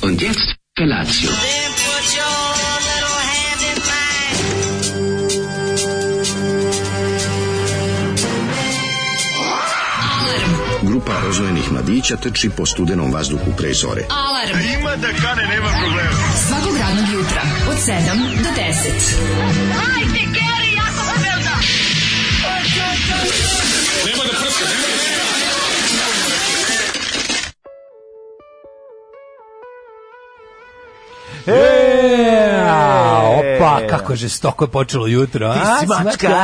Und jetzt Felatio. Then put your little hand in mine. Grupa rozvojenih mladića teči po studenom vazduhu pre zore. Alarm. A ima da kane, nema problema. Svakog radnog jutra, od 7 do 10. É. E, opa, ah, kako je žestoko je počelo jutro. a? si mačka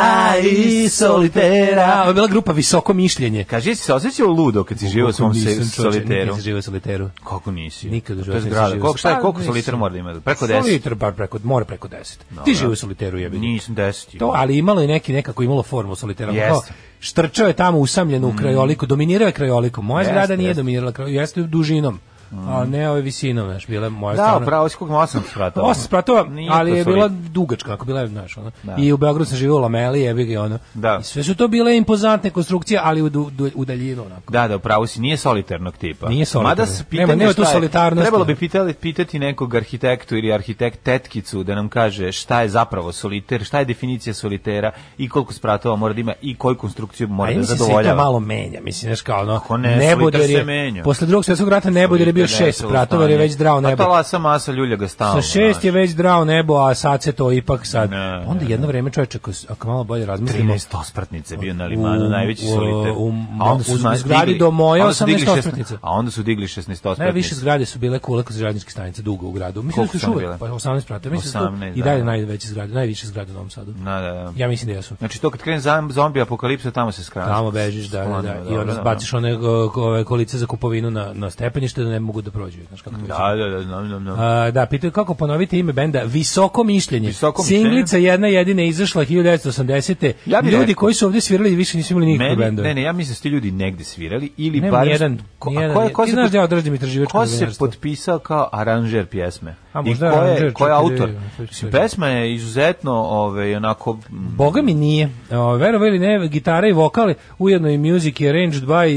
i solitera. Ovo je bila grupa Visoko mišljenje. Kaži, jesi se osjećao ludo assim, kad si živio u svom se- Nisam, čoveče, soliteru? Nikad sam živio u soliteru. Kako nisi? Nikad To u je životu nisam zgrada. živeo. Koliko, šta je, Pa, koliko nisam. solitera mora da ima? Preko 10? Soliter, bar preko, mora preko 10. Ti živi u soliteru, jebi. ga. Nisam 10. To, ali imalo je neki nekako imalo formu solitera. Ono Jeste. Mm. Kao, Štrčao je tamo usamljen u krajoliku, dominirao je krajoliku. Moja Jeste, zgrada nije jeste. Mm. dominirala krajoliku, jeste dužinom. A ne ove visinom, znaš, bila je moja Da, stvarno- pravo si koliko ima 8 spratova. Pa, Osam spratova, Nije ali to je bila solid. dugačka, ako bila je, znaš, ono. Da. I u Beogradu sam živio u Lameli, jebi ga, ono. Da. I sve su to bile impozantne konstrukcije, ali u, du, du- u daljinu, onako. Da, da, pravo si, nije solitarnog tipa. Nije solitarnog. Mada se Nema- pitanje nema tu šta je, solitarnosti. Trebalo bi pitali, pitati nekog arhitektu ili arhitekt tetkicu da nam kaže šta je zapravo soliter, šta je definicija solitera i koliko spratova mora da ima i koju konstrukciju A mora i da mislim se i to zadovoljava. malo menja, mislim, znaš, kao ono, Ako ne, neboder soliter se je- menja. posle drugog svjetskog rata neboder je bio šest spratova, jer je već drao A nebo. Pa ta lasa masa ljulja ga Sa stalno. šest je već drao nebo, a sad se to ipak sad. Ne, Onda jedno vreme čoveče, ako, ako malo bolje razmislimo, 13 ospratnice bio na limanu, najveći u- soliter. u- a onda u su nas zgradi digli- do moje onda su digli 18 šest- ospratnice. A onda su digli 16 ospratnice. Najviše zgrade su bile kule kroz žadničke stanice dugo u gradu. Mislim Koliko da su su one još uvek bile? pa 18 prate. Mislim da su 18, to i dalje da. najveće zgrade, najviše zgrade u Novom Sadu. Da, da, da. Ja mislim da jesu. Znači to kad krene zam- zombi apokalipsa, tamo se skrana. Tamo bežiš, da, da, da. I onda baciš one go- go- ove kolice za kupovinu na, na stepenište da ne mogu da prođu. Znaš kako to izgleda. Da, da, da, znam, znam, znam. A, da, pitaju kako ponoviti ime benda Visoko mišljenje. Visoko mišljenje. Singlica jedna jedina izašla 1980. Ja bi Ljudi rekao- koji su ovdje svirali više nisu imali nikakve Meni, bendove. ne, ne, ja mislim da su ti ljudi negde svirali ili Nemam bar... nijedan, nijedan, ko, je- ko ti se znaš pot- da ja odrađujem istraživačko Ko se novinarstvo. potpisao kao aranžer pjesme? A, I možda ko je je, aranžer, ko je čekaj da autor? vidim, sve ću Mislim, sve. Pesma je izuzetno ovaj, onako... mm, Boga mi nije. O, verovo ili ne, gitara i vokale, ujedno i music i arranged by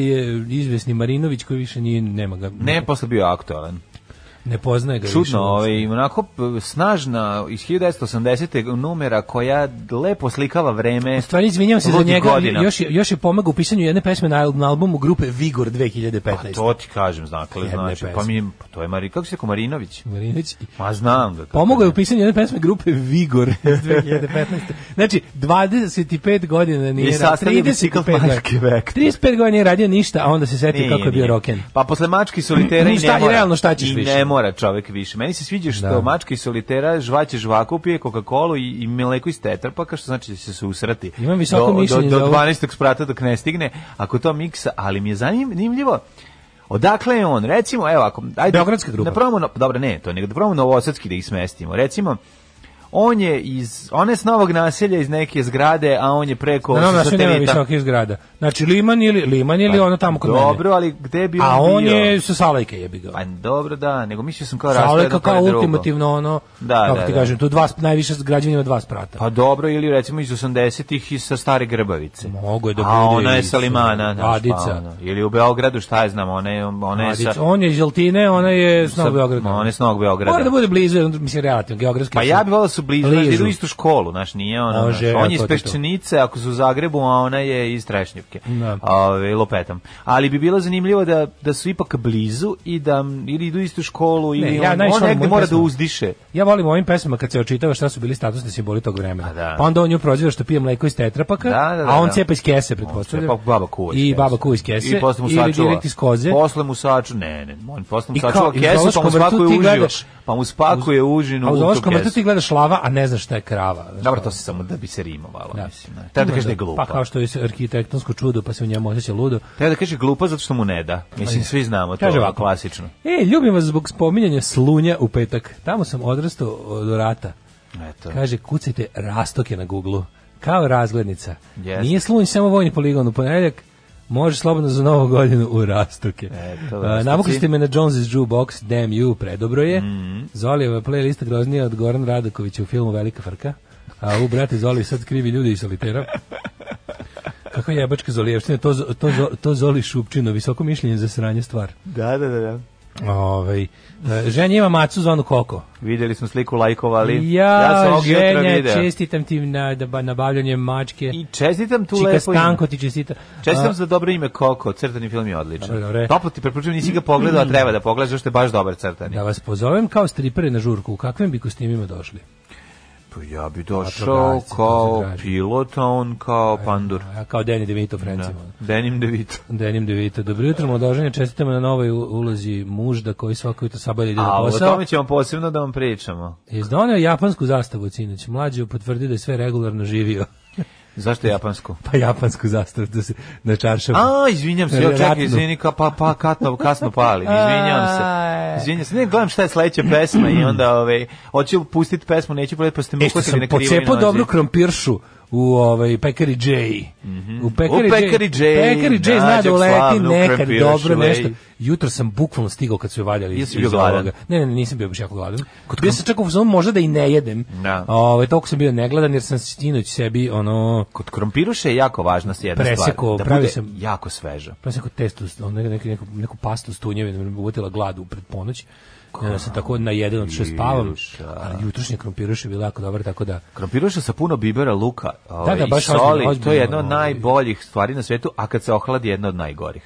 e, izvesni Marinović koji više nije, nema ga. Ne, je posle bio aktualan. ne poznaje ga više. Čudno, ovaj, onako p- snažna iz 1980. numera koja lepo slikava vreme. U stvari, izvinjam se za ludih njega, godina. još, je- još je pomagao u pisanju jedne pesme na, al- na albumu grupe Vigor 2015. Pa to ti kažem, znakle, Jedne znači, pa pesme. mi, pa to je Mari, kako se rekao, Marinović? Marinović. Ma znam ga. Pomogao je u pisanju jedne pesme grupe Vigor iz 2015. Znači, 25 godina I nije radio. sastavio bicikl 35 godina. Marke Vektor. 35 godina nije radio ništa, a onda se setio kako je bio roken. Pa posle mački solitera i Mm, ne šta- i mora. realno šta ćeš I više? ne mora čovek više. Meni se sviđa što Da. mačka i solitera žvaće žvaku, pije Coca-Colu i, i mleko iz tetrapaka, što znači da će se usrati. Imam visoko do, mišljenje Do, za do ovo. 12. sprata dok ne stigne, ako to miksa, ali mi je zanimljivo Odakle je on? Recimo, evo, ako... Ajde, Beogradska grupa. Da probamo, no- dobro, ne, to nego da probamo novosadski da ih smestimo. Recimo, on je iz, on je s novog naselja iz neke zgrade, a on je preko Na novom naselju nema satelita. visokih zgrada. Znači, Liman ili, Liman ili ono tamo kod mene. Pa Dobro, ali gde bi on A on bio? je sa Salajke jebi ga. Pa dobro da, nego mislio sam kao raspored Salajka kao, kao drugo. ultimativno ono, Da, kako da, ti da. kažem, tu dva, sp- najviše s građanima dva sprata. Pa dobro, ili recimo iz 80-ih i sa stare Grbavice. Mogu je da A bude ona je iz, sa Limana. znaš, Adica. Pa, ono. ili u Beogradu, šta je znam, ona je, ona je Mladić, sa... on je iz Želtine, ona je s sa- Novog Beograda. Ona je s Novog Beograda. Mora da bude blizu, mislim, relativno, geografski. Pa ja bih volao da su blizu, znaš, da Ližu. idu u istu školu, znaš, nije ona. Može, on je ja iz to ti to. Peščanice, ako su u Zagrebu, a ona je iz Trešnjevke. Da. Ove, lopetam. Ali bi bilo zanimljivo da, da su ipak blizu i da ili idu u istu školu ili ja on- on, najviše volim negde moju mora da pesmu. uzdiše. Ja volim u ovim pesmama kad se očitava šta su bili statusni simboli tog vremena. Pa da. Pa onda on nju proziva što pije mleko iz tetrapaka, Da, da, da, a on da. cepa iz kese, pretpostavljam. Pa baba kuva iz I kese. baba kuva iz kese. I posle mu Ili sačuva. direkt iz koze. Posle mu sačuva, ne, ne, on posle mu I kao, sačuva i u kesu, pa zoološkom mu vrtu spakuje ti uživo. gledaš- Pa mu spakuje užinu A u u tu zoološkom vrtu kesu. ti gledaš lava, a ne znaš šta je krava. Znaš, Dobro, to kao- se samo da bi se rimovalo, Da. mislim. Ne. Treba da kaže da je Pa glupa. kao što je arhitektonsko čudo, pa se u njemu osjeća ludo. Treba da kaže glupa zato što mu ne da. Mislim, svi znamo to, Pa Kaže ovako. klasično. E, ljubim vas zbog spominjanja slunja u petak. Tamo sam odrastao do rata. Eto. Kaže, kucajte rastoke na Google-u. Kao razglednica. Jeste. Nije slunj samo vojni poligon u ponedeljak, može slobodno za novu godinu u rastoke. Eto, A, rastoci. Navukli ste me na Jones' Jukebox, damn you, predobro je. Mhm. Zolijeva playlista groznija od Goran Radakovića u filmu Velika frka. A u brate Zoli sad krivi ljudi iz solitera. Kako jebačka Zolijevština, to, zo- to, zo- to Zoli Šupčino, visoko mišljenje za sranje stvar. Da, da, da, da. Ovaj, e, ženja ima macu zvanu Koko. Videli smo sliku, lajkovali. Ja, sam ovog jutra ženja, video. čestitam ti na, da, nabavljanje mačke. I čestitam tu Čika lepo Stanko ti čestita. ime. Čestitam za dobro ime Koko, crtani film je odličan. Dobro, dobro. Mm. Toplo ti preporučujem, nisi ga pogledao, a treba da pogledaš, zašto je baš dobar crtani. Da vas pozovem kao stripere na žurku, u kakvim bi kostimima došli? Pa ja bi Vatrogasci, došao to se kao traži. pilot, a on kao pandur. A ja kao Danny DeVito, Da. Francima. Denim DeVito. Denim DeVito. Dobro jutro, mladoženje, čestitamo na novoj u- ulozi mužda koji svako jutro sabah ide na A o posao. tome ćemo posebno da vam pričamo. Je doneo japansku zastavu sinoć. Mlađe potvrdio da je sve regularno živio. Zašto japansku? Pa japansku zastavu da se na čaršafu. A, izvinjam se, ja čekaj, Ratnu. izvini, ka, pa, pa, katno, kasno palim, izvinjam se. Izvinjam se, ne, gledam šta je sledeća pesma i onda, ove, hoću pustiti pesmu, neću pogledati, pa ste me E što uhvatili sam na krivoj pocepao nozi. dobru krompiršu u ovaj pekari J. U Mhm. U pekari J, Pekari J zna nađe da uleti slavnu nekad krompiršu, dobro ej. nešto. Jutro sam bukvalno stigao kad su je valjali iz, Jesi bio iz ovoga. gladan? Ne, ne, ne, nisam bio baš jako gladan. bio sam čak u fazonu možda da i ne jedem. Da. Ovaj toliko sam bio negladan jer sam sinoć sebi ono Kod krompiruša je jako važna jedna Preseko, stvar, da pravi bude sam- jako sveža. pa sam neku testu, ono, neku, neku, neku pastu s tunjevima, da me uvotila glad u pred ponoć. I onda sam tako na jedan od što spavam, Krompiruša. ali jutrošnje krompiruše je bilo jako dobar, tako da Krompiruša sa puno bibera, luka ove, da, i baš soli, ozbiljno, ozbiljno, to je jedna od ovaj. najboljih stvari na svetu, a kad se ohladi jedna od najgorih.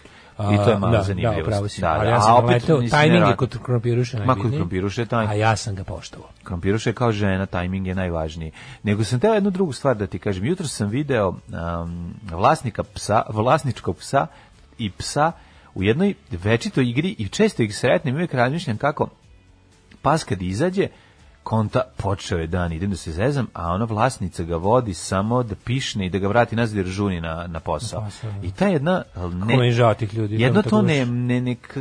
I to je malo da, zanimljivo. Da, pravo si. ali ja sam a a opet nisi tajning je nevjerojatno. kod krompiruša Ma, najbitniji. kod krompiruša je tajning. A ja sam ga poštovao. Krompiruša je kao žena, tajming je najvažniji. Nego sam teo jednu drugu stvar da ti kažem. Jutro sam video um, vlasnika psa, vlasničkog psa i psa u jednoj večitoj igri i često ih sretnem i uvijek razmišljam kako pas kad izađe, konta počeo je dan, idem da se zezam, a ona vlasnica ga vodi samo da pišne i da ga vrati nazad jer žuni na, na posao. posao, da. I ta jedna... Kako meni žao tih ljudi, Jedno to to mi tako ne, loše. ne, ne, k-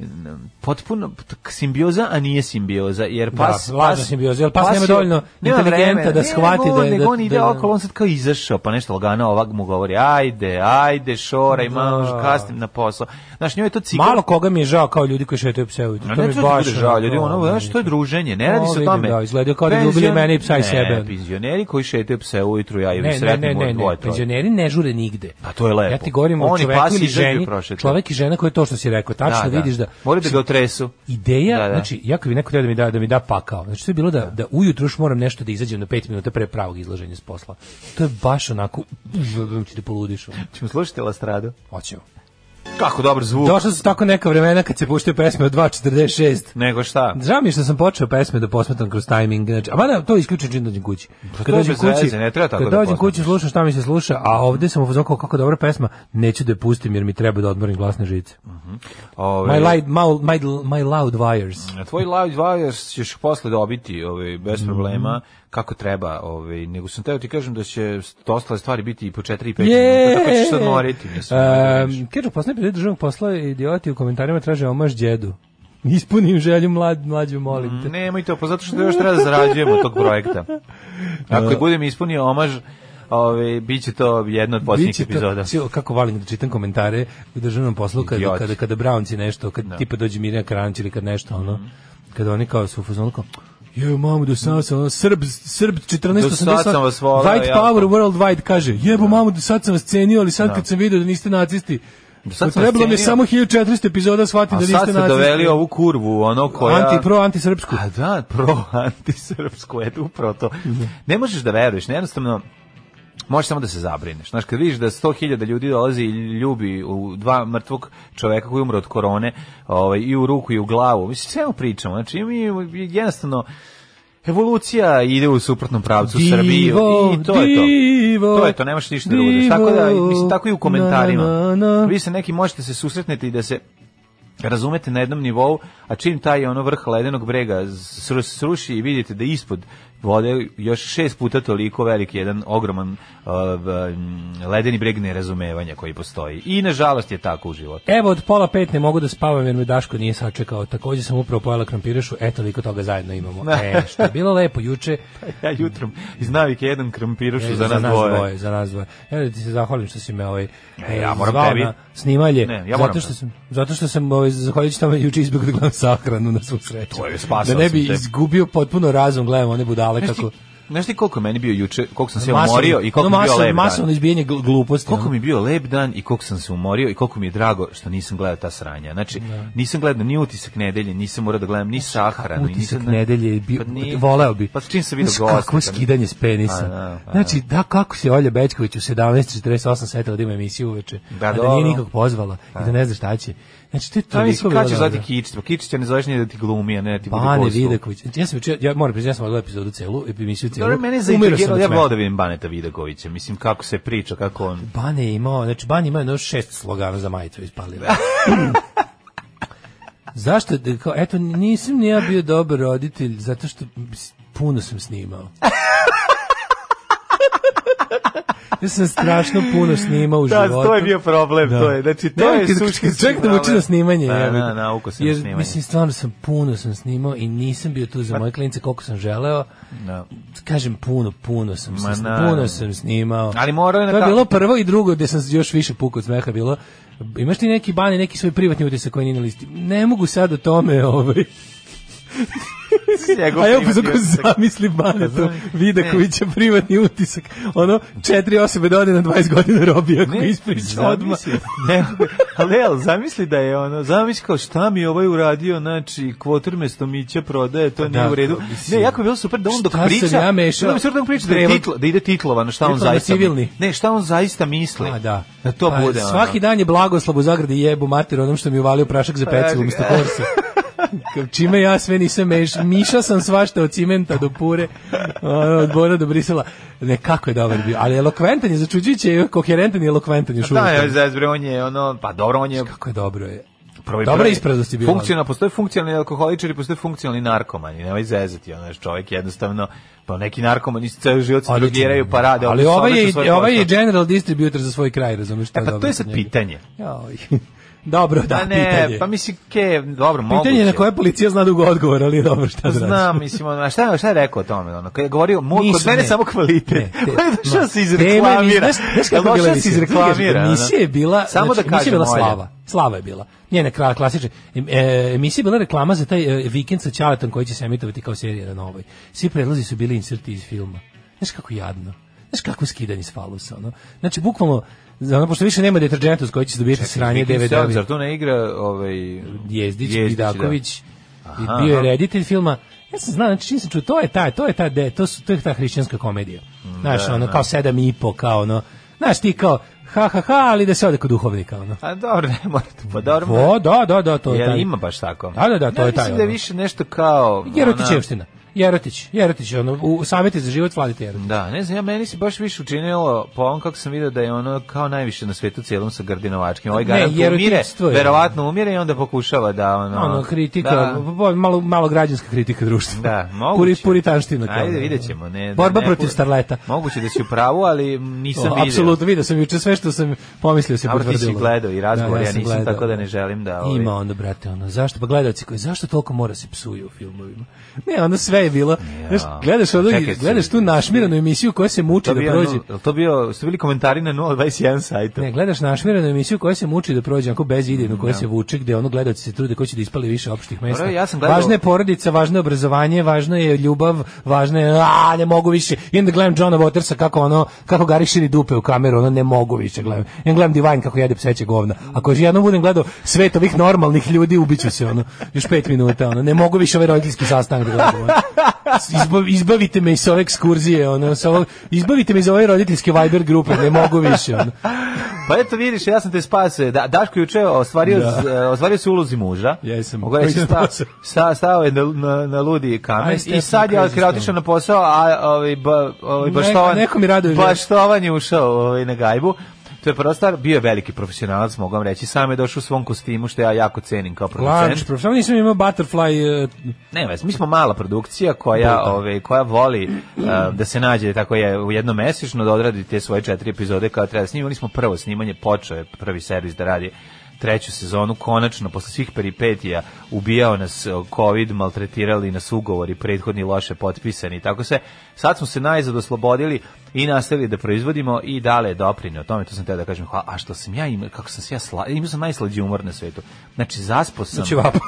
n- potpuno k- simbioza, a nije simbioza, jer pas... Da, lažna simbioza, jer pas nema dovoljno inteligenta da shvati da je- je... da- Nego on ide da- okolo, on sad kao izašao, pa nešto lagano ovak mu govori, ajde, ajde, šoraj, Da. malo, kasnim na posao. Znaš, njoj je to cikl... Malo koga mi je žao kao ljudi koji šetaju pse ujutro. A To mi ne je treba baš ti bude žao, ljudi, ono, meni. znaš, to je druženje, ne radi O, se o vidim, tome. da, izgledaju kao da bi ubili Penzion- mene i psa i sebe. Ne, penzioneri koji šetaju pse ujutru, ja i Ne, ne, ne, sretnim ne, od ne, dvoje, troje. penzioneri ne žure nigde. Pa to je lepo. Ja ti govorim o Oni čoveku pas ili izađu i ženi, prošetaju. čovek i žena koji je to što si rekao, tačno Da, da. vidiš da... Moraju da ga otresu. Ideja, Da, da. znači, ja kad bi neko htio da mi da, da mi da pakao, znači to je bilo da, da ujutru još moram nešto da izađem na pet minuta pre pravog izlaženja s posla. To je baš onako, ti da poludiš. ono. Ćemo slušati Lastradu. Hoćemo. Kako dobar zvuk. Došla su tako neka vremena kad se puštaju pesme od 2.46. Nego šta? Žao mi je što sam počeo pesme da posmetam kroz tajming. Znači, a mada to isključujem čim dođem kući. Pa to je bez veze, ne treba tako kad da dođem kući posmetaš. slušam šta mi se sluša, a ovde sam u fazonu kao, kako dobra pesma, neću da je pustim jer mi treba da odmorim glasne žice. Ove, My, light, my, my, my loud wires. Na Ovaj, e, tvoj live wire ćeš posle dobiti ovaj, bez Mhm. problema kako treba. Ovaj, nego sam teo ti kažem da će ostale stvari biti i po 4 i 5 minuta. Tako Pa ćeš se odmoriti. Mislim, Um, Kažu, posle period državnog posla idioti u komentarima traže omaž djedu. Ispunim želju mlad, mlađu, molim te. Nemoj to, pa zato što još treba da zarađujemo od tog projekta. Ako je E. budem ispunio omaž, ovaj, bit će to jedna od posljednjih Biće to- epizoda. Cio, kako volim da čitam komentare u državnom poslu kada, Idioti. kada, kada Brownci nešto, kad tipa dođe Mirja Kranić ili kad nešto, Mhm. ono, kada oni kao su u fazonu kao, je, mamu, do sad sam, ono, Srb, Srb, 14, Do sad sam vas voleo, White jako. Power Worldwide kaže, jebo, mamu, do sad sam vas cenio, ali sad kad sam vidio da niste nacisti, sad sam vas Trebalo mi je cenio. samo 1400 epizoda shvatim A da niste sad nacisti. ste doveli ovu kurvu, ono koja... Anti, pro, antisrpsku. A da, pro antisrpsko, eto upravo to. Ne možeš da veruješ, ne jednostavno možeš samo da se zabrineš. Znaš, kad vidiš da 100.000 ljudi dolazi i ljubi u dva mrtvog čoveka koji umre od korone, ovaj, i u ruku i u glavu, mislim, svemu pričamo. Znači, mi jednostavno Evolucija ide u suprotnom pravcu Divo, Srbiji i to je to. divo, to je to, nemaš ništa da divo, budeš. Tako da, mislim, tako i u komentarima. na, na, na. Vi se neki možete se susretnete i da se razumete na jednom nivou, a čim taj ono vrh ledenog brega sru- sruši i vidite da ispod vode još šest puta toliko veliki jedan ogroman uh, v- m, ledeni breg nerazumevanja koji postoji. I nažalost je tako u životu. Evo od pola pet ne mogu da spavam jer me Daško nije sačekao. Takođe sam upravo pojela krompirišu, eto toliko toga zajedno imamo. E, što je bilo lepo juče, Ja jutrom iz navike jedan krompirušu E, Pa, za nas dvoje. Za nas dvoje. Ja da ti se zahvalim što si me ovaj E, ja moram zvao tebi. na snimalje. Ne, ja moram zato što sam zato što sam ovaj zahvaljujući tome juče izbegao da gledam sahranu na svu sreću. To je, spasao Da ne bi sam te. izgubio potpuno razum, gledam one budale Znaš ti, kako Znaš ti koliko je meni bio juče, koliko sam se Masovno- umorio i koliko no, mi je bio masovno- lep Masovno dan. izbijanje gl- gluposti. Koliko ono. mi je bio lep dan i koliko sam se umorio i koliko mi je drago što nisam gledao ta sranja. Znači, nisam gledao ni utisak nedelje, nisam morao da gledam ni sahranu. i Znači, utisak nisam- nedelje je bio, Pa nije- voleo bi. Pa čim sam vidio Znaš, gosta. Kakvo skidanje s penisa. Pa da, pa znači, da, kako se Olja Bečković u 17.48 setila da ima emisiju uveče, Da, a da dobro. nije nikog pozvala i da ne zna šta će. Znači, to je Da, toliko mislim, bilo kad ćeš dobro. zvati Kičić? Pa Kičića ne zoveš ni da ti glumi, a ne da ti bude Bane gostu. Vidaković. Ja sam učio, ja moram priznati, ja sam odgledao epizodu celu, emisiju celu. Dobro, mene je Umirao sam zaintrigiralo, od ja smeha. volao da vidim Baneta Vidakovića, mislim kako se priča, kako on... Bane je imao, znači Ban je imao jedno šest slogana za majicu ispalio. Zašto? Da Kao, eto, nisam ni ja bio dobar roditelj, zato što s- puno sam snimao. Ja sam strašno puno snimao u životu. problem, Da. znači, Ne, kad- kad- kad Čovjek nauči na snimanje. Da, jebi ga. da, nauko sam na Jer, snimanje. Mislim, stvarno sam puno sam snimao i nisam bio tu za moje klinice koliko sam želeo. Da. Kažem puno, puno sam, Ma, sam naravno. puno sam snimao. Ali morao je na To je ka- bilo prvo i drugo gde sam još više pukao od smeha bilo. Imaš ti neki bani, neki svoj privatni utisak koji nije na listi? Ne mogu sad o tome, ovaj. Njegov A evo pa privatni zako utisak. zamisli bane to, Zamisli. Vidakovića privatni utisak. Ono, četiri osobe da ode na 20 godina robija, ako Ne, ispriča odmah. zamisli, ne, ali, ali zamisli da je ono, zamisli kao šta mi je ovaj uradio, znači kvotor mesto Mića prodaje, Pa to nije da, u redu. mislim. Ne, jako je bilo super da on dok Šta sam priča, ja mešao? da on super dok priča da, je Prevod. titlo, da ide titlovano, šta on Titlovano zaista civilni. Ne, šta on zaista misli. A, da. Da to Pa, bude. ono. Svaki dan je blagoslav u zagradi jebu mater onom što mi je uvalio prašak Pa za pecivo umesto korsa. Kao, Čime ja sve nisam meš, miša sam svašta od cimenta do pure, ono, od Bora do Brisela. Ne, kako je dobar bio, ali elokventan je, začuđujuće je, koherentan i elokventan još Da, uvijek. je zezbre, on je ono, pa dobro, on je Kako je dobro je. Prvi, Dobra prvi. ispraznost je bila. Funkcionalno, postoje funkcionalni alkoholičari, postoje funkcionalni narkomani, nemoj zezati, ono, znaš, čovjek jednostavno, pa neki narkomani se ceo život se drogiraju, pa rade. Ali opet ovaj odlično je, svoj ovaj je posao. general distributor za svoj kraj, razumiješ? E, pa to je sad pitanje. Dobro, da, Da, ne, pitanje. pa mislim, ke, dobro, moguće. Pitanje je na koje policija zna dugo odgovor, ali dobro, šta da radiš? Znam, mislim, ono, a šta, je- šta je rekao o tome? Ono, kad je govorio, moj, kod Nisu, mene ne. samo kvalitet. Ne, te- on je došao da se Tema je, izreklamira. znaš- znaš kako je Došao bila da se emisija? izreklamira. ono. Emisija je bila, Samo znači, da emisija je bila kažem, Olja. slava. Slava je bila. Njena krala klasična. Em, E, emisija je bila reklama za taj e, vikend sa Ćaletom koji će se emitovati kao serija na novoj. Svi predlazi su bili inserti iz filma. Znaš kako jadno. Znaš kako skidanje s falusa, ono. Znači, bukvalno, za ono, pošto više nema deterđenta s koji će se dobijeti sranje Vidim se, DVD-ovi. Zar tu ne igra ovaj, Jezdić, da. Vidaković Aha, i bio je aha. reditelj filma. Ja sam znao, znači čim sam čuo, to je ta, to je ta, de, to, su, to je ta hrišćanska komedija. Mm, Znaš, ono, kao sedam i po, kao ono, znaš ti kao, ha, ha, ha, ali da se ode kod duhovnika, ono. A dobro, ne morate, pa dobro. O, da, da, da, to je Jel taj. ima baš tako? Da, da, da, to ja je taj, Mislim da je ono. više nešto kao... ono, Jerotić ona- Jevština. Jerotić, Jerotić, ono, u savjeti za život vladite Jerotić. Da, ne znam, ja meni se baš više učinilo po ovom kako sam vidio da je ono kao najviše na svetu cijelom sa Grdinovačkim. Ovaj Ne, garant umire, jerotičstvo je. verovatno umire i onda pokušava da ono... Ono, kritika, Da. bo- malo, malo građanska kritika društva. Da, moguće. Puri, puritanština. kao Ajde, ono. vidjet ćemo. Ne, Borba ne- protiv starleta. Moguće da si u pravu, ali To, nisam vidio. Apsolutno, vidio sam juče sve što sam pomislio se Dobro, ti potvrdilo. si gledao i razgovor, ja sam nisam, tako da ne želim da, ovaj- ovi- Ima onda, brate, ono, zašto? Pa gledalci koji, zašto toliko mora se psuju u filmovima? Ne, ono sve je bilo, znaš, gledaš, ono, čekaj, gledaš tu čekaj. našmiranu emisiju koja se muči To da bio, prođe. no, jel to bio, su bili komentari na 021 sajtu. Ne, gledaš našmiranu emisiju koja se muči da prođe, onako bez idejnu, koja se vuče, gde ono gledalci se trude, ko će da ispali više opštih mesta. Dobro, ja sam gledao- Važna je porodica, važno je obrazovanje, važno je ljubav, važno je, a, ne mogu više. I onda gledam Johna Watersa kako ono, kako gari širi dupe u kameru, ono ne mogu više gledam. I onda gledam Divine kako jede pseće govna. Ako još jednom budem gledao svet ovih normalnih ljudi, ubiću se, ono, još pet minuta, ono, ne mogu više ovaj roditeljski sastanak da gledam. ono. Izba- izbavite me iz ove ekskurzije, ono, sa ovog- izbavite me iz ove roditeljske Viber grupe, ne mogu više, ono. Pa eto vidiš, ja sam te spasio. Da, Daško je juče ostvario, Da. z- e, ostvario se u ulozi muža. Jesam. Mogu reći, Koji je sta, posao? sta, stao je na, na, na ludi kamen Aj, i Stefan, sad je crazy otkrio otišao stone. na posao, a ovaj, ba, ovaj, Neko- baštovan, neko mi raduje život. baštovan je ušao ovaj, na gajbu. To je prva stvar, bio je veliki profesionalac, mogu vam reći. Sam je došao u svom kostimu, što ja jako cenim kao Lač, producent. prof. Samo nisam imao butterfly... e, Ne, vez, mi smo mala produkcija koja, Brutalno. ove, koja voli e, da se nađe tako je u jednom mesečno da odradi te svoje četiri epizode kada treba da snimamo. Imali smo prvo snimanje, počeo je prvi servis da radi treću sezonu, konačno, posle svih peripetija, ubijao nas e, COVID, maltretirali nas ugovori, prethodni loše potpisani, i tako se. Sad smo se najzad oslobodili i nastavili da proizvodimo i dale je doprineo tome, to sam teo da kažem, hvala, a što sam ja imao, kako sam se ja sla, imao sam najslađi umor na svetu. Znači, zaspo sam... Ćevapo.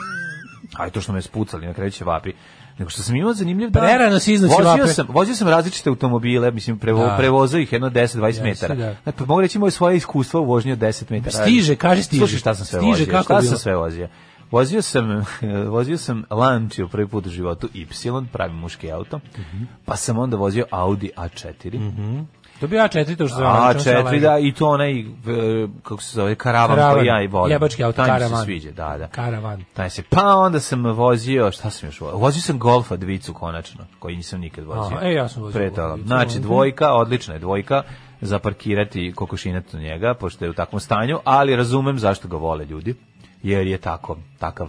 A i to što me spucali, na kraju će vapi. nego što sam imao zanimljiv dan. Prerano si iznosio vozio vape. sam, vozio sam različite automobile, mislim, prevo, Da. prevozao ih jedno 10-20 Jesi, metara. da. Da. Pa mogu reći moje svoje iskustvo u vožnji od 10 metara. Stiže, kaži, stiže. Slušaj šta sam sve Stiže, vozio. kako šta bilo? sam sve vozio? Vozio sam, vozio sam Lancia prvi put u životu, Y, pravi muški auto, Mhm. pa sam onda vozio Audi A4. To bi A4 to što se A, ono, što se četiri, leže. da, i to onaj, e, kako se zove, karavan, Karavan. koji ja i volim. Jebački auto, Taj mi karavan. se sviđa, da, da. Karavan. Taj se, pa onda sam vozio, šta sam još vozio? Vozio sam Golfa dvicu konačno, koji nisam nikad vozio. Aha, e, ja sam vozio Pre Golfa toga. dvicu, Znači, mhm. dvojka, odlična je dvojka, zaparkirati kokošinac u njega, pošto je u takvom stanju, ali razumem zašto ga vole ljudi, jer je tako, takav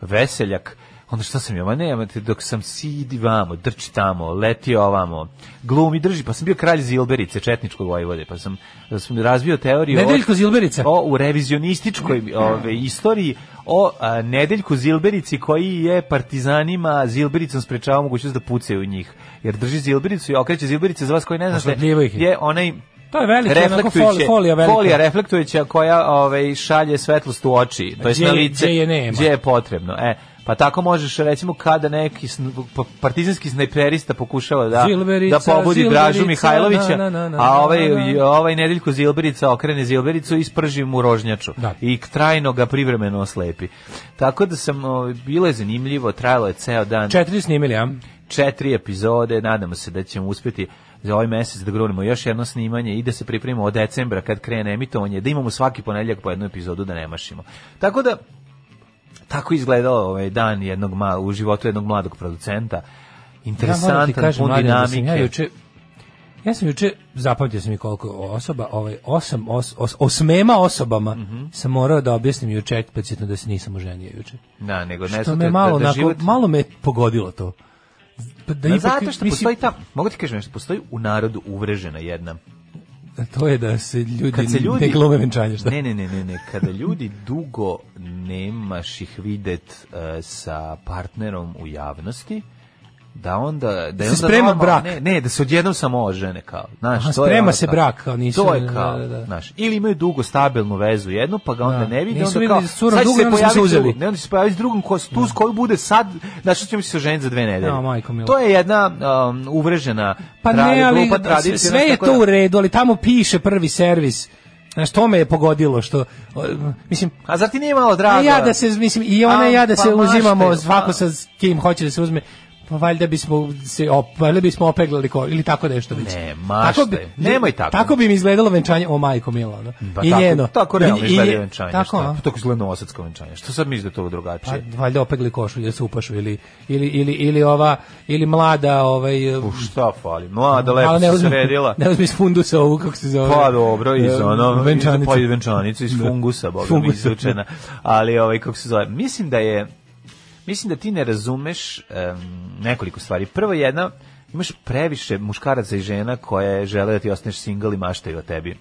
veseljak. Onda šta sam ja, ma nema te, dok sam sidi vamo, drči tamo, leti ovamo, glumi drži, pa sam bio kralj Zilberice, Četničkog vojvode, pa sam, sam razvio teoriju... o- Nedeljko Zilberica. O, u revizionističkoj ove, istoriji o a, Nedeljku Zilberici koji je partizanima Zilbericom sprečavao mogućnost da pucaju u njih. Jer drži Zilbericu i okreće Zilberice za vas koji ne znate, Osvetljivo ih je. je onaj To je velika, onako foli, folija velika. folija reflektujuća koja ovaj šalje svetlost u oči, to jest Gdje na je- lice gdje je nema. gdje je potrebno. E, pa tako možeš recimo kada neki sn- pa- partizanski snajperista pokušava da Zilberica, da pobudi Zilberica, Dražu Mihajlovića, na, na, na, na, a ovaj na, na. ovaj nedeljko Zilberica okrene Zilbericu i sprži mu rožnjaču Da. i trajno ga privremeno oslepi. Tako da sam ovaj, bilo je zanimljivo, trajalo je ceo dan Četiri snimili, a? četiri epizode, nadamo se da ćemo uspjeti za ovaj mjesec da grunemo još jedno snimanje i da se pripremimo od decembra kad krene emitovanje, da imamo svaki ponedjeljak po jednu epizodu da ne mašimo. Tako da, tako je izgledao ovaj dan jednog ma, u životu jednog mladog producenta. Ja moram ti Interesantan, kažem, pun mladen, da sam dinamike. Ja juče Ja sam juče zapamtio sam i koliko osoba, ovaj osam os, os, osmema osobama Mhm. sam morao da objasnim juče eksplicitno da se nisam oženio juče. Da, nego ne Što znam, me da- malo da, da onako, život- malo me pogodilo to. Pa Da, Da ipak, zato što mislim, postoji ta, mogu ti kažem nešto, postoji u narodu uvrežena jedna. to je da se ljudi, Kad se ljudi... ne glume venčanje, šta? Ne, ne, ne, ne, ne, kada ljudi dugo nemaš ih videt e, sa partnerom u javnosti, da onda da je Se onda sprema normalno- brak. ne ne da se odjednom samo ožene kao znaš Aha, to je sprema ono se kao- brak, kao nisu- to je kao da, da, da. znaš ili imaju dugo stabilnu vezu jednu pa ga onda ne vide nisu onda vidjeli kao s curom sad će dugo, se onda smo se pojaviti uzeli. drugi, ne onda će se pojaviti s drugom ko tu s koju bude sad znači ćemo se oženiti za dve nedelje Ja, majko mila. to je jedna um, uvrežena Pa tra- ne, ali grupa da, tradicija sve je tako to da- u redu, ali tamo piše prvi servis. Znaš, to me je pogodilo, što, o, mislim, a zar ti nije malo drago A ja da se, mislim, i ona A, i ja da pa se uzimamo maštaju, svako pa. sa s kim hoće da se uzme, pa valjda bismo se op, valjda bismo opeglali ko, ili tako nešto već. Ne, maštaj. Nemoj tako. Tako bi mi izgledalo venčanje, o majko mila, ono. Pa I tako, njeno. Tako I- realno i- izgleda venčanje. Tako, Tako, a? šta? Pa tako izgleda novosadsko venčanje. Što sad misliš da je to Pa, drugačije? valjda opegli košulje da se upašu ili, ili, ili, ili ova ili mlada ovaj U šta fali? Mlada, lepo ali se uzmi- sredila. ne uzmi iz fundusa ovu kako se zove Pa dobro, iz e, ono, venčanicu. venčanica. pa iz venčanice, iz fungusa, boga mi Fungusa. izučena. Ali, ovaj, kako se zove, mislim da je, mislim da ti ne razumeš em, nekoliko stvari. Prvo jedna, imaš previše muškaraca i žena koje žele da ti ostaneš single i maštaju o tebi.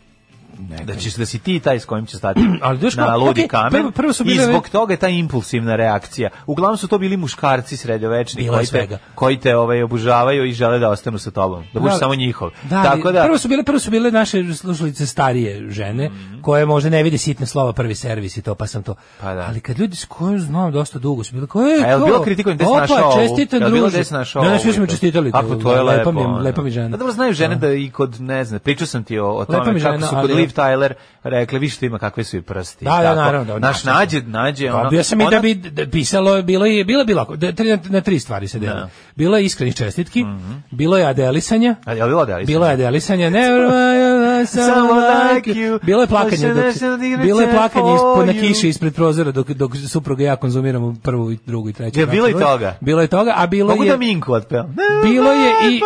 Da ćeš da si ti taj s kojim će stati Ali znaš na kako, ludi okej, kamen prvo- prvo su bile i ve- zbog toga je ta impulsivna reakcija. Uglavnom su to bili muškarci sredovečni Bilo je koji te, svega. koji te ovaj, obužavaju i žele da ostanu sa tobom. Da budeš Da, samo njihov. Da, Tako Tako da, prvo su bile prvo su bile naše slušalice starije žene koje možda ne vide sitne slova prvi servis i to pa sam to. Mhm. Pa da. Ali kad ljudi s kojim znam dosta dugo su bile koje A je li bilo kritikovanje gde si Opa, našao ovu? čestitam Je li bilo druže. gde si našao Ne, ne, ovu? svi su mi čestitali. A, pa to je Lepa lepo. mi, je- ono. lepa mi žena. A dobro, znaju žene da i kod, ne znam, pričao sam ti o, o Lepa mi tome kako žena, su kod ali- Liv Tyler rekli, vi što ima kakve su i prsti. Da, da, Tako. naravno, da, Naš naša- nađe, nađe. ono- Dobio Pa, sam i da ona- bi da pisalo, bilo je, bilo je bilo, da, tri- na tri stvari se delo. Da. Mhm. Bilo je iskrenih čestitki, bilo je adelisanja, A je li bilo da li Bilo je delisanje, ne, samo like you. Bilo je plakanje, dok, bilo je plakanje ispod na kiši ispred prozora dok dok supruga i ja konzumiramo prvu, i drugu i treću. Je, bilo i rakiju. toga. Bilo je toga, a bilo Mogu da je Minku otpevam. Bilo je i-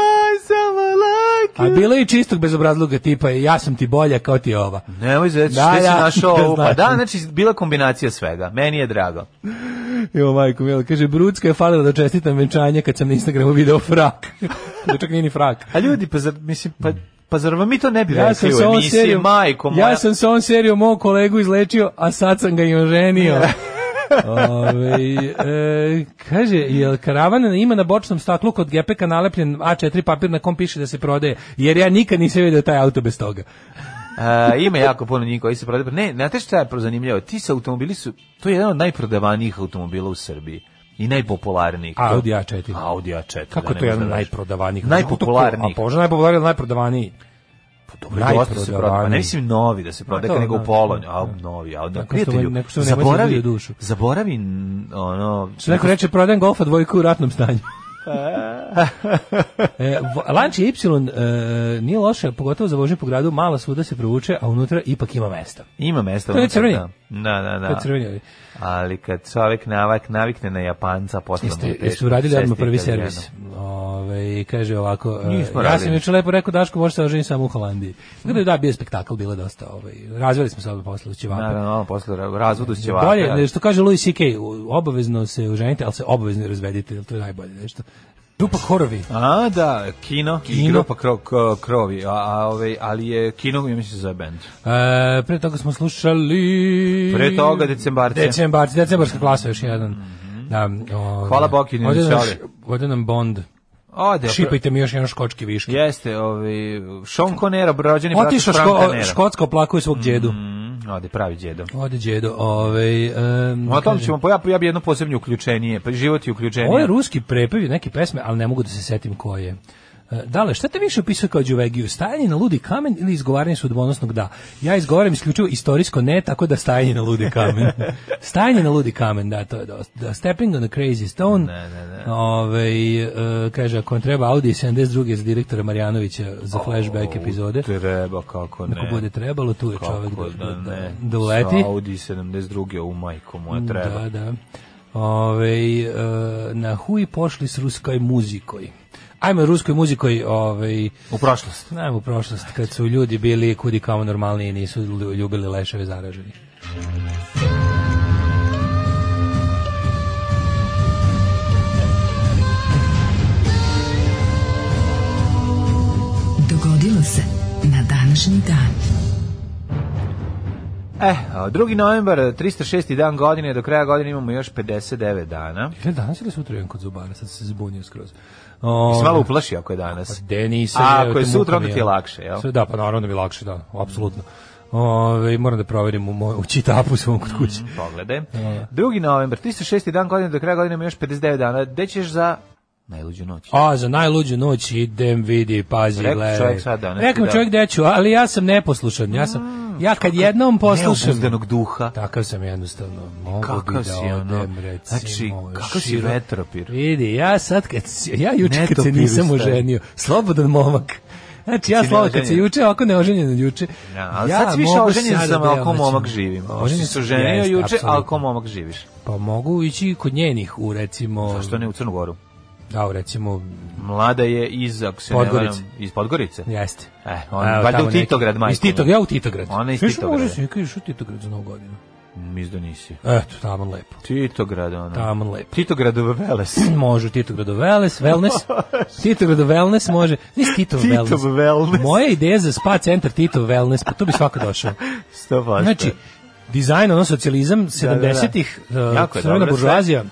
Like a you. bilo je i čistog bezobrazluga tipa ja sam ti bolja kao ti ova. Nemoj zveći, Da, da, si da, našao ovo? Pa znači. da, znači, bila je kombinacija svega. Meni je drago. Jo majko mila, kaže Brudska je falila da čestitam venčanje kad sam na Instagramu video frak. da čak nije ni frak. A ljudi, pa zar, mislim, pa, pa zar vam mi to ne bi Ja sam rekli se u on emisiji, serio, majko moja? ja sam se on serio mog kolegu izlečio, a sad sam ga i oženio. Ove, e, kaže, jel karavan ima na bočnom staklu kod gepeka nalepljen A4 papir na kom piše da se prodaje, jer ja nikad nisam vidio taj auto bez toga. E, ima jako puno njih koji se prodaju. Ne, znate šta je zanimljivo? Ti se automobili su, to je jedan od najprodavanijih automobila u Srbiji. i najpopularniji. Kdo? Audi A4. Audi A4. Kako da, ne to je jedan možda reći. najprodavaniji? Najpopularniji. A pože najpopularniji ili najprodavaniji? Pa dobro, dosta se prodaje. Pa ne najprodavaniji. Pa mislim novi da se prodaje, to, nego u da, Polonju. da. A novi, a da, Neko što prijatelju, mu- neko što ovaj mu nemoj zaboravi, zabije dušu. zaboravi n- ono... Što neko reče, prodajem golfa dvojku u ratnom stanju. e, vo- lanč je Y, e, nije loše, pogotovo za vožnje po gradu, mala svuda se provuče, a unutra ipak ima mesta. Ima mesta. To je unutra, crveni. Da, da, da. da. To je crveni ovaj. Ali kad čovjek navak, navikne na Japanca, posle mu Jeste, je jeste teško. uradili odmah prvi Sesti je kad servis. Ove, kaže ovako, e, Nismo ja radili. sam juče lepo rekao Daško može se oženiti samo u Holandiji. Tako da je da, bio je spektakl, bilo je dosta. Ovaj, razveli smo se obe posle u ćevape. krenu. Naravno, ono, posle ra- razvodu s ćevapa. Bolje, da. ne, što kaže Louis C.K., u- obavezno se oženite, ali se obavezno razvedite, jer to je najbolje nešto. Dupa horovi. A, da, kino, Kino. kino, pa kro, k- krovi, a, a, ovaj, ali je kino, ja mislim, za band. E, pre toga smo slušali... Pre toga decembarce. Mhm. Decembarci, decembarska klasa još jedan. Da, ovaj, Hvala Bokinu i ovdje nam- Šali. Ovdje nam Bond. Ode, Šipajte mi još jedan škočki viški. Jeste, ovaj, Sean Conera, rođeni brat Otišao Franka ško, Nera. Škotska oplakuje svog djedu. Mm, ode, pravi djedo. Ode djedo, ovaj... em, O tom kaže, ćemo, pa ja, ja bi jedno posebno uključenije, pa život je uključenije. Ovo je ruski prepevi neke pesme, ali ne mogu da se setim koje. E, Dale, šta te više opisuje kao Đuvegiju? Stajanje na ludi kamen ili izgovaranje sudbonosnog da? Ja izgovaram isključivo istorijsko ne, tako da stajanje na ludi kamen. stajanje na ludi kamen, da, to je dosta. Da, stepping on a crazy stone. Ne, ne, ne. Ovaj, e, kaže, ako vam treba Audi 72 za direktora Marjanovića za flashback epizode, Treba, kako ne. ako bude trebalo, tu je Kako čovjek da, da, da, da, ne. da uleti. Sa Audi 72. u majku moja treba. Da, da. Ove, na Hui pošli s ruskoj muzikoj. Ajmo ruskoj muzikoj, ovaj U prošlost. najmo u prošlost, kad su ljudi bili kudi kao normalni i nisu lju- ljubili leševe zaraženih. Dogodilo se na današnji dan. Eh, a, 2. novembar, 306. dan godine, do kraja godine imamo još 59 dana. Je li danas ili sutra jedan kod zubara, sad sam se zbunio skroz. Ti se malo Ove, uplaši ako je danas. gde nisam, A, evo ako je te sutra, muka onda mi ti je lakše, jel? Sve, da, pa naravno da mi je lakše, da, apsolutno. Ove, moram da proverim u, moj, u čitapu svom kod kuće. Pogledaj. 2. novembar, 306. dan godine, do kraja godine imamo još 59 dana. Gde ćeš za najluđu noć? A, za najluđu noć idem, vidi, pazi, Rekao gledaj. čovjek sad danas, Rekao mi da. Mm, čovjek deću, ali ja sam neposlušan. Ja, sam, ja kad jednom poslušam... Neobuzdanog duha. Takav sam jednostavno. Mogu bi Kakav da si odem, ono, recimo, znači, kakav si širok. retropir. Vidi, ja sad kad, se- ja juče kad se Netopir nisam u stanu. oženio, slobodan momak. Znači ja si slovo kad se neoženjen? juče, ako neoženjen juče. Ja, ali sad si više mogu oženjen sada sam, da je ali ko momak oženjen. živim. Oženjen Oženjen se sam, oženio jeste, juče, ali apsolutno. ko momak živiš. Pa mogu ići kod njenih u recimo... Zašto ne u Crnu Goru? Da, u recimo... Mlada je iz, ako se Podgorice. ne varam, iz Podgorice. Jeste. Eh, on, Evo, valjda tamo u neki- Titograd, majko. Iz Titog, ja u Titograd. Ona iz Sviš Titograda. može se nekaj u Titograd za novu godinu. Mislim da nisi. Eto, tamo lepo. Titograd, ono. Tamo lepo. Titograd u Veles. Može u Titogradu Wellness, Wellness. Titogradu Wellness može. Nisi Titov Titov Wellness. Wellness. Moja ideja za spa centar Titov Wellness, pa tu bi svako došao. Sto posto. Znači, dizajn, ono, socijalizam, 70-ih, Da, da, da. Jako uh, je crvena dobro buržuazija.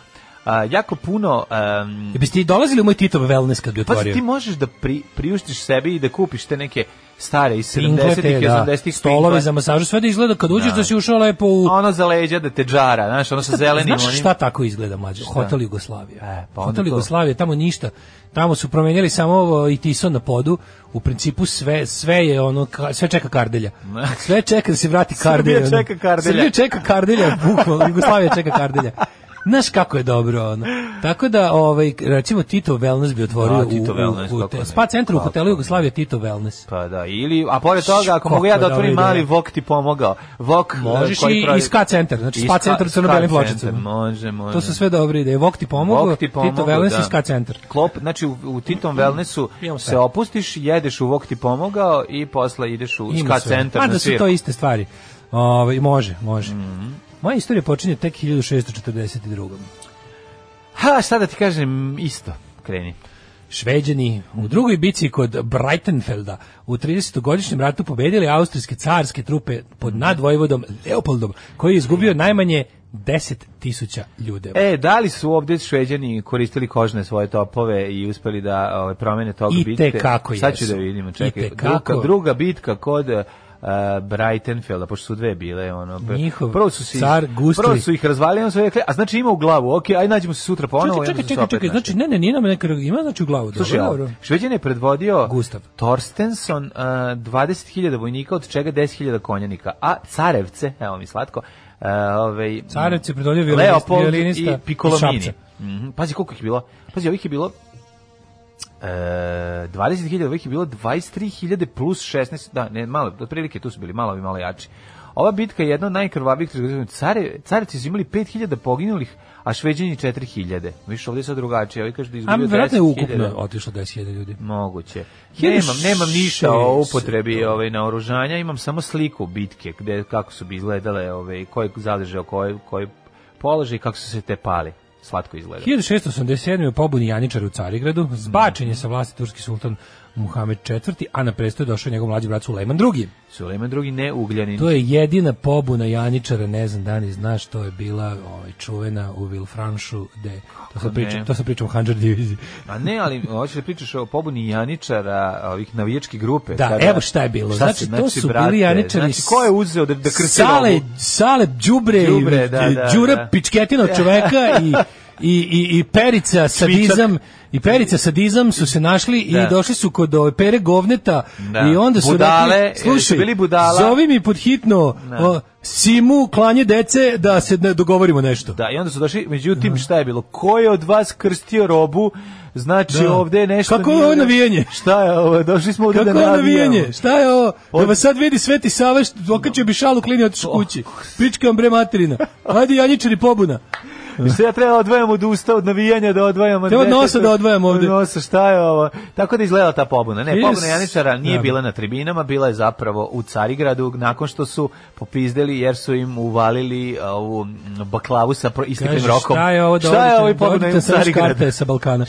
A, jako puno... Um, E, Biste ti dolazili u moj Titov Wellness kad bi pa ti otvorio? možeš da pri, priuštiš sebi i da kupiš te neke stare iz Pinklete, 70-ih, da, 80-ih stolove pinkle. za masažu, sve da izgleda kad uđeš da, Da. si ušao lepo u... A ono za leđa da te džara, znaš, ono sa zelenim Znaš onim. šta tako izgleda mlađe? Hotel Jugoslavija. E, pa onda Hotel to. Jugoslavija, tamo ništa. Tamo su promenjali samo ovo i tiso na podu. U principu sve, sve je ono, ka- sve čeka kardelja. Sve čeka da se vrati kardelja. ono. čeka Kardelja. Srbija čeka kardelja, bukvalno. Jugoslavija čeka kardelja. Znaš kako je dobro ono. Tako da ovaj recimo Tito Wellness bi otvorio Da, Tito u, Wellness, u, u kako ne. te, spa centru u Kako hotelu ne. Jugoslavija Tito Wellness. Pa da, ili, a pored toga, ako Kako mogu ja da dobra otvorim ideja. mali, Vok ti pomogao. Vok eh, Možeš koji i- pravi- i ska centar, znači I spa ska- centar u ska crno-belim centar, pločicama. Može, može. To su sve dobre ideje. Vok ti pomogao, Vok ti Tito pomogao, Wellness da. i Ska centar. Klop, znači u, u Mm, Titom Wellnessu Imamo sve. se opustiš, jedeš u Vok ti pomogao i posle ideš u Ima Ska sve. centar Mada na Mhm. su svirku. to iste stvari. Ovaj može, može. Moja istorija počinje tek 1642. Ha, šta da ti kažem, isto, kreni. Šveđani u drugoj bici kod Breitenfelda u 30-godišnjem ratu pobedili austrijske carske trupe pod nadvojvodom Leopoldom, koji je izgubio najmanje 10.000 ljude. E, da li su ovdje šveđani koristili kožne svoje topove i uspeli da ovaj, promene tog I te bitke? kako Sad ću jesu. da vidimo, I čekaj. te kako. Druga, druga bitka kod eh, uh, Brightenfelda, pošto su dve bile, ono, pr- Njihov prvo su se iz- car Gustri. prvo su ih razvalili, onda su rekli, a znači ima u glavu, okej, aj nađemo se sutra ponovo. Čekaj, i onda čekaj, su čekaj, se opet čekaj, našli. znači ne, ne, nije nam neka ima znači u glavu. Slušaj, dobro, ovo, dobro. Šveđan je predvodio Gustav. Torstenson uh, 20.000 vojnika, od čega 10.000 konjanika, a carevce, evo mi slatko, uh, ovaj, Carevce je predvodio violinist- Leopold violinista i Piccolomini. iz Šapca. Mhm, Pazi koliko ih je bilo. Pazi, ovih je bilo E, 20.000, ovih je bilo 23.000 plus 16, da, ne, malo, otprilike tu su bili malo i malo jači. Ova bitka je jedna od najkrvavijih trgovina. Care, careci su imali 5.000 poginulih, a šveđani 4.000. Više ovdje je sad drugačije, ovi kažu da je A izgubio 10.000. verovatno je ukupno otišlo 10.000 ljudi. Moguće. Hiljadu Nemam, nemam ništa o 600. upotrebi ovaj, naoružanja, imam samo sliku bitke, gde, kako su bi izgledale, ovaj, ko je zadržao, koji koji položaj, i kako su se te pali. Slatko izgleda. 1687. je pobuni Janičar u Carigradu, zbačen je sa vlasti turski sultan Muhammed IV, a na presto je došao njegov mlađi brat Sulejman II. Sulejman drugi ne ugljanin. To je jedina pobuna Janičara, ne znam da li znaš, to je bila ovaj, čuvena u Vilfranšu, gde, to sam, ne? priča, to sam pričao o Hanđar diviziji. A ne, ali hoćeš da pričaš o pobuni Janičara, ovih navijačke grupe. Da, Dakle, kada- evo šta je bilo. Šta se- znači, to su bili Janičari. Znači, ko je uzeo da, da krci Sale, robu? sale Đubre, Đubre, da, da, Đura da. Pičketina od čoveka i, i, i, i Perica sadizam i Perica sadizam su se našli Da. i došli su kod ove Pere Govneta Da. i onda su Budale, e, rekli, slušaj, su bili budala." zovi mi pod hitno Da. o, Simu, klanje dece, da se ne dogovorimo nešto. Da, i onda su došli, međutim, šta je bilo? Ko je od vas krstio robu? Znači, Da. ovde je nešto... Kako je ovo navijanje? Šta je ovo? Došli smo ovde Kako da je ono navijamo. navijanje? Šta je ovo? Da Od- vas sad vidi Sveti Sava, što- okačio bi šalu klini otiš kući. Pičkam bre materina. Ajde Janjičari pobuna. Sve ja treba odvajam od usta, od navijanja da odvajam. Te od nečega. nosa da odvajam ovde. Od nosa, šta je ovo? Tako da izgledala ta pobuna. Ne, Yes. pobuna Janičara nije Da. bila na tribinama, bila je zapravo u Carigradu, nakon što su popizdeli jer su im uvalili a, ovu m, baklavu sa pro- isteklim Kaže, rokom. šta je ovo da Šta je odete- ovo i pobuna odete u sa Carigradu? škarte sa Balkana?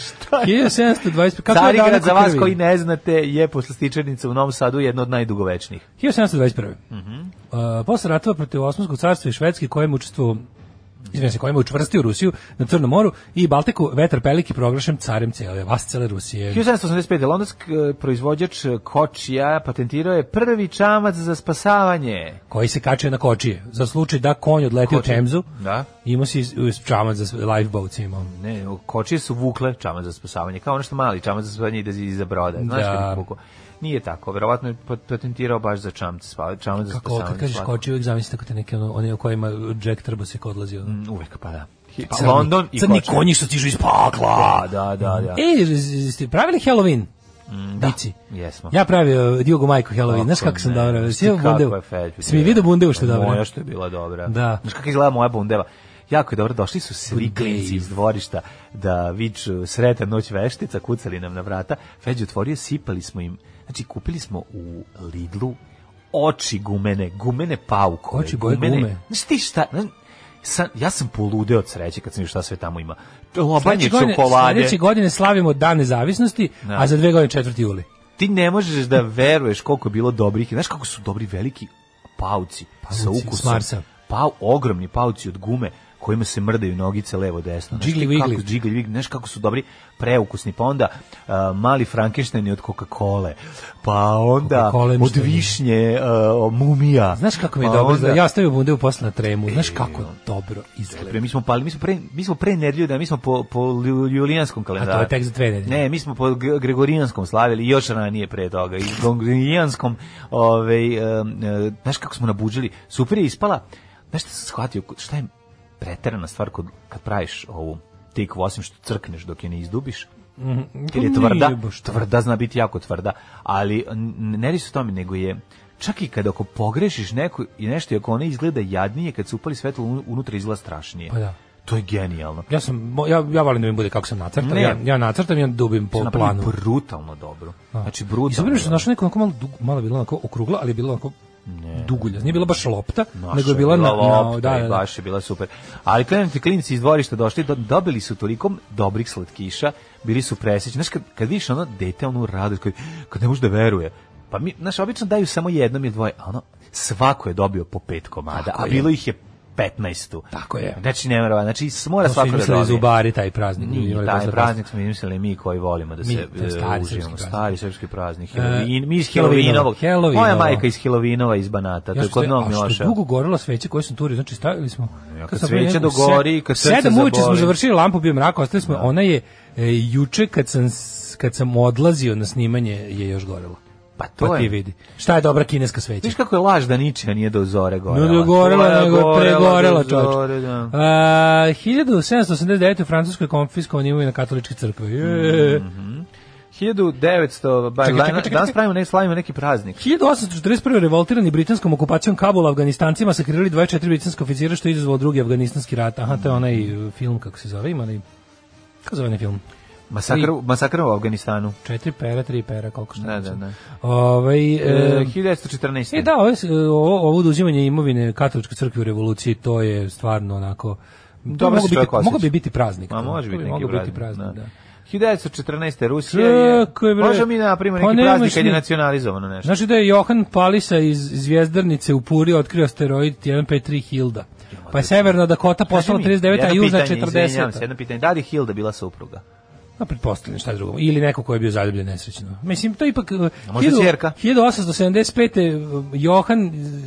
je? 1725. Kako je Carigrad, danak za u vas krvi? koji ne znate, je posle stičernica u Novom Sadu jedno od najdugovečnijih. 1721. Mhm. Uh, posle ratova protiv Osmanskog carstva i Švedske kojem učestvu izvinjam se, kojem je učvrstio Rusiju na Crnom moru i Baltiku, vetar peliki proglašen carem cele, vas cele Rusije. 1785. Londonski e, proizvođač e, kočija patentirao je prvi čamac za spasavanje. koji se kačio na kočije. Za slučaj da konj odleti u Kočije. Temzu, Da. imao si iz- iz- čamac za sve- lifeboat si imao. Ne, kočije su vukle čamac za spasavanje, kao ono što mali čamac za spasavanje ide iza broda. Znaš Da. kad ih vuku? Nije tako, verovatno je pat- patentirao baš za čamce, spa- čamac za Kako, spasavanje. kad kažeš slatko. kočije, uvijek zamisli tako te neke, ono, one u kojima Jack Trbo se odlazi. Ono. Mm, Uvek, pa da. Hi- Pa, Crni- London i crni kočije. konji što stižu iz pakla. Da, da, da, da. Mm, E, z- z- ste pravili Halloween? Da. Dici. Jesmo. Ja pravio uh, Diogo Majko Halloween, Kako znaš kako sam ne, dobro. znaš Jesi vidio ti kako bundevu? je Feđu Si mi bila. vidio bundevu što je dobro? Moja što je bila dobra. Da. Znaš kako izgleda moja bundeva? Jako je dobro, došli su svi Bundev. klinci iz dvorišta da viču sretan noć veštica, kucali nam na vrata. Feđu otvorio, sipali smo im. Znači, kupili smo u Lidlu oči gumene, gumene paukove. Oči boje gume. Znaš ti šta, znaš, sa- ja sam poludeo od sreće kad sam vidio šta sve tamo ima. Lobanje Sledeće godine, čokolade. sledeće godine slavimo Dan nezavisnosti, Da. a za dve godine 4. juli. ti ne možeš da veruješ koliko je bilo dobrih. Znaš kako su dobri veliki pauci, sa Pauci ukusom. s Marsa. Pa, ogromni pauci od gume kojima se mrdaju nogice levo desno. Znaš ti Jiggly kako- wiggly. Jiggly wiggly. Znaš kako su dobri, preukusni. Pa onda a, mali Frankenstein od Coca-Cola. Pa onda Coca-Cola im od što je. višnje a, mumija. Znaš kako mi je Pa dobro, onda- izgleda? ja stavio bundevu posle na tremu, znaš E, kako on- dobro izgleda. Pre, mi smo pali, mi smo pre, mi smo pre nedelju da mi smo po, po ju- julijanskom kalendaru. A to je tek za dve nedelje. Ne, mi smo po gre- gregorijanskom slavili još ranije pre toga. I gregorijanskom, ovaj, em, e, znaš kako smo nabuđili, super je ispala. Znaš šta sam shvatio, ko- šta je preterana stvar kod, kad praviš ovu tikvu, osim što crkneš dok je ne izdubiš, jer je Nije tvrda, baš tako. tvrda zna biti jako tvrda, ali n- ne radi se o tome, nego je čak i kada ako pogrešiš neko i nešto i ako ono izgleda jadnije, kad se upali svetlo un- unutra izgleda strašnije. Pa da. To je genijalno. Ja sam mo- ja ja volim da mi bude kako sam nacrtao. Ne. Ja ja nacrtam i ja dubim po Su napravili planu. Znači, brutalno dobro. Znači I sam brutalno. primio što sam dobro. našao neku onako malo, dug, malo je bila onako okrugla, ali je bila onako dugulja. Nije bila baš lopta, Naša nego je bila, na, lopta na, da, i da, da. baš je bila super. Ali klinci, klinici iz dvorišta došli, do, dobili su toliko dobrih slatkiša, bili su presjećeni. Znaš, kad, kad vidiš ono dete, ono radost, kad, kad ne može da veruje, pa mi, znaš, obično daju samo jednom ili dvoje, a ono, svako je dobio po pet komada, Tako a je. bilo ih je 15. Tako je. Znači, ne mora, znači, mora To su svako da izmislili dobije. zubari taj praznik. ljudi Nije, imali taj posle praznik smo izmislili mi koji volimo da Mi, se taj stari e, uživamo. srpski E, Stari srpski praznik. Helovin, mi iz Helovinovog. Helovinovog. Moja Helovinovog. majka iz Helovinova iz Banata. to Ja je što kod je, Novog a što Miloša. je dugo gorela sveće koje sam turio, znači stavili smo... kad kad sam sveća bio nekako dogori, se- kad srce Sedam uveče smo zaboli. završili lampu, bio mrak, ostali smo, ona je e, juče kad sam, s- kad sam odlazio na snimanje je još gorela. Pa To to pa ti je. vidi. Šta je dobra kineska sveća? Viš kako je laž da ničija nije do zore gorela. No, gorela, Gorela, nego gorela, pregorela, do čovječe. zore, da. A, 1789. u Francuskoj konfiskovan imovina katoličke crkve. Je. Mhm. 1900, ba, Čekaj, čekaj, danas- čekaj, danas čekaj. pravimo, ne, slavimo neki praznik. 1841. revoltirani britanskom okupacijom Kabula Afganistancima sakrirali 24 britanska oficira što je izazvalo drugi afganistanski rat. Aha, to je onaj e, film, kako se zove, ima onaj... Kako se zove onaj film? Masakr, Tri. masakr u Afganistanu. Četiri pera, tri pera, koliko što Da, da, znam. da. Ovaj, E, e, 1914. E da, ovo, je- ovo, ovo oduzimanje imovine katoličke crkve u revoluciji, to je stvarno onako... To Dobro mogu se biti, čovjek osjeća. mogu bi biti praznik. Ma to. može To biti bi neki mogao praznik. biti praznik, da. 1914. Rusija je... Čekaj, bre. Možemo mi napravimo Pa neki nemaš praznik kad ni- je nacionalizovano nešto. Znaš li da je Johan Palisa iz Zvjezdarnice u Puri otkrio asteroid 153 Hilda? Pa je Severna Dakota postala Kaži mi, 39, a jedno Južna pitanje, izvinjavam se, 40. Jedno pitanje, da li je Hilda bila supruga? Pa pretpostavljam šta drugo. Ili neko ko je bio zaljubljen nesrećno. Mislim, to je ipak... uh, A možda ćerka? 1875. uh, Johan iz-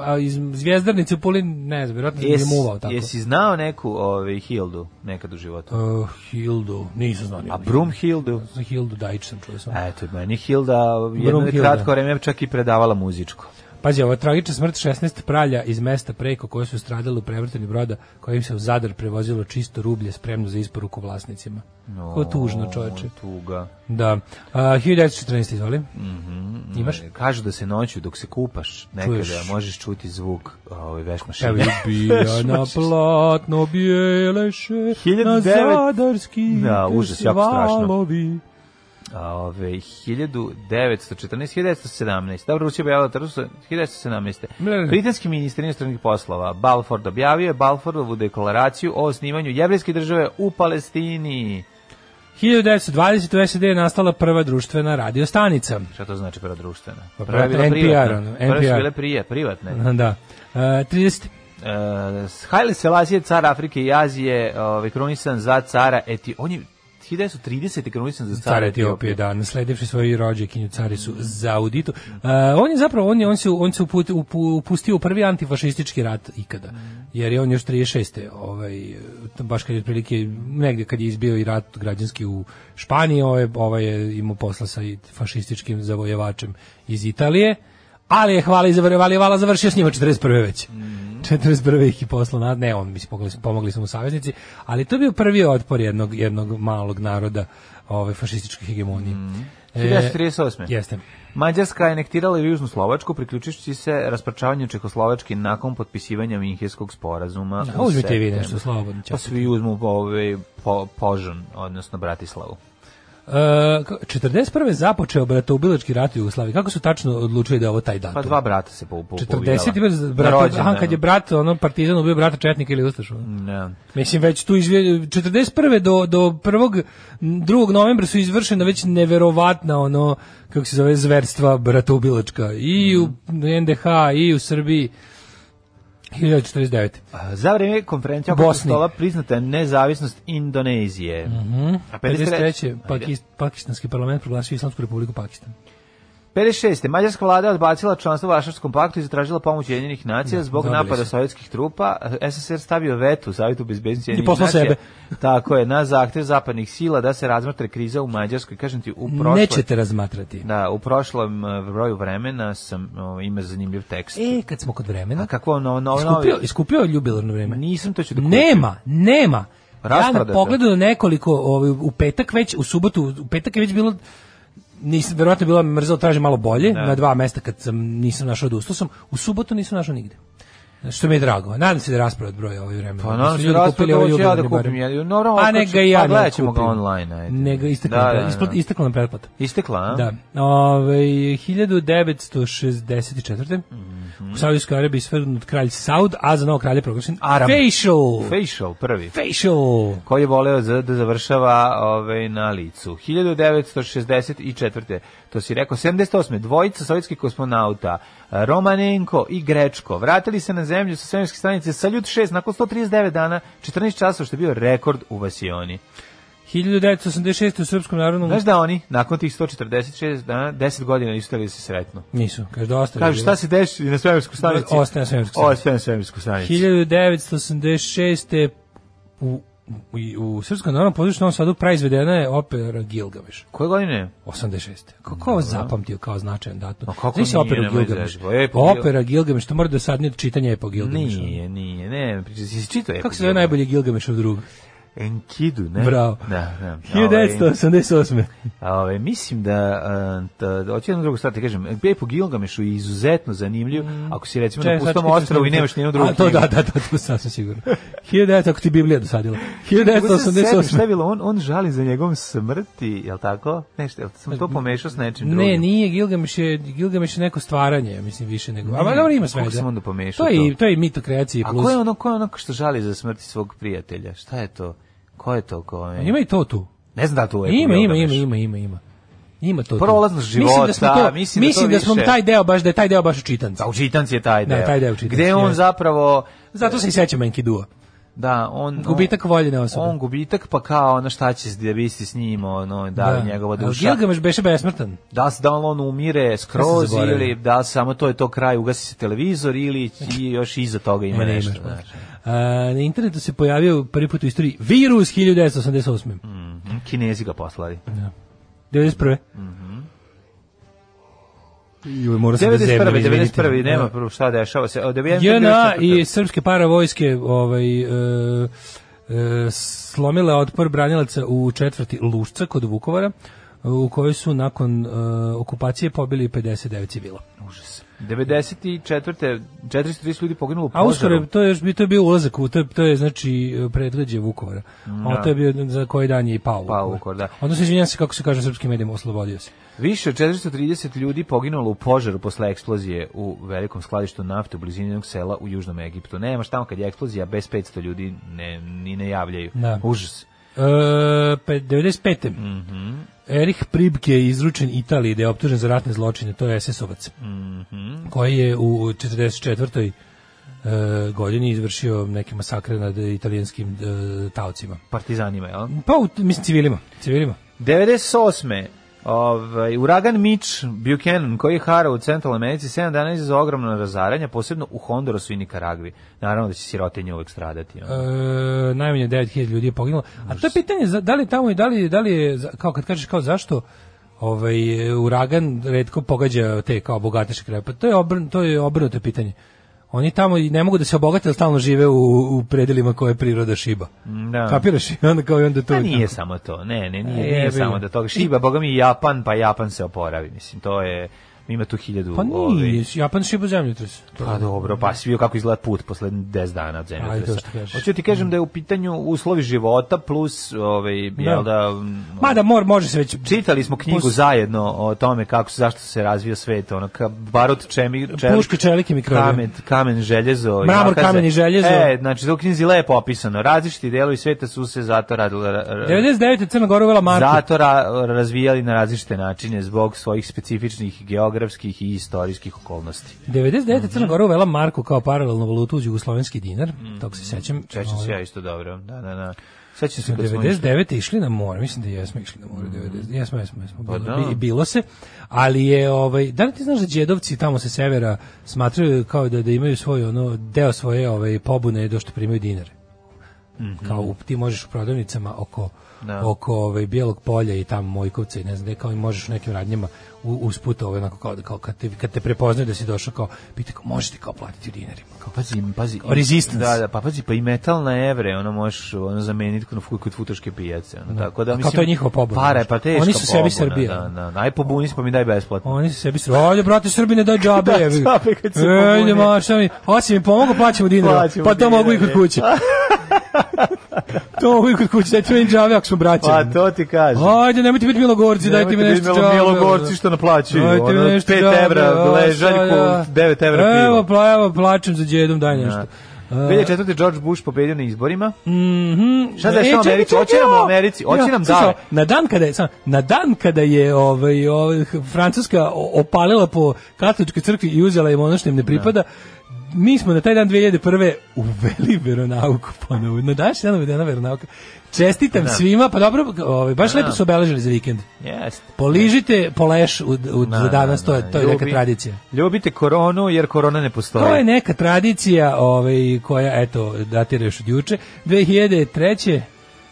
a, iz Zvjezdarnice u Puli, ne znam, vjerojatno je Jesi- muvao tako. Jesi znao neku ovaj, Hildu nekad u životu? Uh, Hildu, nisam znao. A Brum Hildu? Za Hildu Dajić sam čuo sam. Pa Eto, meni Hilda jedno Brum je Hilda. kratko vreme čak i predavala muzičko. Pazi, ovo je tragična smrt 16 pralja iz mesta preko koje su stradali u prevrtanju broda kojim se u Zadar prevozilo čisto rublje spremno za isporuku vlasnicima. No, Ko tužno čoveče. Tuga. Da. Uh, 1914, izvoli. Imaš? E, Kažu da se noću dok se kupaš nekada Čuješ. možeš čuti zvuk ovaj, veš Evo je mašine. bija na platno bijeleše, na 1900 zadarski Da, užas, jako strašno. svalovi. A, Ove, 1914-1917. Dobro, Rusija objavila Trsu 1917. Ne, ne. Britanski ministar inostranih poslova Balford objavio je Balfordovu deklaraciju o osnivanju jevrijske države u Palestini. 1920. u SED je nastala prva društvena radiostanica. Šta to znači prva društvena? Pa Prva je bila NPR, privatna. ono, Prve su NPR. bile prije, privatne. Da. Uh, 30. Uh, Haile Selassie, car Afrike i Azije, ovaj, krunisan za cara Eti... On je 1930. krunisan za car cara Etiopije, da, nasledivši svoju rođakinju caricu Zauditu. Uh, on je zapravo, on, je, on se, on se uput, upu- upustio u prvi antifašistički rat ikada, jer je on još 36. Ovaj, t- baš kad je otprilike, negdje kad je izbio i rat građanski u Španiji, ovaj, ovaj je imao posla sa i fašističkim zavojevačem iz Italije, ali je hvala i zavarjevali, vala završio s njima 41. već. Mhm. 41. ih je poslao na, ne, on, mislim, pomogli, pomogli su mu saveznici, ali to je bio prvi otpor jednog, jednog malog naroda ove fašističke hegemonije. Mhm. E, 1938. jeste. Mađarska je anektirala Južnu Slovačku, priključujući se raspračavanju Čehoslovačke nakon potpisivanja Minhijskog sporazuma. Da, u uzmite i vi septembru. nešto, slobodno ćapite. Pa svi uzmu ovaj, po, Požan, odnosno Bratislavu. E, ka- 41. započeo bratoubilački rat u Jugoslaviji. Kako su tačno odlučili da je ovo taj datum? Pa dva brata se po, po, 40. pobijala. je Na brat, rođendanu. aha, kad je brat, ono, partizan ubio brata Četnika ili Ustaša. ono. Ne. Mislim već tu izvje, 41. do do 1. 2. novembra su izvršena već neverovatna ono kako se zove zverstva bratoubilačka i u Mhm. NDH i u Srbiji 1049. A, Za vreme konferencije oko Bosni. stola priznata je nezavisnost Indonezije. Mhm. A 53. Pakist, pakistanski parlament proglasio Islamsku republiku Pakistan. 56. Mađarska vlada je odbacila članstvo u Varšavskom paktu i zatražila pomoć Ujedinjenih nacija zbog dobili napada su. sovjetskih trupa. SSR stavio vetu u Savjetu bezbednosti Ujedinjenih poslao nacija. sebe. Tako je, na zahtev zapadnih sila da se razmatra kriza u Mađarskoj. Kažem ti, u prošlom, Nećete razmatrati. da, u prošlom eh, broju vremena sam, o, ima zanimljiv tekst. E, kad smo kod vremena, A kako ono, ono, ono- iskupio, iskupio je jubilarno vreme. nisam to ću da kupim. Nema, nema. Ja na Rasprodato. pogledu nekoliko, ovaj, u petak već, u subotu, u petak je već bilo nisam verovatno je bilo me mrzelo tražim malo bolje na dva mesta kad sam nisam našao da ustao sam u subotu nisam našao nigde što mi je drago nadam se da je raspored broja ovaj vremena Pa Da naravno su se ljudi raspored, kupili ovo ovaj ću ja da jubilarni kupim, barem. jer normalno a hoću- neka i ja pa ne gledat ćemo ga kupim. online, ajde. Nega istekla Da, nam da, da. pre- ispla- istekla nam pretplata Istekla, a? da. Ovaj, Ove, 1964. Mhm. U Saudijskoj Arabiji svrgnut kralj Saud, a za novog kralja proglašen Aram. Facial. Facial prvi. Facial. koji je voleo za, da završava ovaj, na licu. 1964. To si rekao, 78. Dvojica sovjetskih kosmonauta, Romanenko i Grečko vratili se na zemlju sa svemirske stanice Saljut 6 nakon 139 dana, 14 časova što je bio rekord u Vasioni. 1986. u Srpskom narodnom... Znaš da oni nakon tih 146 dana, 10 godina istorije se sretno. Nisu, kaže da ostaje. Kaže šta se desi na svemirsku stanici? Ostaje na svemirskoj stanici. Ostaje na svemirsku stanici. 1986. u u, u Srpskom narodnom pozorištu u Novom Sadu praizvedena je opera Gilgameš. Koje godine? 86. Kako ovo Ono, zapamtio kao značajan datum? Ma kako Znaš nije, operu nemoj Gilgameš? zezati. Ej, pa Gil- Opera Gilgameš, to mora da sadnije od čitanja je po Gilgamešu. Nije, nije, ne, priča, si čitao je. Kako se zove najbolji Gilgamešov drug? Enkidu, ne? Bravo. Da, da. Ovaj, 1988. A, ove, mislim da, e, ta, da hoću jednu drugu stvar ti kažem, Bej po Gilgamešu je izuzetno zanimljiv, ako si recimo na Mm. Čekaj, sad pustom ću ti ostrovu i snimiti. nemaš nijednu drugu A, to da, knjigu. da, da, to sasvim sigurno. 1900, ako ti Biblija dosadila. Nego sam se setim Šta 1988. je bilo, on, on žali za njegovom smrti, jel tako? Ne, šta, jel sam to pomešao s nečim drugim? Ne, nije Gilgameš je Gilgameš je neko stvaranje, mislim više nego. A dobro ima sve. Kako sam onda pomešao To je i- to? to je i mit o kreaciji A plus. ko je ono, ko je ono što žali za smrti svog prijatelja? Šta je to? Ko je to? Ko je? Ima i to tu. Ne znam da li to je. Ima, ima, ima, ima, ima, ima. Ima to. tu. Prolaznost Mislim da smo života, to, mislim da to mislim da smo više. taj deo baš da je taj deo baš učitan. A u čitanci je taj Da, deo. taj deo u čitanci, Gde on jeste. zapravo... Zato se i sećam Enkidua. Da, on... Gubitak voljene osobe. On gubitak, pa kao ono šta će s- da bisti s njim, ono, da, li njegova Ali duša. Gilgameš beše besmrtan. Da li, se- da li on umire skroz zaboravio. ili da li samo to je to kraj, ugasi se televizor ili i još iza toga ima Ne, ne, nešto. imaš znaš. A, na internetu se pojavio prvi put u istoriji virus 1988. Mhm, Kinezi ga poslali. 91. Mhm. Joj, mora sam da 91. zemljam, 91. izvinite. nema prvo šta dešava se. Od 91. JNA 94.. i srpske paravojske ovaj, e, e, slomile otpor branilaca u četvrti Lušca kod Vukovara u kojoj su nakon e, okupacije pobili 59 civila. Užas. 94. 430 ljudi poginulo u A požaru. uskoro je- to je još bi to je bio ulazak u to je, to je znači predgrađe Vukovara. A to je bio za koji dan je i pao. Mm, Pao Vukovar, da. Odnosno izvinjavam se kako se kaže u srpskim medijima oslobodio se. Više od 430 ljudi poginulo u požaru posle eksplozije u velikom skladištu nafte u blizini jednog sela u Južnom Egiptu. Nemaš tamo kad je eksplozija, bez 500 ljudi ne, ni ne javljaju. Da. Užas. E, pe- 95. Erich Pribke je izručen Italiji da je optužen za ratne zločine, to je SS-ovac, koji je u 44. e, godini izvršio neke masakre nad italijanskim e, taocima. Partizanima, jel? Pa, u, mislim, civilima. civilima. 98. Ovaj, uragan Mitch Buchanan koji je harao u centralnoj Americi 7 dana izazvao ogromno razaranja, posebno u Hondurasu i Nikaragvi. Naravno da će sirotinje uvek stradati. ono. E, najmanje 9000 ljudi je poginulo. A to je pitanje, za- da li tamo i da li, da li je, za- kao kad kažeš kao zašto ovaj, uragan redko pogađa te kao bogateše kraje, pa to je, obrn, to je obrnuto pitanje. Oni tamo i ne mogu da se obogate, ali stalno žive u, u predelima koje priroda šiba. Mm, Da. Kapiraš? I onda kao i onda to... Pa je nije tako. samo to, ne, ne, E, nije, nije jebi samo ga. da toga šiba, boga mi i Japan, pa Japan se oporavi, mislim, to je, ima tu hiljadu... Pa ovaj, nije, Japan šiba zemljotres. Pa dobro, pa si vidio kako izgleda put posle 10 dana od zemlje. Ajde, Mm. to što kažeš. Hoću ti kažem da je u pitanju uslovi života plus, ovaj, jel da... mm, Mada mor, može se već... Čitali smo knjigu Pus- zajedno o tome kako se- zašto se razvio svet, ono ka barut čemi čelik, Puške, čelik i mikrobi. kamen, kamen, željezo, i Mramor, nakaze. kamen i željezo. E, znači u knjizi lepo opisano. Različiti delovi sveta su se zato radili ra- ra- 99. Crna Gora uvela Marku. zato ra- razvijali na različite načine zbog svojih specifičnih geografskih i istorijskih okolnosti. 99. Crna Gora uvela Marku kao paralelnu valutu uz jugoslovenski dinar, tog se sećam. Čećam Ovaj, se ja isto dobro. Da, da, da. Sećam se Smo kad smo išli. Mm. 99. išli na more, mislim da jesmo išli na more, 90. Jesmo, jesmo, jesmo. Bilo, Pa da. bi- bilo se, ali je, ovaj, da li ti znaš da djedovci tamo sa severa smatraju kao da, da imaju svoj, ono, deo svoje ovaj, pobune do što primaju dinare? kao u, ti možeš u prodavnicama oko Mhm. Da. oko ovaj bijelog polja i tamo Mojkovca i ne znam gde kao i možeš u nekim radnjama u, usput ovaj onako kao, da- kao kad, te, kad te prepoznaju da si došao kao pita kao možete kao platiti u dinarima kao Pazi, pazi. Kao resistance. Da, da, pa pazi, pa i metal na evre, ono možeš ono zameniti kod kod futoške pijace, ono, tako da Kao mislim. to je njihova pobuna, Para je znači. pa teška Oni su pobuna, sebi Srbija. Da, da, da. Aj pobuni se pa mi daj besplatno. Oni se sebi su, ajde brate Srbine daj džabe. Da, jebi ga." džabe kad se E, pobune. Ajde ma, šta mi, hoće mi pomogu, plaćamo dinara. Plaćamo Pa to mogu i dinare. kod kuće. to mogu i kod kuće, dajte meni džabe ako smo braće. Pa to ti kažem. Ajde, nemojte biti milogorci, dajte mi Nemojte nešto biti džabe. ono. milogorci što naplaćuju, Dajte mi ono, nešto pet džabe, evra a, ležaljku, šta ja. pa- devet evra piva. Evo, pla, evo, plačem za djedom, daj nešto. 2004. George Bush pobedio na izborima. Mhm. Šta da je E, šta u čekaj, Americi? čekaj, Hoće nam u ja. Americi, hoće Ja, nam slušaj, dale. Na dan kada je, sam, na dan kada je ovaj, ovaj, Francuska o- opalila po katoličkoj crkvi i uzela im ono što im ne pripada, mi smo na taj dan 2001. uveli veronauku ponovo. Na današnji dan uvedena veronauka. Čestitam svima, pa dobro, ovaj, baš lepo su obeležili za vikend. Jeste. Poližite poleš u, u, Da, za danas, da, to je, da. to je neka Ljubi- tradicija. Ljubite koronu jer korona ne postoji. To je neka tradicija ovaj, koja, eto, datira još od juče. 2003.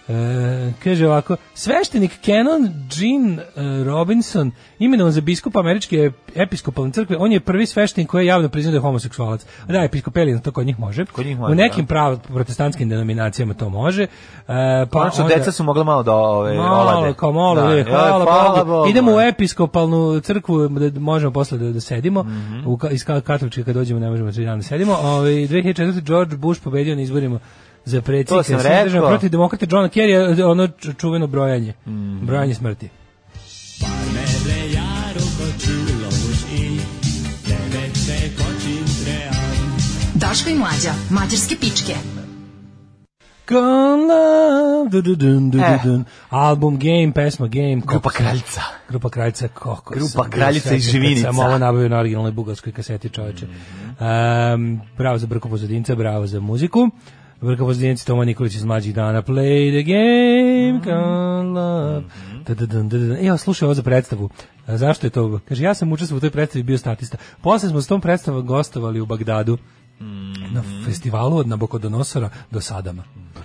E, kaže ovako, sveštenik Canon Jean e, Robinson, imenovan za biskupa američke episkopalne crkve, on je prvi sveštenik koji je javno priznao da je homoseksualac. A Da, episkopelijan, to kod njih može. Kod njih može, U nekim da. prav, protestantskim denominacijama to može. E, pa Konačno, onda- deca su mogla malo da ove, Malo, olade. kao malo, Da, je, joj, hvala, Bogu. Bogu. e. Idemo u episkopalnu crkvu, da možemo posle da, da sedimo. Mhm. u, ka- iz ka- katoličke kad dođemo ne možemo tri dana da sedimo. Ove, 2004. George Bush pobedio na izborima za predsjednika. To sam Sjedinjenih rekao. država Protiv demokrata Johna Kerry, a, ono ču- čuveno brojanje. Mhm. Brojanje smrti. Daško i mlađa, mađarske pičke. Gone love, du- du- dun- du- Eh. du- dun. Album Game, pesma Game. Grupa kako sam- kraljica. Grupa Kraljica kako Grupa sam bio Kraljica srećan iz kad Živinica. Sam ovo nabavio na originalnoj bugarskoj kaseti čoveče. Um, bravo za Brko Pozadinca, bravo za muziku. Brko Pozadinca, Toma Nikolić iz mlađih dana. Play the game, come love. Da, da, da, da, da. Evo, slušaj ovo za predstavu. A, zašto je to? Kaže, ja sam učestvovao u toj predstavi i bio statista. Posle smo s tom predstavom gostovali u Bagdadu na festivalu od Nabokodonosora do Sadama.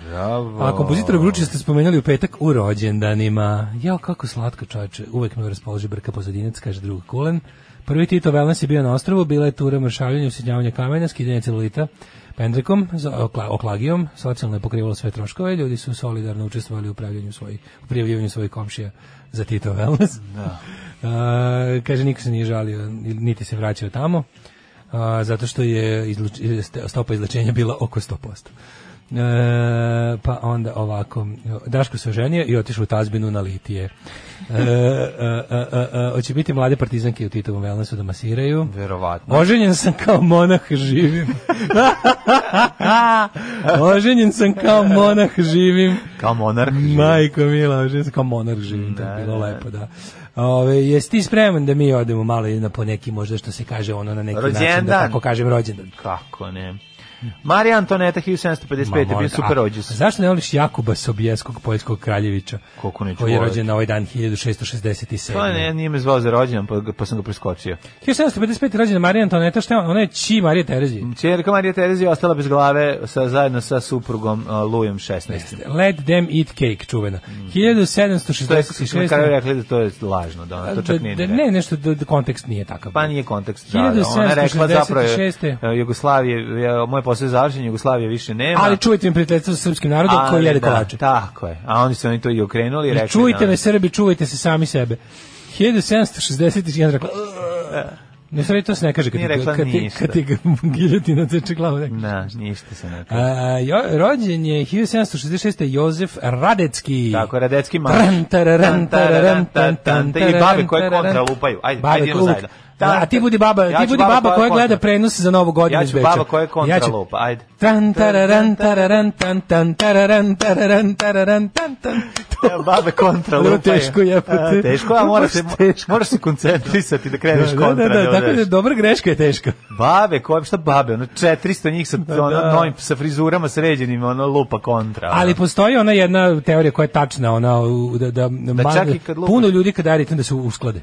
Bravo. A kompozitora Gručića ste spomenuli u petak u rođendanima. Jao, kako slatko čoveče, uvek me raspoloži brka pozadinac, kaže drug Kulen. Prvi Tito Wellness je bio na ostrovu, bila je tura mršavljenja, usjednjavanja kamena, skidanja celulita, pendrekom, za- okla- oklagijom, socijalno je pokrivalo sve troškove, ljudi su solidarno učestvovali u pravljenju svojih, u prijavljivanju svojih komšija za Tito Wellness. Da. kaže, niko se nije žalio, niti se vraćao tamo, a, zato što je izluč- ste- stopa izlečenja bila oko 100%. E, pa onda ovako Daško se oženio i otišao u tazbinu na litije e, e, e, e, e, hoće biti mlade partizanke u Titovom wellnessu da masiraju Verovatno. oženjen sam kao monah živim oženjen sam kao monah živim Kao monarh. majko mila oženjen sam kao monah živim to je bilo lepo da Ove, jesi ti spreman da mi odemo malo i na po neki možda što se kaže ono na neki način da Rođendan. tako kažem rođendan Kako ne. Marija Antoneta Ma, 1755 je bio molim te, super a- rođus. a Zašto ne voliš Jakuba Sobijeskog poljskog kraljevića? Koliko neću Koji je voleti. rođen na ovaj dan 1667. To ne, nije me zvao za rođendan, pa, ga- pa sam ga preskočio. 1755. rođena Marija Antoneta, šta je ona? Ona je Či Marija Terezije. Čerka Marija Terezija je ostala bez glave sa, zajedno sa suprugom uh, Lujom 16. Let them eat cake, čuvena. Mm. To je, kako smo na 1766. kraju rekli da to je lažno, da ona to Da- čak nije da- ni ne, nešto, da, da kontekst nije takav. Pa nije kontekst. Da, da, ona je rekla zapravo je, 1766. e, Jugoslavije, e, moj posao je završen, Jugoslavije više nema. Ali čujte mi prijateljstvo sa srpskim narodom Ali koji jede da, kolače. Tako je. A oni su oni to i okrenuli i I rekli. čujte da, me Srbi, čuvajte se sami sebe. 1761 rekla... "Ugh." Ne sve to se ne kaže kad Nije ti, rekla kad ti, ništa. Mm. kad ti ga giljotina teče glavu. Ne. Da, ništa se ne kaže. A, jo, rođen je 1766. Jozef Radecki. Tako, je, Radecki maš. Ran, tararan, tararan, tan, tan, I babe koje tararan, kontra tararan. lupaju. Ajde, Babe ajde idemo koje- zajedno. Da, a ti budi baba, Ja ti ću budi baba koja kontra- gleda prenos za Novu godinu Ja iz ću Beča. baba koja kontra ću- lupa, ajde. Tran, tararan, tararan, tan, tan, tararan, tararan, tararan, tan, tan. Ja, babe kontra Dobro, lupaju. teško je, pa A, te- Teško, a moraš se, baš teško. moraš se koncentrisati da kreneš Da, da, kontra. da, ne tako da odeš. dobra greška je teška. Babe, koje, šta babe, ono 400 njih sa, ono, novim, sa frizurama sređenim, ono lupa kontra. ono. Ali postoji ona jedna teorija koja je tačna, ona u- da da, ma- čak i kad lupaš- puno ljudi kad daje ritam da se usklade.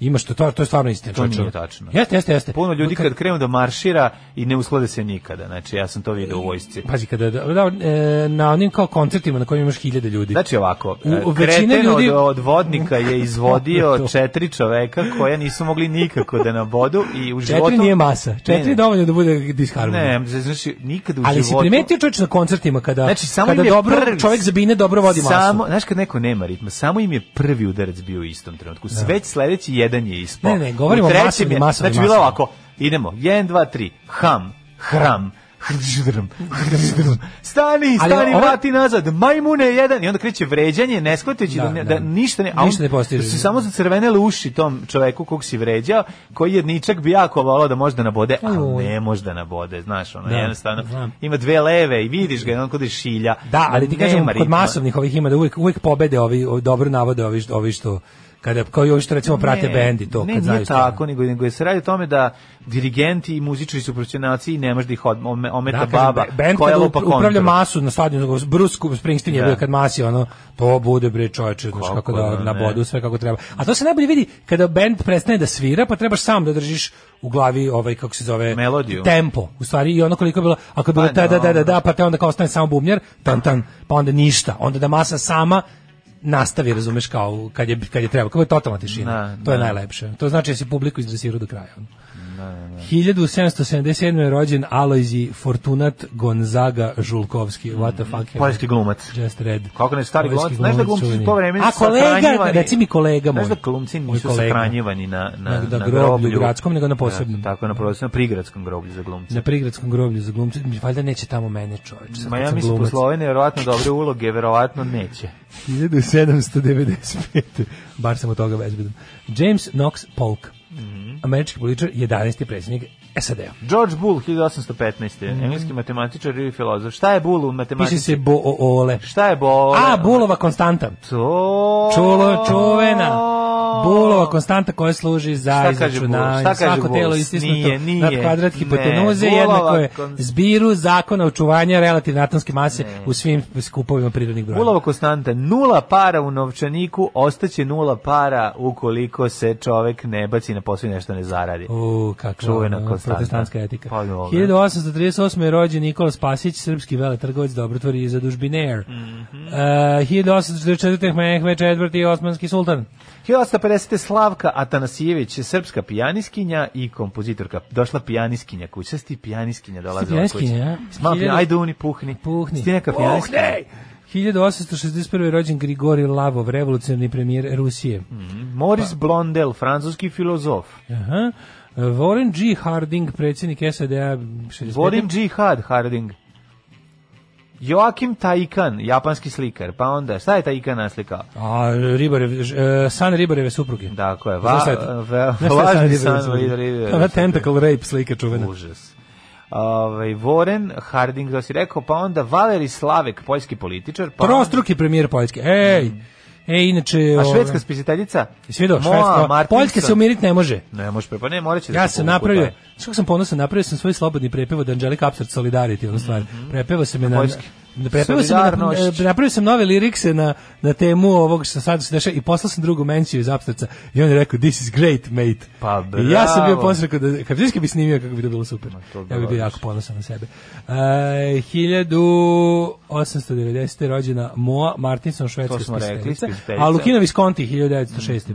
Ima što to to je stvarno istina. To nije čovječe. tačno. Jeste, jeste, jeste. Puno ljudi Kad- kad krenu da maršira i ne usklade se nikada. Znači, ja sam to vidio u vojsci. pazi kada da, da, e, na onim kao koncertima na kojima imaš hiljade ljudi. Znači ovako, U- e, većina kreten ljudi- od, od vodnika je Kako je izvodio to? četiri čoveka koja nisu mogli nikako da nabodu i u četiri životu... nije masa. Četiri Ne, je ne. dovoljno da bude disharmonija. Ne, znači nikad u Ali si životu... primetio čovječ na koncertima kada Znači, samo kada im je dobro prvi- čovjek zabine dobro vodi masu. Samo, znaš kad neko nema ritma, samo im je prvi udarac bio u istom trenutku. Već sledeći jedan je ispao. Ne, ne, govorimo U trećem masovni, je- masovni, Znači bilo masovni. ovako, idemo, 1 2 3, ham, hram, hrđdrm, hrđdrm. Stani, Ali stani, ovo- vrati nazad. Majmune jedan i onda kreće vređanje, ne shvatajući da, Da, ne- da, da. ništa ne, a on- Ništa ne postiže. da su samo zacrvenele uši tom čoveku kog si vređao, koji jedničak bi jako volao da možda nabode, ali Ajoj. ne možda nabode, znaš, ono Da, jednostavno znam. ima dve leve i vidiš ga, i on kod šilja. Da, ali ti Nema kažem, kod ritma. masovnih ovih ima da uvijek, uvijek pobede ovi, ovi dobro navode ovi, što- ovi što kada kao i ovi što recimo prate Ne, bendi to ne, nije kad znaju šta- tako, nego, nego se radi o tome da dirigenti i muzičari su profesionalci i ne možda ih odme- ome- ometa Da, kažem, baba be- band koja kada lupa up- upravlja kontru. masu na stadionu, Bruce Ku- Springsteen je Da. bio kad masi, ono, to bude bre čoveče, znaš Kako kako da da ne. nabodu sve kako treba. A to se najbolje vidi kada band prestane da svira, pa trebaš sam da držiš u glavi ovaj kako se zove Melodiju. tempo u stvari i ono koliko je bilo ako je bilo Pa ta da da da dobro. da pa te onda kao ostane samo bubnjar tan tan pa onda ništa onda da masa sama nastavi razumeš kao kad je kad je treba kao je totalna tišina Da, to je da. najlepše to znači da si publiku izdresirao do kraja ono. 1777. je rođen Alojzi Fortunat Gonzaga Žulkovski. What the fuck? Poljski glumac. Just red. Kako ne, stari glumac, Poljski znaš da glumci čuveni. to vreme A su kolega, sahranjivani? reci mi kolega moj. Znaš da glumci Moj nisu kolega. sahranjivani na, na, Na- na na groblju gradskom, nego na Da, posebnom. tako, na posebnom, na prigradskom groblju za glumce. Na prigradskom groblju za glumce. Valjda neće tamo mene čoveč. sad Ma kad ja sam mislim, po glumac. Sloveniji verovatno dobre uloge, verovatno neće. 1795. Bar sam od toga bezbedan. James Knox Polk. Mhm. Američki političar, 11. predsjednik SAD-a. George Bull, 1815. Engleski matematičar i filozof. Šta je Bull u Mhm. Piše matematici? se Boole. Šta je Bull? E. A, Bulova konstanta. To... Čulo, čuvena. Bulova konstanta koja služi za Šta kaže Bulova? Šta izračunanje. kaže Svako Bulova? telo istisnuto Nije, nije. nad kvadrat Ne, hipotenuze Bulova jednako je kon- zbiru zakona očuvanja relativne atomske mase u svim skupovima prirodnih broja. Bulova konstanta, nula para u novčaniku, ostaće nula para ukoliko se čovek ne baci na posao i nešto ne zaradi. U, kakva Čuvena ono, konstanta. protestantska etika. Pa dobro. 1838. je rođen Nikola Spasić, srpski veletrgovac, dobrotvor i zadužbiner. Mm Mhm. -hmm. uh, 1844. Mehmed IV. osmanski sultan. 1850. Slavka Atanasijević, srpska pijaniskinja i kompozitorka. Došla pijaniskinja kuća, Šta si ti pijaniskinja dolaze pijaniskinja, a? Smal, Hiljadu- ajde uni, puhni. Puhni. Si ti neka Puhni! pijaniskinja? 1861. je rođen Grigori Lavov, revolucionarni premijer Rusije. Moris Pa- Blondel, francuski filozof. Aha. Warren G. Harding, predsjednik SAD-a. 65. Vodim džihad, Harding. Joakim Taikan, japanski slikar. Pa onda, šta je Taikan naslikao? A, Ribareve, ž- e, san Ribareve supruge. Tako je, va, Znaš šta je to? va, Znaš šta je san važni Ribareve san supruge? Ribareve Ona supruge. tentacle rape slika čuvena. Užas. Ovaj Warren Harding, da si rekao, pa onda Valeri Slavek, poljski političar. Pa Mm. Prostruki premijer Poljske. Ej, ej, inače... A ove, švedska spisiteljica? Svi do, Moa švedska. Martinson. Poljska se umiriti ne može. Ne, može pre, pa ne, morat će da Ja se sam povuku, pa napravio, taj. znaš kako sam ponosan, napravio sam svoj slobodni prepev od Angelica Upstart Solidarity, ono stvar. Prepevao sam je na... Mhm. Poljski. na- Prepevao sam je na, Solidarnošć. e, napravio sam nove lirikse na, na temu ovog što sad se dešava i poslao sam drugu menciju iz Upstartsa i on je rekao, this is great, mate. Pa, I ja sam bio bravo. posle da, kad bi snimio kako bi to bilo super. to bi Ja bih bio bilo jako ponosan na sebe. E, 1890. rođena Moa Martinson, švedska To smo rekli, spisateljica, spisateljica. a Lukino Visconti 1906.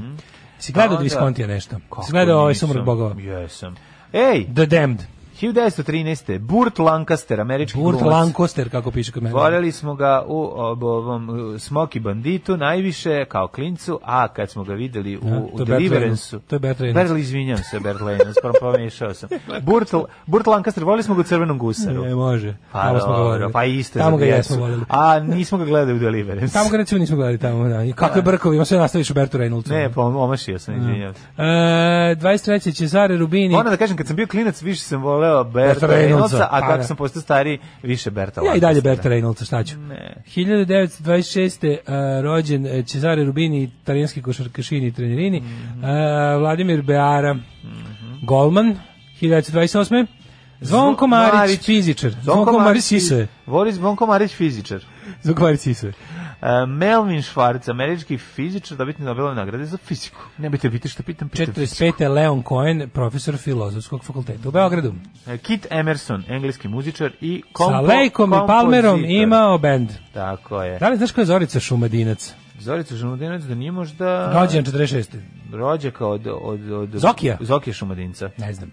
Si A gledao od onda- Viscontija nešto? Kako Si gledao ovaj nisam? Sumrak bogova? Jesam. Ej, The Damned. 1913. Burt Lancaster, američki Burt glumac. Lancaster, kako piše kod mene. Voleli smo ga u ob- ovom uh, Smoky Banditu najviše kao klincu, a kad smo ga videli u, Ja, u to je Bert Deliverance-u. Reynolds, to je Bert Reynolds. Berl, izvinjam se, Bert Reynolds, skoro pomiješao sam. Burt, Burt Lancaster, voleli smo ga u Crvenom gusaru. Ne, može. Pa, dobro, pa isto za Tamo ga djecu. jesmo voleli. A nismo ga gledali u Deliverance. Tamo ga recimo nismo gledali tamo. Da. I Kako je brkovi, ima sve nastaviš u Bertu Reynoldsu. Ne, pa omašio sam, izvinjam se. E, 23. Cesare Rubini. Moram da kažem, kad sam bio klinac, više sam voleo Berta Berta Reynoldsa, Reynoldsa, a pa kako da. sam postao stari, više Berta Ja i dalje Lancastera. Berta Reynoldsa, šta ću? Ne. 1926. e, rođen e, Cesare Rubini, italijanski košarkašini i trenerini. Mhm. E, Vladimir Beara, Golman, 1928. Zvonko Marić, Marić. fizičar. Zvonko Marić Sisoje. Voris Zvonko Marić fizičar. Zvonko Marić Sisoje. E, Melvin Schwartz, američki fizičar, dobitnik Nobelove nagrade za fiziku. Nemojte biti što pitam, pitam fiziku. 45. Leon Cohen, profesor filozofskog fakulteta u Beogradu. E, Kit Emerson, engleski muzičar i kompo, Sa Lejkom i kompozitor. Palmerom imao bend. Tako je. Da li znaš ko je Zorica Šumadinac? Zorica Žumudinac da nije možda... Rođen 46. Rođaka od... od, od Zokija? Zokija Šumadinca. Ne znam.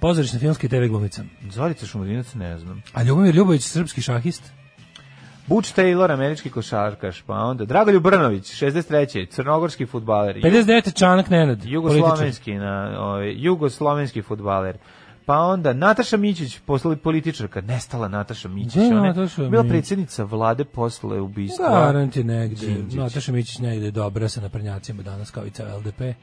Pozorišna filmska i TV glumica. Zorica Šumadinac ne znam. A Ljubomir Ljubović, srpski šahist. Butch Taylor, američki košarkaš, pa onda Dragoljub Brnović, 63. crnogorski futbaler. 59. Čanak Nenad, političar. Jugoslovenski, na, ovaj, jugoslovenski futbaler. Pa onda Nataša Mićić, posle političarka, nestala Nataša Mićić, Gde je ona je Nataša bila Mićić? predsjednica vlade posle ubistva. Garant je negde. Đinđić. Nataša Mićić negde je dobra sa naprnjacima danas kao i ceo LDP.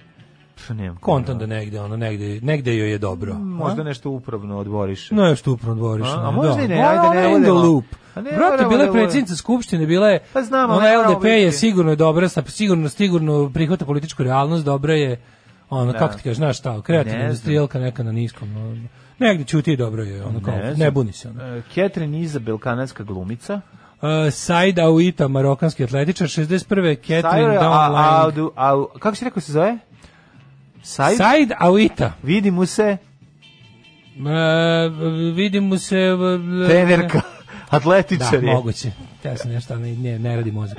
Pff, nemam Kontam pojma. da negde, ono, negde, negde joj je dobro. Možda nešto upravno odboriše. No, što upravo dvoriš. A, a možda i ne, ajde, ne Ona je in the budemo. loop. A ne Brate, moramo bila da je budemo. predsjednica Skupštine, bila je... Pa znam, ali ona ne moramo LDP je biti. sigurno dobra, sa, sigurno, sigurno prihvata političku realnost, dobra je, ono, kako ti kažeš, znaš šta, Ne kreativna znam. industrijelka neka na niskom, ono, negde ćuti i dobro je, ono, kao, ne, znam. buni se, ono. E, Catherine Izabel, kanadska glumica. Uh, Said Auita, marokanski atletičar, 61. Catherine Sajra, a, a, Downline. du- a, kako si rekao se zove? Saj? Said Auita. Vidi mu se Uh, vidimo se... uh, trenerka, atletičar Da, je. moguće. Ja sam nešto, ne, ne, ne radi mozak.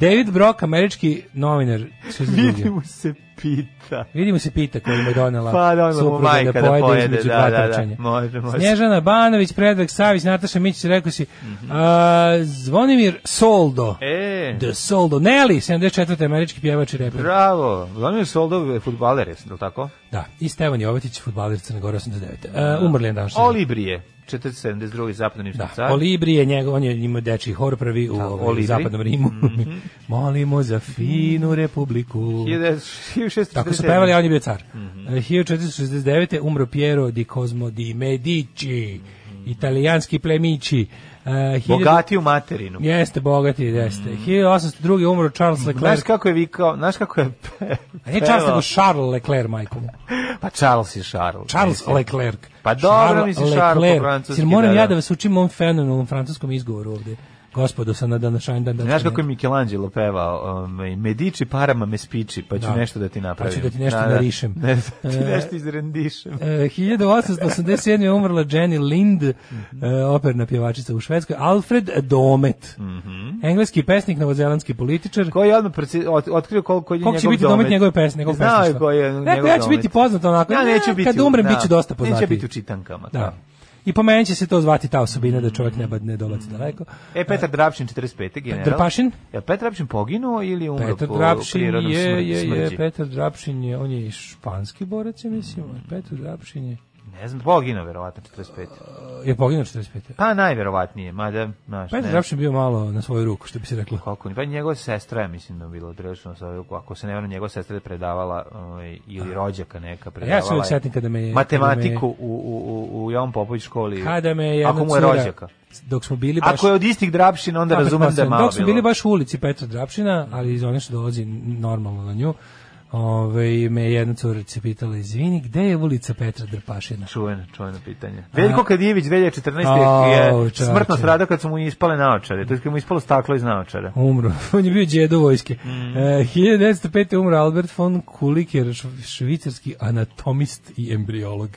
David Brock, američki novinar. 62. Vidi mu se pita. Vidimo se pita koju mu je donela Pa, donela mu supruga majka da da pojede, pojede, između da, dva da, da. trčanja. Može, može. Snježana Banović, Predrag Savić, Nataša Mićić, rekao si, Mhm. a, Zvonimir Soldo. E, The Soldo. Nelly, 74. američki pjevač i reper. bravo. Vladimir Soldov je futbaler, jesi, je li tako? Da, i Stevan Jovetić, futbaler Crne Gore 89. Uh, umrli je danas. Olibrije, 472. zapadnim Da, švajcar. Olibri je njegov, on je imao dečiji hor prvi u, ovaj, Olibri. Mhm. zapadnom Rimu. Molimo za finu republiku. 1647. Tako su pevali, a on je bio car. Mm Mhm. 1469. umro Piero di Cosmo di Medici, italijanski plemići. Uh, Mhm. Bogati Mhm. u materinu. Jeste, bogati, jeste. 1802. umro Charles Znaš Leclerc. kako je vikao, znaš kako je pe, A nije Charles, pevao? nego Charles Leclerc, majko. mu. Pa Charles i Charles. Charles mislim. Leclerc. Pa dobro, mislim, Charles po francuski, Sir, moram da, da. ja da vas učim ovom fenomenom francuskom izgovoru ovde. Gospodo, sa na današnjem dan. Znaš kako je Michelangelo pevao, um, Medici parama me spiči, pa ću Da. nešto da ti napravim. Pa ću da ti nešto narišem. Ne, da ti E, nešto izrendišem. E, 1887. je umrla Jenny Lind, e, operna pjevačica u Švedskoj, Alfred Domet, Mhm. engleski pesnik, novozelandski političar. Koji je odmah preci, ot, otkrio koliko je njegov domet. Koliko će biti domet njegove pesme, njegov Znao je koji je njegov Rekao, ja ću domet. biti poznat onako. Ja ne, neću biti. Kad umrem, da. bit ću dosta poznatiji. Neće biti u čitankama. Da. I po meni će se to zvati ta osobina da čovjek ne, bad- ne dolazi daleko. E, Petar Drapšin, 45. general. Drpašin? Je Petar Drapšin poginuo ili je umro Petar po Drapšin prirodnom je, smr- je, je, smrđi? Petar Drapšin je, on je i španski borac, ja mislim. Petar Drapšin je, Ne znam, poginuo verovatno 45. je poginuo 45. Pa najverovatnije, mada, znaš, Petar ne. Drapšin bio malo na svoju ruku, što bi se reklo. Koliko ni, pa njegova sestra je, mislim da je bila prilično sa ako se ne varam njegova sestra je predavala ovaj, ili rođaka neka predavala. Ja se uvijek je setim kada me je... matematiku u u u u Jovan Popović školi. Kada me je jedna ako mu je cura, rođaka. Dok smo bili baš... Ako je od istih Drapšina, onda Pa, razumem da je pretpostavljam, malo Dok smo bili bilo. baš u ulici Petra Drapšina, ali iz one što dolazi normalno na nju, ove, me je jedna curica pitala, izvini, gde je ulica Petra Drpašina? Čuveno, čuveno pitanje. Veljko Kadijević 2014. Au, je čače. smrtno stradao kad su mu ispale naočare. To je kad mu je ispalo staklo iz naočara. Umro. On je bio djedo vojske. Mm. E, 1905. je umro Albert von Kuliker, šv- švicarski anatomist i embriolog.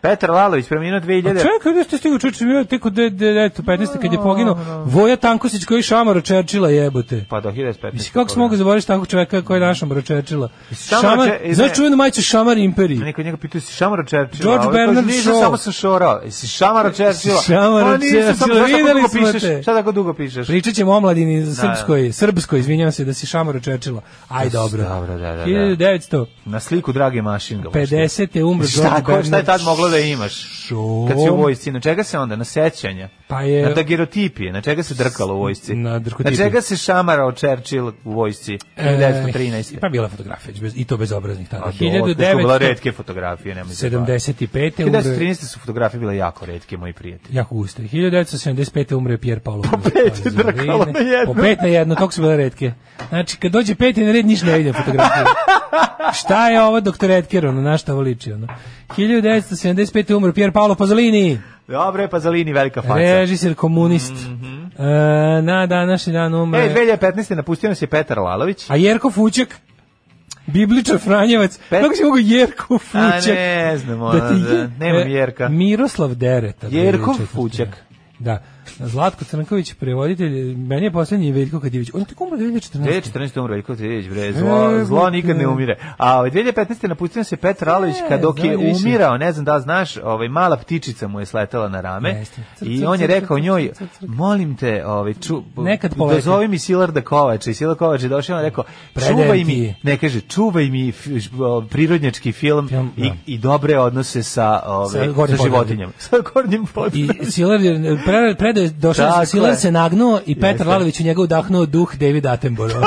Petar Lalović preminuo A 2000. Pa čekaj, gde ste stigli čuči, bio tek u de- de- eto, 15. kad je poginuo Voja Tankosić koji šamara Čerčila jebote. Pa do 2015. Mislim, kako se mogu zaboraviti takvog čoveka koji je našom bročečila? Samo Šamar, če- e, znaš ne. čuvenu majicu Šamar Imperiji? Neko njega pitao si Šamara Čerčila. Ovaj, George Bernard Shaw. samo sam šorao. Jesi Šamara Čerčila? Šamara Pa nisam, samo- Churchilla, znaš tako videli dugo smo pišeš? te. Šta tako dugo pišeš? Pričat ćemo o omladini srpskoj, da. srpskoj, izvinjavam se da si Šamara Čečila. Aj, dobro. dobro, da, da, da. 1950. Na sliku Drage Mašin ga baš ti. je umro Šta, George ko, šta je Bernard tad moglo da imaš? Shaw. Kad si u vojsci, na čega se onda? Na sećanja? Pa je- Na dagerotipije, na čega se drkalo u vojsci? Na drkotipije. Na čega se šamarao Churchill u vojsci? E, 1913. Pa bila je fotografija, već bez- i to bezobraznih A tada. do, Pa to su bila retke fotografije, nemoj se baviti. 1975. umre 1913. su fotografije bile jako retke, moji prijatelji. jako guste. 1975. umre Pierre Paolo. Po pet je drkalo na jedno. Po pet na jedno, toliko su bile retke. Znači, kad dođe peti na red, ništa ne vidim fotografiju. Šta je ovo doktor Edker, ono, na šta ovo liči, ono. 1975. umre Pier Paolo Pazolini, Dobre, Pazolini, velika faca. Mhm. režisir komunist. E, na današnji dan umre... E, 2015. napustio nas je Petar Lalović. A Jerko Fuček? Bibličar Franjevac. Pet- Kako si mogu Jerko A Fuček? ne znam, ona, da, nemam e, Jerka. Miroslav Dereta. Jerkov 2004.. Fuček. Da. Zlatko Crnković, prevoditelj, meni je poslednji Veljko Kadijević. On je tako umro 2014. 2014. umro E, Veljko Tijeć, bre, zlo, zlo nikad ne umire. A ovaj, 2015. napustio se Petar Alović kad dok je znam više. umirao, ne znam da li znaš, ovaj, mala ptičica mu je sletela na rame Jeste. Crk, i crk, on je crk, rekao crk, njoj, crk, crk. molim te, ovaj, ču, Nekad poleti. dozovi mi Silarda Kovača i Silar Kovač je došao i on rekao, Predajem čuvaj ti mi, je." ne kaže, čuvaj mi f- š- o, prirodnjački film, Film, i, da. i dobre odnose sa, ovaj, Sa sa, gornjim životinjama. Sa gornjim I podstavljama. Silar je pre, predo došao Tako je. Silar se nagnuo i Petar Jeste. Lalović u njega udahnuo duh David Attenborough.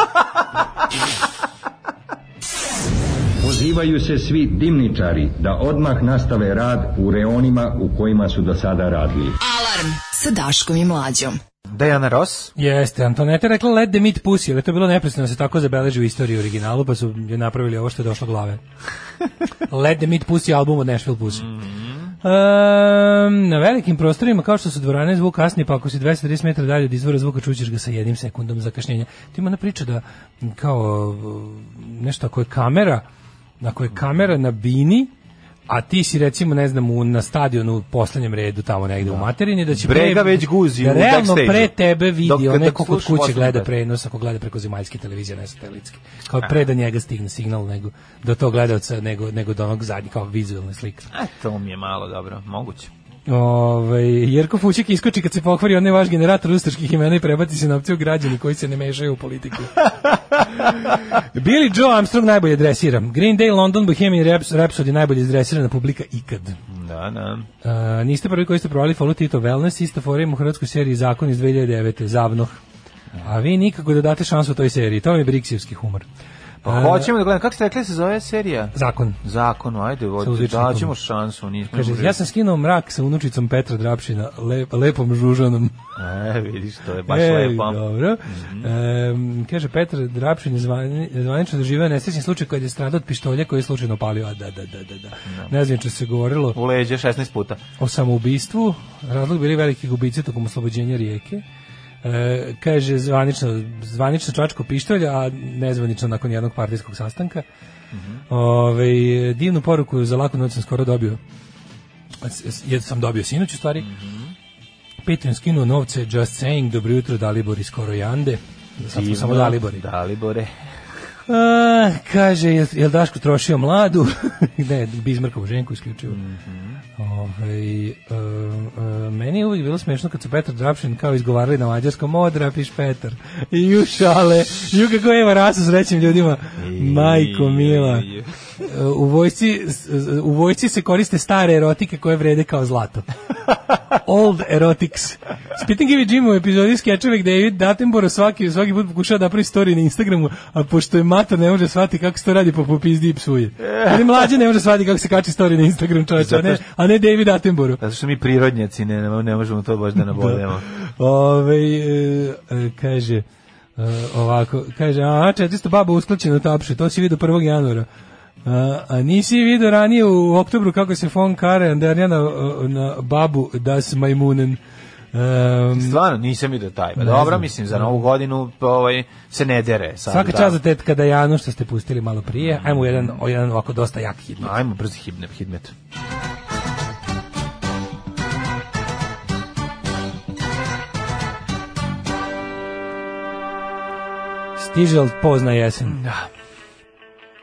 Pozivaju se svi dimničari da odmah nastave rad u reonima u kojima su do sada radili. Alarm sa Daškom i Mlađom. Diana Ross, Jeste, Antoneta je rekla let the meat pussy, ali to je bilo neprestano da se tako zabeleži u istoriji originalu, pa su je napravili ovo što je došlo glave. let the meat pussy album od Nashville Pussy. Ehm, na velikim prostorima kao što su dvorane zvuk kasni, pa ako si 230 metara dalje od izvora zvuka čućeš ga sa jednim sekundom zakašnjenja. Tu ima ona priča da m, kao e, nešto ako je kamera, ako je kamera na bini, a ti si recimo ne znam u, na stadionu u poslednjem redu tamo negde u materini da će Brega pre- već guzi da u realno backstage-u. pre tebe Dok- vidi dok onaj ko kod slušaš kuće poslednji gleda dan. prenos ako gleda preko zemaljske televizije ne satelitske kao pre da njega stigne signal nego do tog gledaoca nego nego do onog zadnjeg kao vizuelne slike E, to mi je malo dobro, moguće. Ovaj Jerko Fućik iskoči kad se pokvari onaj vaš generator ustaških imena i prebaci se na opciju građani koji se ne mešaju u politiku. Billy Joe Armstrong najbolje dresira. Green Day, London, Bohemian Raps- Rhapsody najbolje izdresirana publika ikad. Da, da. Uh, niste prvi koji ste provali Follow Tito Wellness, isto forum u hrvatskoj seriji Zakon iz 2009. Zavnoh. A vi nikako da date šansu toj seriji. To vam je briksijevski humor. E. Pa hoćemo da gledamo, kako ste rekli se zove serija? Zakon. Zakonu, ajde, vodi, uzvičnikom. daćemo šansu, nismo Kaže, imali. ja sam skinuo mrak sa unučicom Petra Drapšina, le, lepom žužanom. E, vidiš, to je baš Ej, lepo. Mhm. Dobro. Em, kaže, Petar Drapšin je zvani- zvanično doživio nesrećni slučaj kad je stradao od pištolja koji je slučajno palio. A da, da, da, da. da. Ne znam što se govorilo. U leđe 16 puta. o samoubistvu, razlog bili veliki gubici tokom oslobođenja rijeke. E, kaže zvanično, zvanično čačko pištolja, a nezvanično nakon jednog partijskog sastanka. Ovaj, divnu poruku za laku noć sam skoro dobio. S- s- Jer sam dobio sinoć u stvari. Patreon skinuo novce Just Saying, dobro jutro Dalibor iz Korojande. Sad smo samo Dalibori. Dalibore. A, kaže, jel, jel Daško trošio mladu? ne, Bizmarkovu ženku isključivo. Mhm. Ovaj, um, um, meni je uvijek bilo smešno kad su Petar Drapšin kao izgovarali na mađarskom, o, drapiš Petar. I ju šale, ju kako je rasu s rećim ljudima. Majko mila. I- U vojsci, u vojsci se koriste stare erotike koje vrede kao zlato. Old erotics. Spitting Jimmy Jim u epizodi skečeve gde je Datenboro svaki, svaki put pokušava da pravi story na Instagramu, a pošto je mator ne može shvatiti kako se to radi, pa popizdi i psuje. Ali mlađe ne može shvatiti kako se kači story na Instagram čovječe, a ne, a ne David Datenboro. Zato što mi prirodnjaci ne, ne možemo to baš da nabodemo. Ove, e, e, kaže, e, ovako, kaže, a, 400 baba usklačeno tapše, to si vidio 1. januara. A, a nisi vidio ranije u oktobru kako se von Kare Anderja na, na babu das majmunen. Um, Stvarno, nisam vidio taj. Pa Dobro, mislim, za novu godinu ovaj, se ne dere. Sad, Svaka da. Mm. čast za tetka Dajanu što ste pustili malo prije. Ajmo u jedan, o jedan ovako dosta jak hit. Ajmo, brzo hibne, hidmet. Stižel pozna jesen. Da.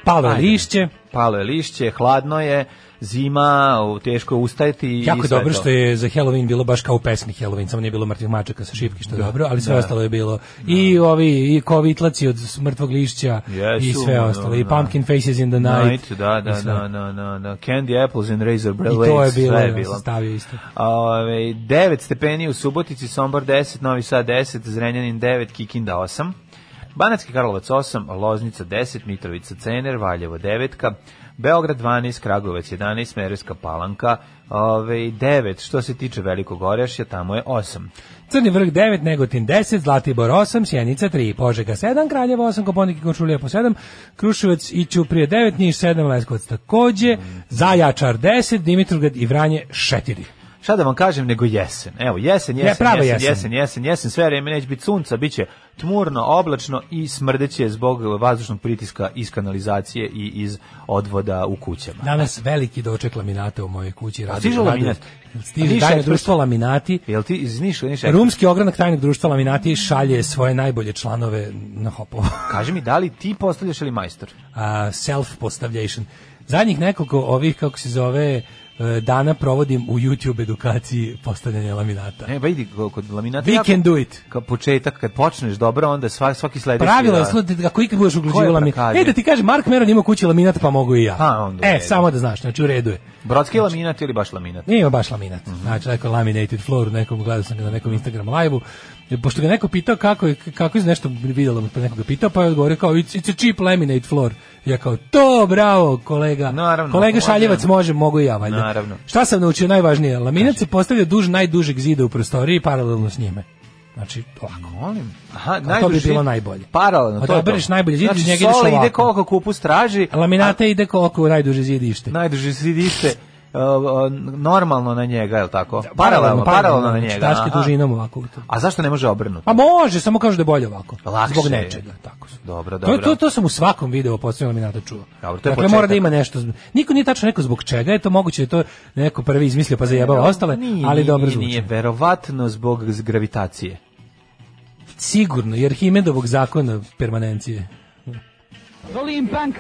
Palo je Ajde. lišće. Palo je lišće, hladno je, zima, u- teško je ustajati. i Jako je sve dobro to. što je za Halloween bilo baš kao u pesmi Halloween, samo nije bilo mrtvih mačaka sa šipki, što je dobro, ali sve ostalo je bilo. I ovi, i kovitlaci od mrtvog lišća, i Jesu, sve ono, ostalo. I da. Pumpkin Faces in the Night. Night, da, da, i sve. da, da, da, da. Candy apples and razor I blades, to je bilo, sve je ja bilo. sam stavio isto. Ove, 9 stepeni u Subotici, Sombor 10, Novi Sad 10, Zrenjanin 9, Kikinda 8, Banacki Karlovac 8, Loznica 10, Mitrovica Cener, Valjevo 9, Beograd 12, Kragujevac 11, Merevska Palanka ove, 9. Što se tiče Velikog Orjašja, tamo je 8. Crni vrh 9, Negotin 10, Zlatibor 8, Sjenica 3, Požega 7, Kraljevo 8, Koponik i Kočulija po 7, Kruševac i Ćuprije Mm. 9, Niš 7, Leskovac takođe, Zajačar 10, Dimitrovgrad i Vranje 4. šta da vam kažem nego jesen. Evo, jesen, jesen, Je, prava jesen, jesen. jesen, jesen, jesen, sve vreme neće biti sunca, bit će tmurno, oblačno i smrdeće zbog vazdušnog pritiska iz kanalizacije i iz odvoda u kućama. Pa, Danas veliki doček laminata u mojoj kući. Radi, Pa, stiže laminat? A Stiže niš tajno ekspres? društvo laminati. Jel ti iz Niša, Niša? Rumski ogranak tajnog društva laminati šalje svoje najbolje članove na hopovo. Kaži mi, da li ti postavljaš ili majstor? a, self postavljation. Zadnjih nekoliko ovih kako se zove e, dana provodim u YouTube edukaciji postavljanja laminata. Ne, ba idi ko- kod laminata. We jako- can do it. Ka početak, kad počneš dobro, onda sva, svaki sledeći... Pravilo je da- slo- da ako ikad budeš Ko uglađivao je laminat. prokazio? E da ti kaže Mark Meron ima u kući laminat pa mogu i ja. A, onda u e, redu. samo da znaš, znači u redu je. Brodski laminat ili baš laminat? Nije ima baš laminat. Mhm. Znači, neko laminated floor, nekom gledao sam ga na nekom Instagram live-u. E, Pošto ga neko pitao kako je, kako je nešto vidjelo, pa neko ga pitao, pa je odgovorio kao, it's, it's a cheap laminate floor. Ja kao, to, bravo, kolega. Naravno, kolega može. Šaljevac može, mogu i ja, valjda. Naravno. Znači. Šta sam naučio najvažnije? Laminat se postavlja duž najdužeg zida u prostoriji paralelno s njime. Znači, ovako. Molim. Aha, bi bilo najbolje. Paralelno, Od to je obereš to. najbolje zid, znači, iz njega ideš Sola ide ovako. koliko kupus traži, a Laminata ide koliko u najduže zid ište. najduže sidiste uh, uh, normalno na njega, je li tako? Paralelno, paralelno, na njega. pa znači, Tačke aha. dužinom ovako. A zašto ne može obrnuti? A Pa može, samo kažu da je bolje ovako. Lakše Zbog je. nečega, tako su. Dobro, To, dobro. to, to sam u svakom videu postavljeno laminata čuo. Dobro, to je dakle, početak. mora da ima nešto. zb- Niko nije tačno rekao zbog čega je to moguće, je to neko prvi izmislio pa zajebao ostale, Nije, ali nije, dobro zvuči. Nije, verovatno zbog z- gravitacije. Sigurno, jer Himedovog zakona permanencije. Volim punk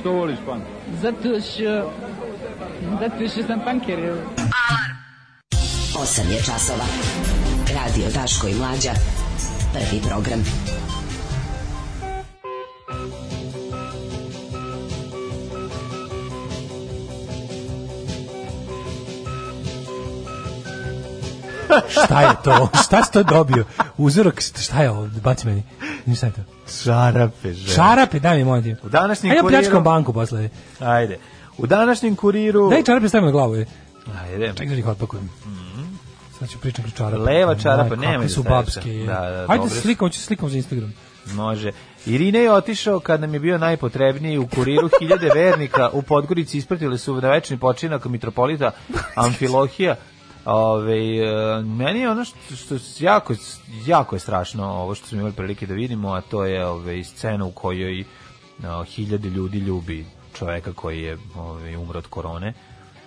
Što voliš, pan? zato što zato što sam punker. evo. 8 je časova. Radio Daško i Mlađa. Prvi program. Šta je to? Šta si to dobio? Uzorak, šta je ovo? Baci meni. Nije šta je to? Šarape, žena. Šarape, daj mi, molim U današnjem A ja kuriru- pljačkam banku posle. Ajde. U današnjem kuriru... Daj čarape stavim na glavu. je. Ajde. Čekaj da ih otpakujem. Sad ću pričam kroz čarape. Leva čarapa, Majko, nemoj kakve da su staviš. babske. je. Da, da, Ajde dobre su. slikom, hoću slikom za Instagram. Može. Irine je otišao kad nam je bio najpotrebniji u kuriru hiljade vernika u Podgorici ispratili su na večni počinak mitropolita Amfilohija. Ove, e, meni je ono što, što s- jako, jako je strašno ovo što smo imali prilike da vidimo, a to je ove, scena u kojoj e, hiljade ljudi ljubi čoveka koji je ove, umro od korone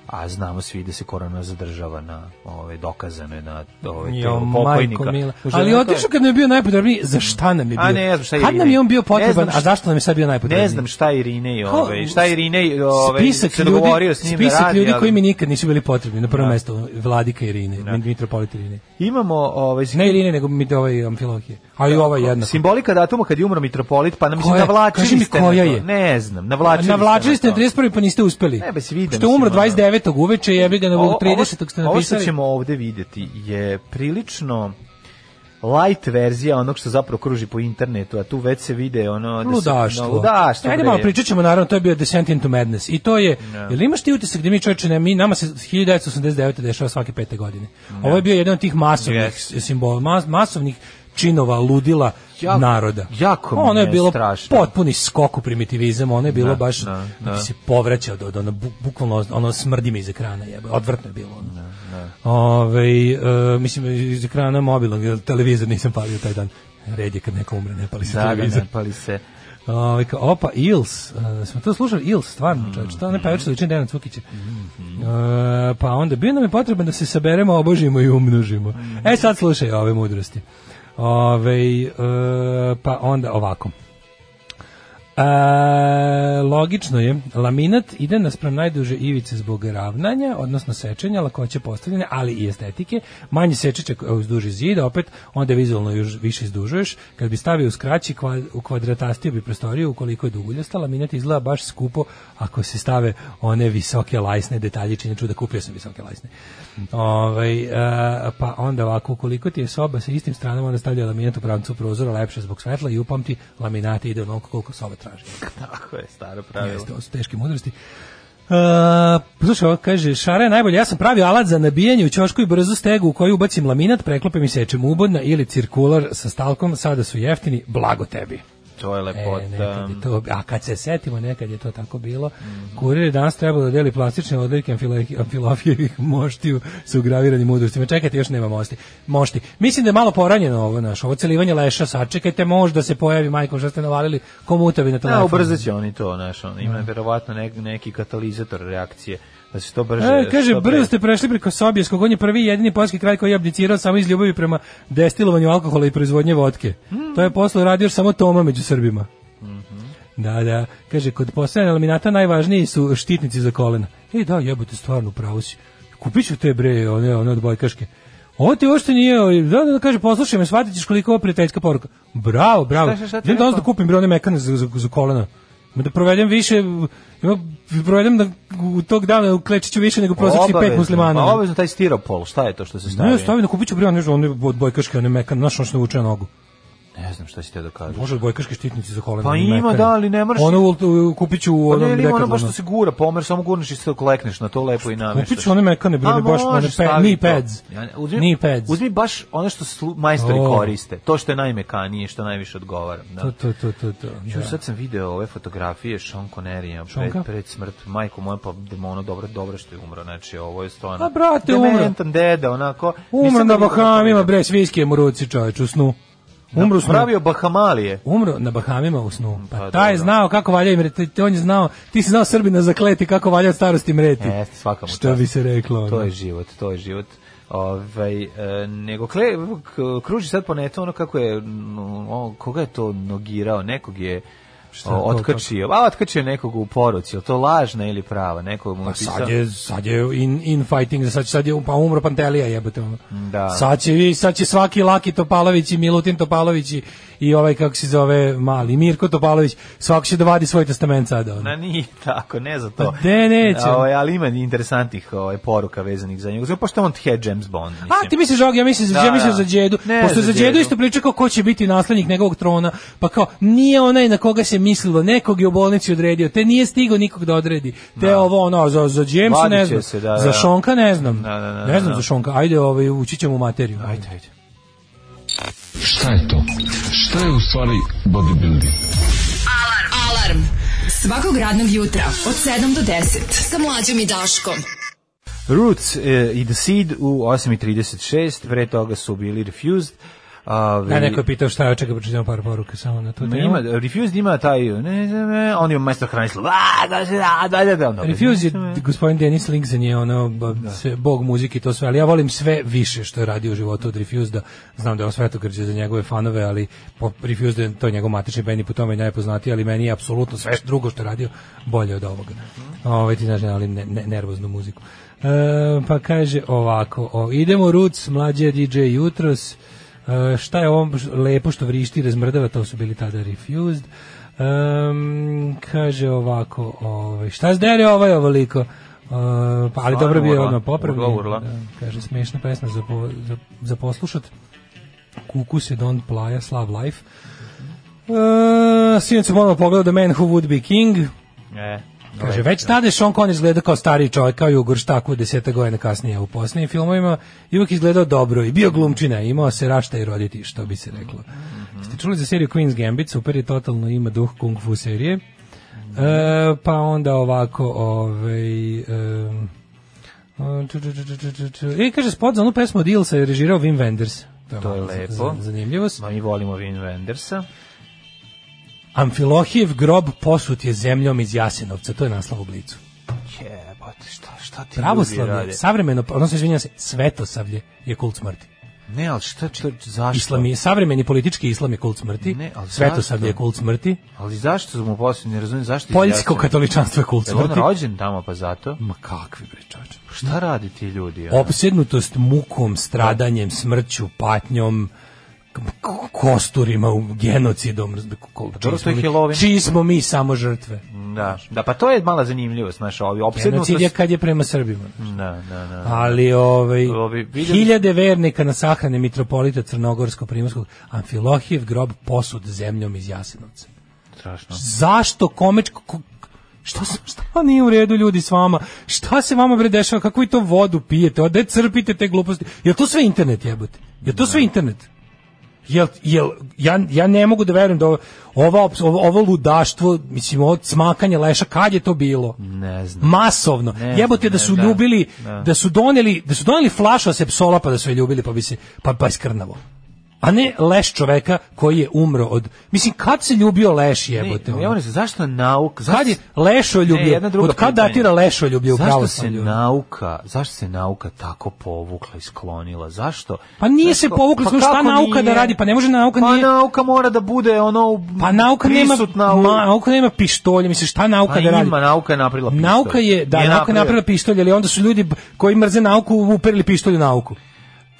a znamo svi da se korona zadržava na ove dokazane na ove Jo, telo majko pokojnika. mila. Žena Ali kao- otišao kad nam je bio najpotrebniji, za šta nam je bio? A ne, ja znam šta je Kad nam Irine. je on bio Ne potreban, znam a šta- zašto nam je sad bio najpotrebniji? Ne znam šta je Irinej, Ko- ovaj, šta je Irinej, ovaj, spisak se ljudi, dogovorio s njim da spisak radi, ljudi ali- koji mi nikad nisu bili potrebni, na prvo mesto Vladika Irine, mitropolit Irine. Znači, Imamo ovaj, sim- Ne Irine, nego mi ovaj Amfilohije. A i ova jedna. simbolika datuma kad je umro mitropolit, pa nam se Koja je? navlačili Kaži mi ste na koja to. je? Ne znam, navlačili, Navlačili ste na na to. 31. pa niste uspeli. Ne, ba, si vidim, Što je umro mislim, ono. 29. uveče, jebi ga na Ovo- ovo- 30. ste Ovo što napisali. ćemo ovde vidjeti je prilično light verzija onog što zapravo kruži po internetu, a tu već se vide ono... Da se- Ludaštvo. no, ludaštvo. Ajde bre. malo pričat ćemo, naravno, to je bio Descent into Madness. I to je, jel imaš ti utisak gdje mi čovječe, ne, mi, nama se 1989. dešava svake pete godine. Ovo je bio jedan od tih masovnih Yes. simbola, mas- masovnih činova, ludila Jako- naroda. jako mi ono je je bilo strašno. potpuni skok u primitivizam, ono je bilo baš da, da da. ti se povraćao od ono, bu- bukvalno ono smrdi mi iz ekrana, jebe, odvrtno je bilo ono. Ovaj, e, mislim, iz ekrana mobilnog, jer televizor nisam palio taj dan. Red je kad neko umre, ne pali se Da, da, televizor. ne, pali se. Ovaj kao opa Ils, uh, smo to slušali Ils, stvarno, čovječ, to ne pevač liči na Dejana Cukića. E, pa onda bio nam je potreban da se saberemo, obožimo i umnožimo. E sad slušaj ove mudrosti. Ove, e, pa onda ovako. E, logično je, laminat ide naspram najduže ivice zbog ravnanja, odnosno sečenja, lakoće postavljanja, ali i estetike. Manje sečeće uz duži zid, opet onda vizualno još više izdužuješ. Kad bi stavio u skraći, kva- u kvadratastiju bi prostoriju, ukoliko je duguljasta, laminat izgleda baš skupo ako se stave one visoke lajsne detaljičine. Čuda, kupio sam visoke lajsne. Ovaj, e, pa onda ovako, ukoliko ti je soba sa istim stranama, onda stavlja laminat u pravcu prozora, lepše zbog svetla i upamti, laminate ide onoliko koliko soba traži. Tako je, staro pravilo. Jeste, ovo su teške mudrosti. Uh, slušaj, ovo kaže, šara je najbolje, ja sam pravi alat za nabijanje u ćošku i brzu stegu u koju ubacim laminat, preklopim i sečem ubodna ili cirkular sa stalkom, sada su jeftini, blago tebi. to je E, lepota. nekad je to, a kad se setimo, nekad je to tako bilo. Mhm. Kurir je danas trebalo da deli plastične odlike amfilo- amfilofijevih moštiju sa ugraviranim udrustima. Čekajte, još nema mošti. mošti. Mislim da je malo poranjeno ovo naš, ovo celivanje leša, sačekajte, možda se pojavi majkom što ste navalili komutavi na telefon. Da, E, ubrzat će oni to, znaš, ono, ima verovatno nek, neki katalizator reakcije, da se to brže... E, kaže, što pre- brzo ste prešli preko Sobijeskog, on je prvi i jedini poljski kraj koji je abdicirao samo iz ljubavi prema destilovanju alkohola i proizvodnje vodke. Hmm. To je posle radio još samo Toma među Srbima. Da, da. Kaže, kod postavljanja laminata najvažniji su štitnici za kolena. E, da, jebote, stvarno, pravo si. Kupit ću te, bre, one, one od bojkaške. Ovo ti uopšte nije, ovaj, da, da, da, kaže, poslušaj me, shvatit ćeš koliko je ovo prijateljska poruka. Bravo, bravo. Šta, šta, šta ti je Idem danas da rekao? kupim, bre, one mekane za, za, za kolena. Ma Da provedem više, ima, provedem da u tog dana u Klečiću više nego prosječni pet Obavezno, muslimana. Pa obavezno taj stiropol, šta je to što se stavi? Ne, stavim da kupit ću bre, nešto, one od bojkaške, one mekane, znaš, ono što vuče na nogu. Ne znam šta si te da kažeš. Može od bojkaške štitnici za kolena. Pa one ima, mekane. da, ali ne moraš- Ono u- kupit ću u Pa ne, onom ili ima ono baš Decathlonu. što se gura, pomer, samo gurniš i se klekneš na to lepo i namještaš. Kupit ću one mekane, bre, A, baš one Pa možeš pe, staviti knee to. pads. Ja ne- uzmi- knee pads. Uzmi baš ono što slu- majstori O. koriste, to što je najmekanije, što najviše odgovara. Da. To, to, to, to, to. Ju, da. sad sam video ove fotografije Sean Connery-a Seanka? pred, pred smrt. Majko moja, pa demono, dobro, dobro što je umro. Znači, ovo je stvarno... A, brate, umro. Dementan deda, onako... Umro Nisam na ga nikad Bahamima, vidio. bre, s viskijem u ruci, čoveč, u snu. Umro u snu. Pravio Bahamalije. Umro na Bahamima u snu. Pa, Pa, taj je dobro. znao kako valja im reti, on je znao, ti si znao Srbina zakleti kako valja od starosti mreti. Jeste, svaka mu Što čast. bi se reklo. ono. To je život, to je život. Ovaj e, nego kle, k- kruži sad po netu ono kako je, m, o, koga je to nogirao, nekog je Šta, Šta, ko, otkačio, a otkačio je nekog u poruci, je li to lažna ili prava, nekog mu Pa napisao- sad je, sad je in, in fighting, sad, sad je pa umro Pantelija jebote. Ono. Da. Sad, će, vi- sad će svaki Laki Topalović i Milutin Topalović i, i ovaj kako se zove mali Mirko Topalović, svako će da vadi svoj testament sada. Ono. Na nije tako, ne za to. Pa Ne, neće. Ovaj, ali ima interesantnih ovaj, poruka vezanih za njega. Zato pošto je on je James Bond, mislim. A ti misliš Žog, ja mislim za, Da, ja mislim da. za Đedu. Ne, Pošto za za Đedu Đedu. isto priča kao ko će biti naslednik njegovog trona, pa kao nije onaj na koga se mislilo, nekog je u bolnici odredio, te nije stigao nikog da odredi. Te ovo ono za za Jamesa Vadit ne će znam, se, da, da. za Šonka ne znam. Da, da, da, ne znam da. za Šonka. Ajde, ovaj ući ćemo u materiju. Ajde, ajde. Šta je to? Šta je u stvari bodybuilding? Alarm. Alarm. Svakog radnog jutra od 7 do 10 sa mlađom i Daškom. Roots e, i The Seed u 8.36, pre toga su bili Refused. Ove, Ja neko je pitao šta je, pa čekaj, pročitam par poruka samo na to Ma temu. ima, Refused ima taj, ne znam, ne, on ima majstor hranjstvo, a, da, da, da, da, da, ono. Refuse je, gospodin Denis Lingzen je ono, ba, sve, bog muzike i to sve, ali ja volim sve više što je radio u životu od Refuse, da znam da je on svetogrđe za njegove fanove, ali po, Refuse da je to je njegov matični band i po tome je najpoznatiji, ali meni je apsolutno sve što drugo što je radio bolje od ovoga. Mhm. Ove, ti znaš, ali ne, ne, nervoznu muziku. E, pa kaže ovako, o, idemo Roots, mlađe DJ Jutros, E, šta je ovo š- lepo što vrišti i razmrdava, to su bili tada Refused. Ehm, kaže ovako, ovaj, šta zdere ovaj ovoliko? E, pa, ali Stvarno dobro bi je urla. odmah popravio. Urla, urla. kaže, smešna pesma za, po, za, za poslušat. Kuku se Don Plaja, Slav Life. E, Sinoć sam ponovno pogledao The Man Who Would Be King. E, Kaže, lepo. već tada je Sean Connery izgledao kao stariji čovjek, kao i u Gorštaku deseta godina kasnije u posljednjim filmovima i uvijek izgledao dobro i bio glumčina, imao se rašta i roditi, što bi se reklo. Mhm. Ste čuli za seriju Queen's Gambit, super je totalno ima duh kung fu serije. E, pa onda ovako, ovaj... em, a, ču, ču, ču, ču, ču, ču, ču. E, kaže, spot za onu pesmu od Ilsa je režirao Wim Wenders. To je malo za- lepo. za- Zanimljivost. ovaj, Ma mi volimo Vin Wendersa. Amfilohijev grob posut je zemljom iz Jasenovca, to je naslov u blicu. Jebote, šta, šta ti ljudi Pravoslavlje, rade? savremeno, odnosno izvinjam se, svetosavlje je kult smrti. Ne, ali šta, šta, zašto? Islami, savremeni politički islam je kult smrti, Ne, ali svetosavlje je zašto? kult smrti, Ali zašto mu poslije, ne razumijem zašto poljsko izjašnjava? katoličanstvo je kult Je li on smrti. rođen tamo, pa zato? Ma kakvi bre čoveče. Pa Šta radi ti ljudi? ono? Opsednutost mukom, stradanjem, smrću, patnjom, k- k- kosturima, u- genocidom, raz- ko- ko- čiji Pa to smo je mi- Halloween. čiji smo mi samo žrtve. Da, da, pa to je mala zanimljivost, znaš, ovi opsednutost. Genocid je kad je prema Srbima. Da, da, da. ali ovaj Ovi, vidjeli- hiljade vernika na sahrane mitropolita Crnogorsko-primorskog Amfilohijev grob posud zemljom iz Jasenovca. Strašno. Zašto komeć ko- Šta, se- šta pa nije u redu ljudi s vama? Šta se vama bre dešava? Kako vi to vodu pijete? Ode crpite te gluposti? Je to sve internet jebote? Je to sve internet? Jel, jel, ja, ja ne mogu da verujem da ovo, ova ops- ovo, ovo ludaštvo, mislim, ovo smakanje leša, kad je to bilo? Ne znam. Masovno. Ne znam, Jebote da ne, su da, ljubili, da. da. su doneli, da su doneli flašu sepsola pa da su je ljubili, pa bi se, pa, pa iskrnavo. A ne leš čoveka koji je umro od... Mislim, kad se ljubio leš, jebote? Ne, ono? ja moram se, zašto nauk? Zašto, Kad je lešoljublje? Ne, jedna druga Od kad pitanja. datira lešoljublje u Zašto se pravoslavlju? nauka, zašto se nauka tako povukla i sklonila? Zašto? Pa nije Zašto- se povukla, slušaj, šta kako nauka da radi? Pa ne može nauka pa nije- nauka mora da bude ono Pa nauka nema, prisutna u- ma, nauka nema pištolje, misliš, šta nauka Pa da radi? ima, nauka je napravila pištolj. Nauka je, da, Nije nauka je napravila pištolje, ali onda su ljudi b- koji mrze nauku uperili pištolje u nauku.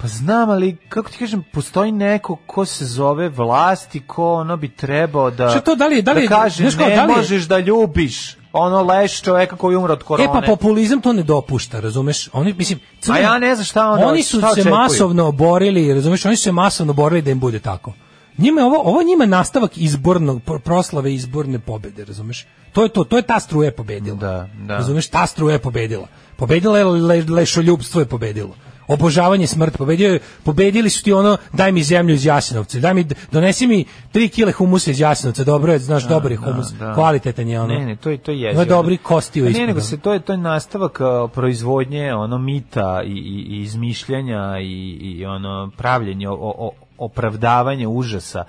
Pa znam, ali kako ti kažem, postoji neko ko se zove vlast i ko ono bi trebao da... Šta to, da li- da da li- kaže, znaš kao, ne da li- možeš da ljubiš ono leš čoveka koji umre od korone. E pa populizam to ne dopušta, razumeš? Oni mislim, A ja ne znam šta onda- Oni su šta se očekuju? masovno borili, razumeš? Oni su se masovno borili da im bude tako. Njima je ovo ovo je njima nastavak izbornog pro- proslave izborne pobede, razumeš? To je to, to je ta struja je pobedila. Da, da. Razumeš, ta struja je pobedila. Pobedila je le, lešoljubstvo je pobedilo. Obožavanje smrt pobedio je, pobedili su ti ono daj mi zemlju iz Jasenovca, daj mi donesi mi 3 kg humusa iz Jasenovca, dobro je, znaš, dobar je humus, da. kvalitetan je ono. Ne, ne, to je to je. Pa Ima dobri kosti u Ne, ispod, nego ono. se to je to je nastavak uh, proizvodnje ono mita i, i, i izmišljanja i, i ono pravljenje o, o, opravdavanje užasa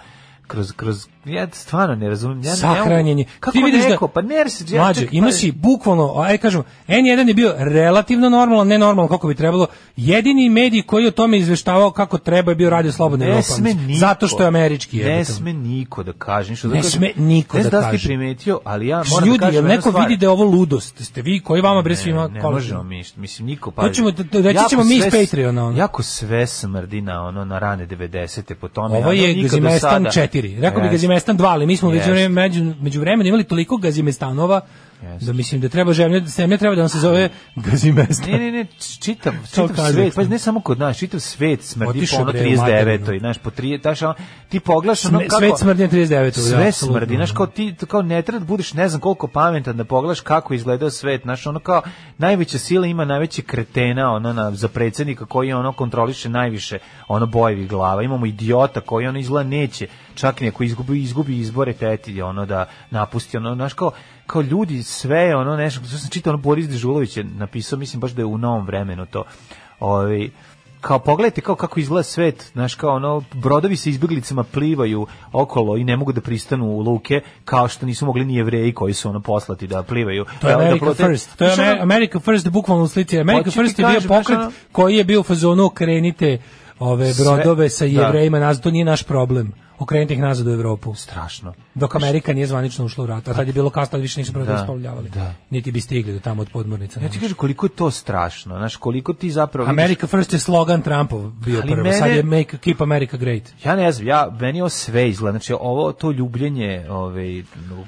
kroz kroz ja stvarno ne razumem ja ne- sahranjenje. ne mogu- kako neko pa ne jer se ja mlađe, čekaj, ima pa- si bukvalno, aj kažem, N1 je bio relativno normalan, ne normalan kako bi trebalo. Jedini medij koji je o tome izveštavao kako treba je bio Radio Slobodna ne Evropa. sme mislim. niko, Zato što je američki. ne jebote. sme niko da kaže ništa Ne Zato što- sme niko ne znam da da li si kaže. primetio ali ja Kaže, moram Ljudi, da kažem jel jednu neko stvar. vidi da je ovo ludost? Ste vi koji vama bre svima ne, ne možemo kolektivno? mi, mislim niko pa. To ćemo- to- to reći ćemo mi iz Patreona, ono. Jako sve smrdi na ono na rane 90-te po tome. Ovo ono, je nikad do Gazimestan sada- 4. Rekao bi Jeste. Gazimestan 2, ali mi smo Jeste. među među međuvremenu imali toliko Gazimestanova Jeste. da mislim da treba žemlja, zemlja treba da nam se zove Gazimestan. Ne, ne, ne, čitav, čitav kaže svet, pa Aleksandar. ne samo kod nas, čitav svet smrdi Otišao po ono bre u 39. materinu. i znaš, po 30, znaš, ono, ti pogledaš ono Sme- kako... svet smrdi na 39., da, Sve apsolutno, smrdi, znaš, ono. kao ti, kao ne treba da budeš ne znam koliko pametan da pogledaš kako je izgledao svet, znaš, ono kao najveća sila ima najveće kretena, ono, na, za predsjednika koji ono kontroliše najviše, ono, bojevi glava, imamo idiota koji ono izgleda neće, čak i ako izgubi, izgubi izbore peti, ono, da napusti, ono, znaš, kao, kao ljudi sve je ono nešto što sam čitao ono Boris Dežulović je napisao mislim baš da je u novom vremenu to ovaj kao pogledajte kao kako izgleda svet, znaš kao ono brodovi sa izbeglicama plivaju okolo i ne mogu da pristanu u luke kao što nisu mogli ni jevreji koji su ono poslati da plivaju. To je da, da America plute. First. To je Znaš, Amer- ono, America First bukvalno u slici. America Hoću ti First je bio kažem, znaš pokret ono- koji je bio u fazonu okrenite ove Sve- brodove sa da. jevrejima nazad, to nije naš problem. Okrenite ih nazad u Evropu. strašno. Dok Amerika nije zvanično ušla u rat, a tad je bilo kasno, tad više nisu brodovi Da, isplavljavali. da. Niti bi stigli do tamo od podmornica. Ja ti kažem koliko je to strašno, znaš koliko ti zapravo vidiš- America First je slogan Trumpov bio Ali prvo. mene- Sad je make, Keep America Great. Ja ne znam, ja, meni ovo sve izgleda, znači ovo to ljubljenje ovaj,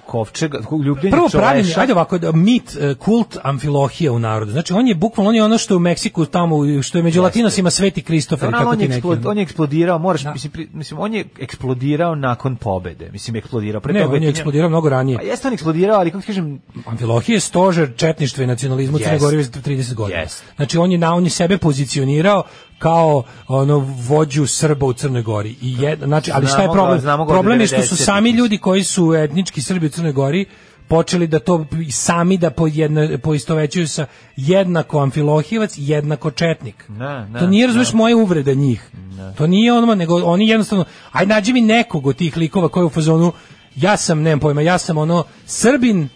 kovčega, ljubljenje Prvo pravilni, čoveša. ajde ovako, da, mit, e, kult amfilohija u narodu. Znači, on je bukvalno on je ono što je u Meksiku, tamo, što je među latinosima Sveti Kristofer, Dobro, kako on, je ti neki. eksplo- ono. on je eksplodirao, moraš, Da. mislim, pri- mislim, on je eksplodirao nakon pobede. Mislim, eksplodirao. Pre Ne, toga on je ti- eksplodirao mnogo ranije. Pa jeste on eksplodirao, ali kako ti kažem, Amfilohije je stožer četništva i nacionalizmu yes. Crne Jest. Gore već 30 godina. Jest. Znači on je na on je sebe pozicionirao kao ono vođu Srba u Crnoj Gori. I je, znači, ali šta je Znamo ga, problem? znamo ga od problem je što su 90-ih. sami ljudi koji su etnički Srbi u Crnoj Gori počeli da to i sami da pojedna, poistovećuju sa jednako amfilohijevac, jednako četnik. Ne, ne, to nije, razumeš, ne. moje uvrede njih. To nije ono, nego oni jednostavno, aj nađi mi nekog od tih likova koji je u fazonu, ja sam, nemam pojma, ja sam ono, Srbin,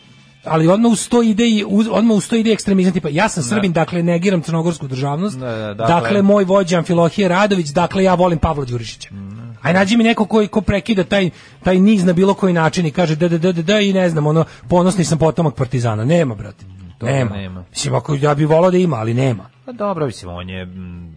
ali odmah uz to ide i uz, odmah uz to ide ekstremizam tipa ja sam Srbin dakle negiram crnogorsku državnost Ne, ne, dakle- dakle, moj vođa Amfilohije Radović dakle ja volim Pavla Đurišića Mm, aj nađi mi neko koji ko prekida taj taj niz na bilo koji način i kaže da da da da, da i ne znam ono ponosni sam potomak partizana nema brate Toga nema. Mm, nema. mislim ako ja bih volao da ima ali nema pa dobro, mislim, on je mm,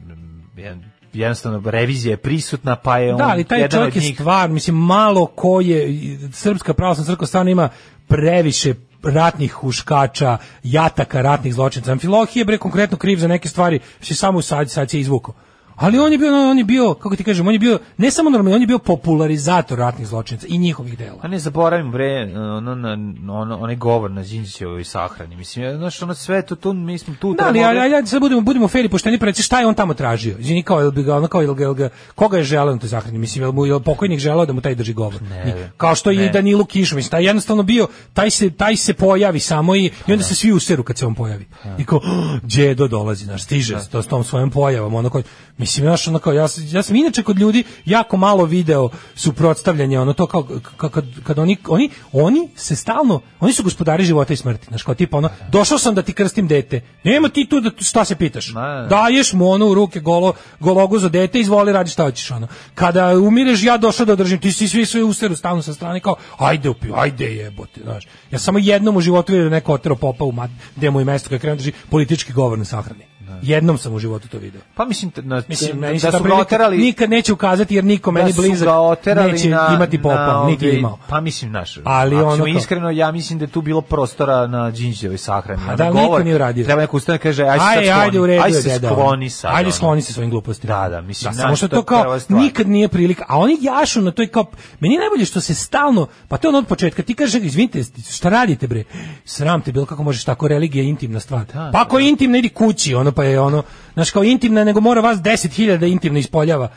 jedan- jednostavno revizija je prisutna, pa je on Da, ali taj jedan čovjek od je njih. stvar, mislim, malo ko je, i srpska pravoslavna crkva stvarno ima previše ratnih huškača, jataka ratnih zločinaca. Amfilohije je bre konkretno kriv za neke stvari, što je samo sad, sad se izvukao. Ali on je bio, on je bio, kako ti kažem, on je bio ne samo normalni, on je bio popularizator ratnih zločinaca i njihovih dela. A Pa ne zaboravim bre, ono, na, ono, onaj govor na Đinđićevoj sahrani. Mislim, ja, znaš, ono sve to, tu, mi smo tu. Da, ali ajde, ajde, sad budemo, budemo fair i pošteni, pa reci šta je on tamo tražio? Izvini, kao, jel bi ga, ono, kao, jel ga, jel ga, koga je želeo da zahrani? Mislim, jel mu jel pokojnik želeo da mu taj drži govor? Ne. Kao što Ne. i Danilu Kišu, mislim, taj je jednostavno bio, taj se, taj se pojavi samo i, i onda se svi useru kad se on pojavi. I kao, djedo dolazi, znaš, stiže s, to, s tom svojom pojavom, ono kao, mislim, znaš, ono kao, ja, s- ja sam inače kod ljudi jako malo video suprotstavljanje, ono to kao, ka- kad, kad oni, oni, oni se stalno, oni su gospodari života i smrti, znaš, kao tipa ono, došao sam da ti krstim dete, nema ti tu da, šta se pitaš, Ma. daješ mu ono u ruke golo, gologu za dete, izvoli radi šta hoćeš ono. Kada umireš, ja došao da održim, ti si svi sve usteru stalno sa strane kao, ajde upi, ajde jebote, znaš. Ja samo jednom u životu vidio da neko otero popa u mat, gde mu je mesto kada krenu drži politički govor na sahrani. Jednom sam u životu to video. Pa mislim, t- na, Mislim, da, meni da ta su ga prilika oterali... nikad neće ukazati jer niko meni da su blizak ga oterali neće na, imati popa, na niti ovaj- je imao. Pa mislim, naš, Ali ako ono ćemo kao- iskreno, ja mislim da je tu bilo prostora na Đinđićevoj sahrani. A Onaj Pa da, niko nije uradio. Treba neko ustane i kaže, aj se sad Ajde, skloni, ajde, u redu aj je, se deda, skloni ono. sad. Ajde, ono. skloni se svojim glupostima. Da, da, mislim, samo znaš, što to to je kao, prva stvar. nikad nije prilika, a oni jašu na toj kao, meni je najbolje što se stalno, pa to je ono od početka, ti kaže, izvinite, šta radite bre, sram te bilo, kako možeš tako, religija je intimna stvar. pa ako je intimna, idi kući, ono pa je ono, znaš, kao intimna, nego mora vas 10.000 intimno ispoljava.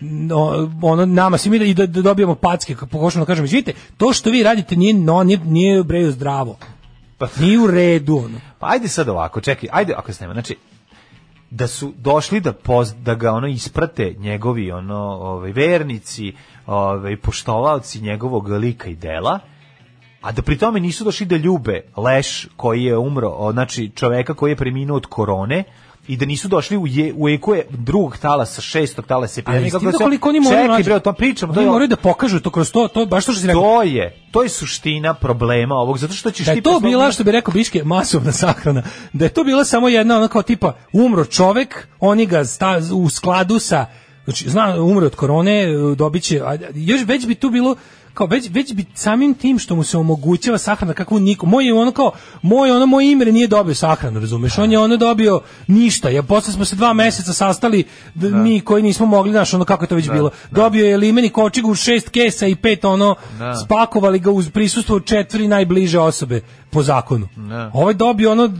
No, ono nama svi mi da, i da, da dobijemo packe kako pokušamo da kažemo izvinite to što vi radite nije no nije, nije bre zdravo Pa- nije u redu ono Pa ajde sad ovako, čekaj, ajde ako snema, znači da su došli da poz, da ga ono isprate njegovi ono ovaj vernici, ovaj poštovaoci njegovog lika i dela. A da pri tome nisu došli da ljube leš koji je umro, o, znači čoveka koji je preminuo od korone i da nisu došli u je u ekoje drugog talasa, šestog talasa epidemije. Ali kako kako se- koliko oni moraju Čekaj naći? bre, o tom pričamo, to Oni je moraju da pokažu to kroz to, to je baš to što si rekao. to je, to je suština problema ovog, zato što ćeš Da ti je to poslovno- bila, što bi rekao Biške, masovna sahrana. Da je to bila samo jedna ona kao tipa umro čovek, oni ga sta, u skladu sa znači zna umre od korone, dobit će, a još već bi tu bilo kao već, već bi samim tim što mu se omogućava sahrana kakvu niko moj je ono kao moj ono moj Imre nije dobio sahranu razumeš on je ono dobio ništa ja posle smo se dva meseca sastali d- mi koji nismo mogli znaš ono kako je to već bilo dobio je limeni kočigu šest kesa i pet ono Da. spa- pakovali ga uz prisustvo četiri najbliže osobe po zakonu. Ne. Ovaj dobio ono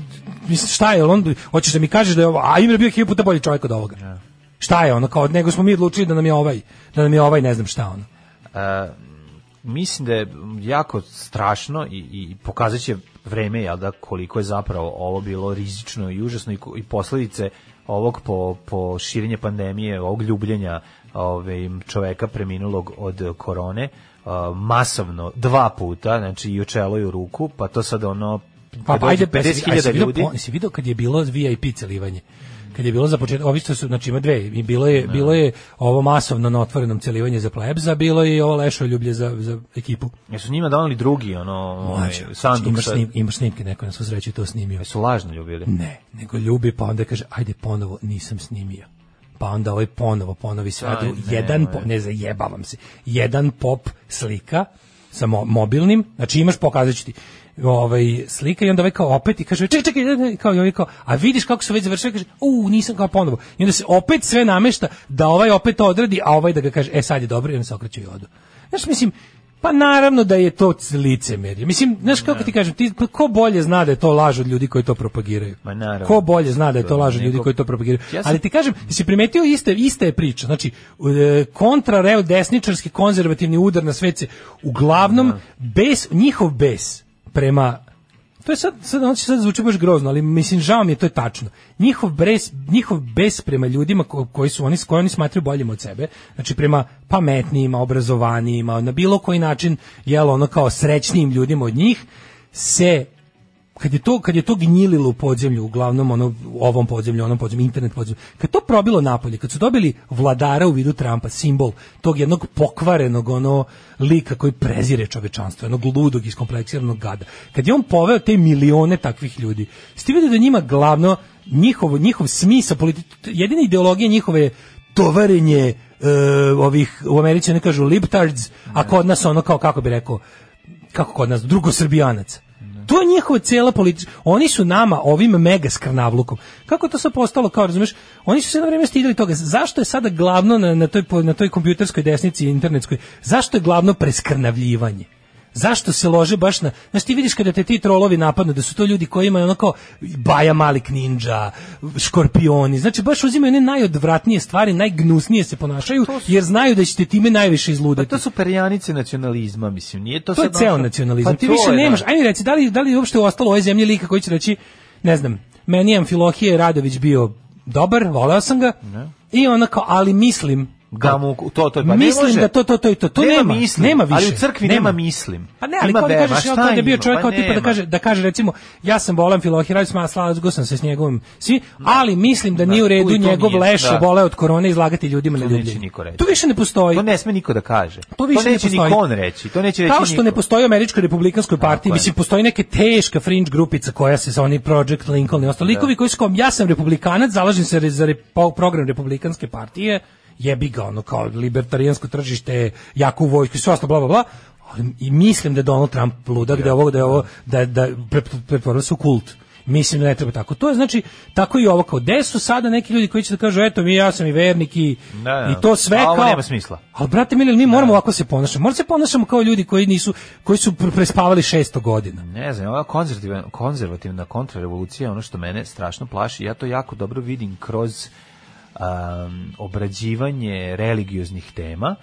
mislim šta je, jel on hoćeš da mi kažeš da je ovo, a Imre bio hiljadu puta bolji čovjek od ovoga. Šta je ono kao nego smo mi odlučili da nam je ovaj, da nam je ovaj ne znam šta ono. E, mislim da je jako strašno i, i pokazat će vreme jel da, koliko je zapravo ovo bilo rizično i užasno i, ko- i posledice ovog po, po širenje pandemije, ovog ljubljenja ove, čoveka preminulog od korone, a, masovno dva puta, znači i u čelo i u ruku, pa to sad ono Pa kad dođe ajde 50.000 ljudi. Se video kad je bilo VIP celivanje. Kad je bilo za početak, ovi što su, znači ima dve, i bilo je, bilo je ovo masovno na otvorenom celivanje za plebza, bilo je i ovo lešo ljublje za, za ekipu. Jesu njima donali drugi ono, ovaj, Mlađo, sanduk znači, imaš, Mm, sa... snim, imaš snimke, neko je na svu sreću to snimio. Jesu lažno ljubili? Ne, nego ljubi pa onda kaže ajde ponovo nisam snimio. Pa onda ovaj ponovo ponovi sve. Aj, Ajde, nemoj. jedan po, ne zajebavam se. Jedan pop slika sa mo- mobilnim, znači imaš pokazat ću ti ovaj, slika i onda ovaj kao opet i kaže, čekaj, čekaj, ne, ne, kao i ovaj kao, a vidiš kako su već završili, kaže, u, nisam kao ponovo. I onda se opet sve namešta da ovaj opet to odradi, a ovaj da ga kaže, e sad je dobro, i onda se okreću i odu. Znaš, mislim, Pa naravno da je to licemerje. Mislim, znaš kako ti kažem, ti, pa ko bolje zna da je to laž od ljudi koji to propagiraju? Ma naravno. Ko bolje zna da je to laž od ljudi Neko- koji to propagiraju? Ja sam- Ali ti kažem, jesi primetio iste, ista je priča. Znači, e, kontra reo desničarski konzervativni udar na svece. Uglavnom, bes, njihov bes prema To je sad, sad, on će sad zvuči baš grozno, ali mislim, žao mi je, to je tačno. Njihov bes, njihov bes prema ljudima ko- koji su oni, s- koje oni smatraju boljim od sebe, znači prema pametnijima, obrazovanijima, na bilo koji način, jel, ono kao srećnijim ljudima od njih, se kad je to kad je to gnjililo u podzemlju uglavnom ono u ovom podzemlju onom podzemlju internet podzemlju kad to probilo napolje kad su dobili vladara u vidu Trumpa simbol tog jednog pokvarenog ono lika koji prezire čovečanstvo jednog ludog iskompleksiranog gada kad je on poveo te milione takvih ljudi ste videli da njima glavno njihov njihov smisao politi- jedina ideologija njihove je tovarenje e, ovih u Americi oni kažu libtards a kod nas ono kao kako bi rekao kako kod nas drugosrbijanac To je njihova cela politička. Oni su nama ovim mega skrnavlukom. Kako je to sad postalo kao, razumeš? Oni su se na vreme stidili toga. Zašto je sada glavno na, na toj po- na toj kompjuterskoj desnici i internetskoj? Zašto je glavno preskrnavljivanje? Zašto se lože baš na... Znaš, ti vidiš kada te ti trolovi napadnu, da su to ljudi koji imaju ono kao Baja Malik Ninja, Škorpioni, znači baš uzimaju one najodvratnije stvari, najgnusnije se ponašaju, jer znaju da ćete time najviše Pa izludati. to su perjanice nacionalizma, mislim, nije to, To je sad ceo ono- nacionalizam. Pa ti to više je, da. nemaš. Ajde reci, da li, da li je uopšte ostalo u ovoj zemlji lika koji će reći, ne znam, meni je Amfilohije Radović bio dobar, voleo sam ga, i onako, ali mislim, Da mu, to, to, pa ne mislim može. da to, to, to i to. To nema, mislim, nema više. Ali u crkvi nema, mislim. Pa ne, ali Ima kao da vema, kažeš, ja šta kao da je bio ima? čovjek Pa kao tipa da nema. kaže, da kaže recimo, ja sam voleo Amfilohije Radović, ma slao sam se s njegovim, svi, ali mislim da nije u tu i redu to njegov nije, leš da. bole od korone izlagati ljudima na neće ljubljenje. niko reći. To više ne postoji. To ne sme niko da kaže. To više neće ne postoji. ni kon reći. To neće reći Kao što niko. ne postoji u američkoj republikanskoj partiji, je. mislim postoji neke teška fringe grupica koja se sa oni Project Lincoln i ostalo. Likovi koji su kao ja sam republikanac, zalažem se re- za re- po- program republikanske partije, jebi ga ono kao libertarijansko tržište, jaku vojsku i sve ostalo bla bla bla. Ali i mislim da je Donald Trump ludak, da je ovo da je ovo da da pre- pretvorilo se u kult. Mislim da ne treba tako. To je znači tako i ovo kao gde su sada neki ljudi koji će da kažu eto mi ja sam i vernik i, Da, da. i to sve A ovo kao nema smisla. ali brate mili, mi moramo ovako se ponašamo. Moramo se ponašamo kao ljudi koji nisu koji su pr- prespavali 600 godina. Ne znam, ova konzervativna, konzervativna kontrarevolucija je ono što mene strašno plaši. Ja to jako dobro vidim kroz um, obrađivanje religioznih tema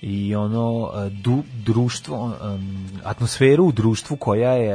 i ono e, du, društvo um, atmosferu u društvu koja je